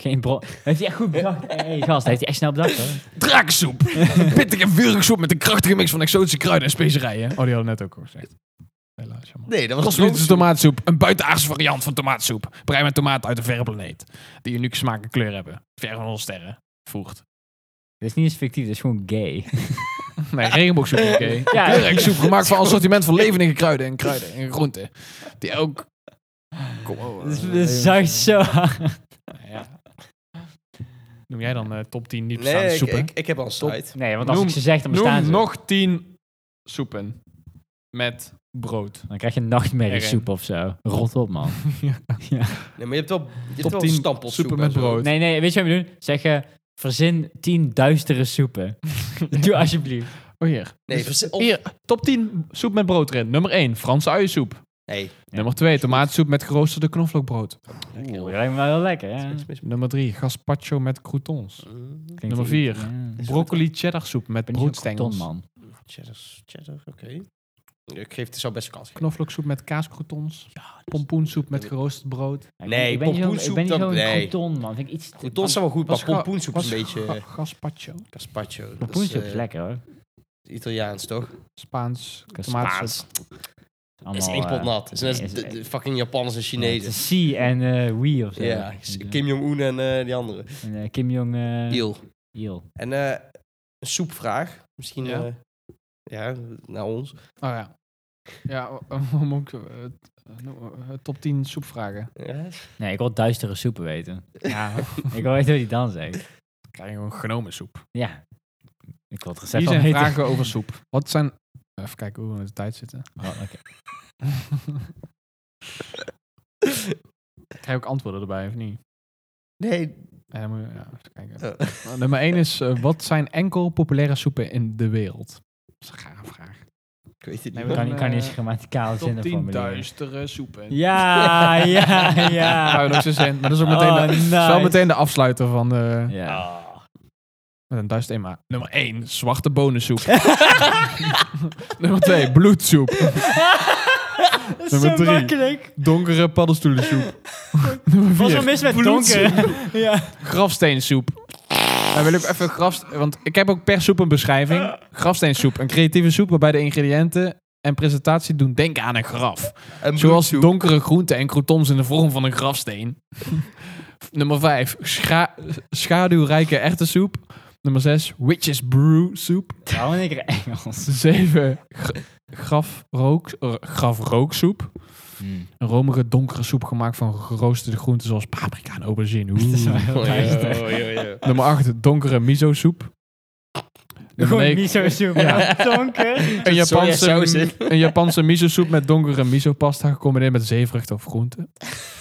C: Geen bron. Heeft hij echt goed bedacht? Hé, hey, gast, heeft hij echt snel bedacht hoor.
A: Draaksoep! Een pittige en vurige soep met een krachtige mix van exotische kruiden en specerijen. Oh, die hadden we net ook al gezegd. Helaas, jammer.
B: Nee, dat was
A: Kosmische tomaatsoep. Een buitenaardse variant van tomaatsoep. Brei met tomaten uit een verre planeet. Die unieke smaak en kleur hebben. Ver van onze sterren. Voert.
C: Dit is niet eens fictief, dit is gewoon gay.
A: Nee, regenboogsoep. oké.
C: Ja.
A: Kleurrijksoep gemaakt van een assortiment van levendige kruiden en kruiden en groenten. Die ook... Kom, oh,
C: Dit
A: eh,
C: is- dit zuigt zo hard.
A: ja. Noem jij dan eh, top 10 niet bestaande
B: Nee, ik,
A: soepen?
B: ik, ik heb al een site.
C: Nee, want als
A: Noem-
C: ik ze zeg, dan bestaan
A: Noem
C: ze.
A: nog 10 soepen. Met brood.
C: Dan krijg je nachtmerrie
A: Erin.
C: soep of zo. Rot op, man.
B: Nee, maar je hebt wel, je hebt
A: Top
B: wel
A: 10
B: stampelsoep
A: soepen
B: en
A: met
B: zo.
A: brood.
C: Nee, nee, weet je wat we doen? Zeggen, verzin 10 duistere soepen. Doe alsjeblieft.
A: Oh, hier.
B: Nee, vers- op-
A: Hier, top 10 soep met brood erin. Nummer 1, Franse uiensoep.
B: nee.
A: Nummer 2, tomatensoep met geroosterde knoflookbrood.
C: Dat lijkt me wel heel lekker, hè?
B: Mis- mis-
A: Nummer 3, gazpacho met croutons.
C: Klinkt
A: Nummer
C: niet-
A: vier.
C: Ja. Ik
A: Broccoli cheddarsoep met
C: ben niet zo'n
A: broodstengels.
C: karton, man.
B: Cheddar, cheddar, oké. Ik geef het zou best een kans. geven. dus.
A: Knoflooksoep met kaascroutons. Pompoensoep met geroosterd brood.
C: Ja, ik-
B: Nee,
C: ik ben niet zo'n- ik
B: pompoensoep
C: ben niet
B: dan-
C: zo'n
B: nee.
C: karton, man. Vind ik iets te-
B: Croutons zijn wel goed, maar pompoensoep is een beetje... eh,
A: Gazpacho.
B: Gazpacho. dat
C: Pompoensoep is
B: eh,
C: lekker, hoor.
B: Italiaans, toch?
A: Spaans.
B: Spaans.
A: Tomatensoep.
B: is
C: Allemaal,
B: één pot
C: eh,
B: nat. Is net als
C: is-
B: de, de fucking Japanners en
C: ja, het
B: Chinezen.
C: is C en eh Wii of zo.
B: Ja,
C: En,
B: Kim Jong-un en eh, die andere.
C: eh, en, eh, Kim Jong... eh,
B: Deal.
C: Il.
B: En eh, een soepvraag. Misschien
A: Ja.
B: ja. ja, naar ons.
A: Oh ja. Ja, om ook eh, t- eh, top 10 soepvragen.
B: Ja.
C: Nee, ik wil duistere soepen weten. Ja, ik wil weten hoe die dan zegt.
A: Krijg je gewoon genomen soep.
C: Ja. Ik wil het recept
A: Hier
C: al
A: zijn
C: weten.
A: vragen over soep. Wat zijn... Even kijken hoe we met de tijd zitten.
C: Oh, oké.
A: Krijg je ook antwoorden erbij, of niet?
B: Nee.
A: Ja, dan moet je, ja, even kijken.
B: eh,
A: Nou, Nummer 1 is, eh, wat zijn enkel populaire soepen in de wereld? Dat is een rare vraag.
B: ik weet het
A: Nee,
B: niet.
A: we
C: Ik
B: hoor.
C: kan, niet- kan niet eens grammaticaal
A: eh, Top
C: zinnen
A: 10
C: formuleren.
A: duistere soepen.
C: Ja, ja, ja.
A: Zou je nog zo zijn. Maar dat is ook meteen,
C: Ah. Oh,
A: de, dat is wel
C: nice.
A: meteen de afsluiter van eh, de,
C: Ja.
A: met een duist thema. Nummer 1, zwarte bonensoep. Ah. Nummer 2, bloedsoep.
C: Dat is
A: Nummer
C: zo
A: drie.
C: makkelijk.
A: Donkere paddenstoelensoep. Nummer
C: Wat is er
A: 4,
C: mis met donker? ja.
A: grafsteensoep. Dan wil ik even graf, want ik heb ook per soep een beschrijving. Grafsteensoep, een creatieve soep waarbij de ingrediënten en presentatie doen denken aan een graf.
B: En
A: Zoals
B: bloedsoep.
A: donkere groenten en croutons in de vorm van een grafsteen. Nummer 5. Scha schaduwrijke erwtensoep. Nummer 6. Witches brew soep.
C: Waarom ben ik er Engels?
A: 7. Grafrook, er, grafrooksoep. Een romige donkere soep gemaakt van geroosterde groenten zoals paprika en aubergine. Oeh.
C: Dat is wel heel
B: Oh, ja,
C: duister.
B: oh, ja, ja.
A: Nummer 8. Donkere miso soep. Nummer
C: Gewoon
A: negen,
C: niet zo zoem.
A: Ja.
C: Donker.
A: Een
B: sojasaus
A: Japanse,
B: in.
A: een Japanse miso-soep met donkere miso-pasta gecombineerd met zeevruchten of groenten.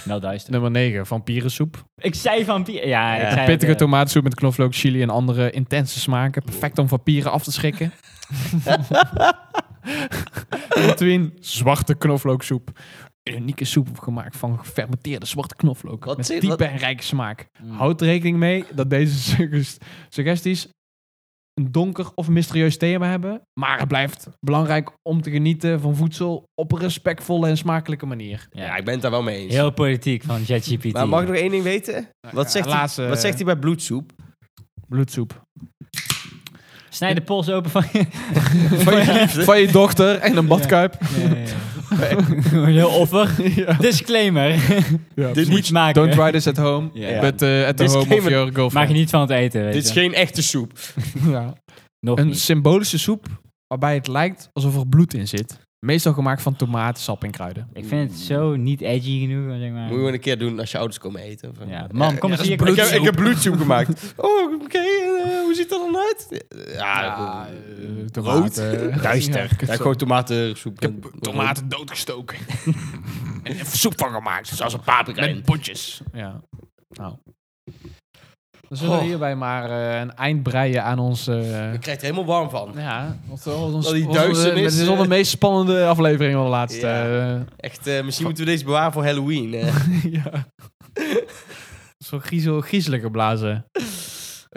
C: Nou, duister.
A: Nummer 9, vampierensoep.
C: Ik zei vampier. Ja, ik
B: Ja.
C: zei
A: Pittige
C: het, eh,
A: tomatensoep met knoflook, chili en andere intense smaken. Perfect om vampieren af te schrikken. Nummer 10. Zwarte knoflooksoep. Een unieke soep gemaakt van gefermenteerde zwarte knoflook.
B: Wat Hmm.
A: met
B: zit-
A: diepe
B: wat-
A: en rijke smaak.
C: Mm.
A: Houd rekening mee dat deze suggest- suggesties een donker of mysterieus thema hebben. Maar het blijft belangrijk om te genieten van voedsel op een respectvolle en smakelijke manier.
B: Ja, ik ben het daar wel mee eens.
C: Heel politiek van ChatGPT.
B: maar mag ik nog één ding weten? Wat zegt,
A: laatste-
B: hij, wat zegt hij bij bloedsoep?
A: Bloedsoep.
C: Snij de pols open van je.
A: Van je, van je dochter en een badkuip.
C: Een Heel offer. Disclaimer.
B: Dit
C: Niet maken.
A: Don't try this at home.
C: Ja. Ja.
A: But, eh, at the home of
B: Disclaimer.
A: your
C: Maak je
A: girlfriend.
C: niet van het eten, weet
B: Dit is
C: je.
B: geen echte soep.
A: Ja.
C: Nog
A: Een
C: niet.
A: symbolische soep waarbij het lijkt alsof er bloed in zit. Meestal gemaakt van tomaten, sap en kruiden.
C: Ik vind het zo niet edgy genoeg, zeg
B: Moet
C: maar.
B: je gewoon een keer doen als je ouders komen eten. Of-
C: Ja, mam, kom
B: Ja,
C: eens hier.
B: Ik heb, ik heb bloedsoep gemaakt. Oh, oké. eh, hoe ziet dat dan uit? Ja, eh,
A: tomaten.
B: Duister.
A: Ja,
B: Ja, gewoon tomatensoep.
G: Ik heb tomaten doodgestoken. en er soep van gemaakt, zoals een paprika
A: Met
G: in. potjes.
A: Ja. Nou. Dan zullen we hierbij maar eh, een eind breien aan ons... eh,
B: Ik krijg er helemaal warm van.
A: ja, wat was ons,
B: Dat die
A: wat was onze-
B: duisternis,
A: Dit is al de
B: eh.
A: meest spannende aflevering van de laatste. eh,
B: Echt, eh, misschien moeten we deze bewaren voor Halloween. eh.
A: ja. Zo'n griezel, griezelige blazen.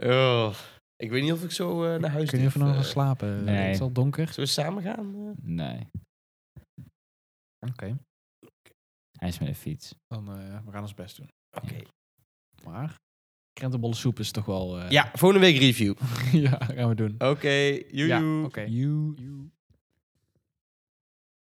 B: Oh, Ik weet niet of ik zo eh, naar huis
A: Kun je
B: durf,
A: even nog
B: eh.
A: gaan slapen?
C: nee.
A: Het is al donker.
B: Zullen we samen gaan? eh?
C: Nee,
A: Oké.
C: hij is met de fiets.
A: Dan eh, we gaan ons best doen.
B: Oké.
A: Maar krentenbollen soep is toch wel... eh,
B: Ja, volgende week review.
A: ja, gaan we doen.
B: Oké, joe.
A: Ja,
B: joe.
A: oké. You, you.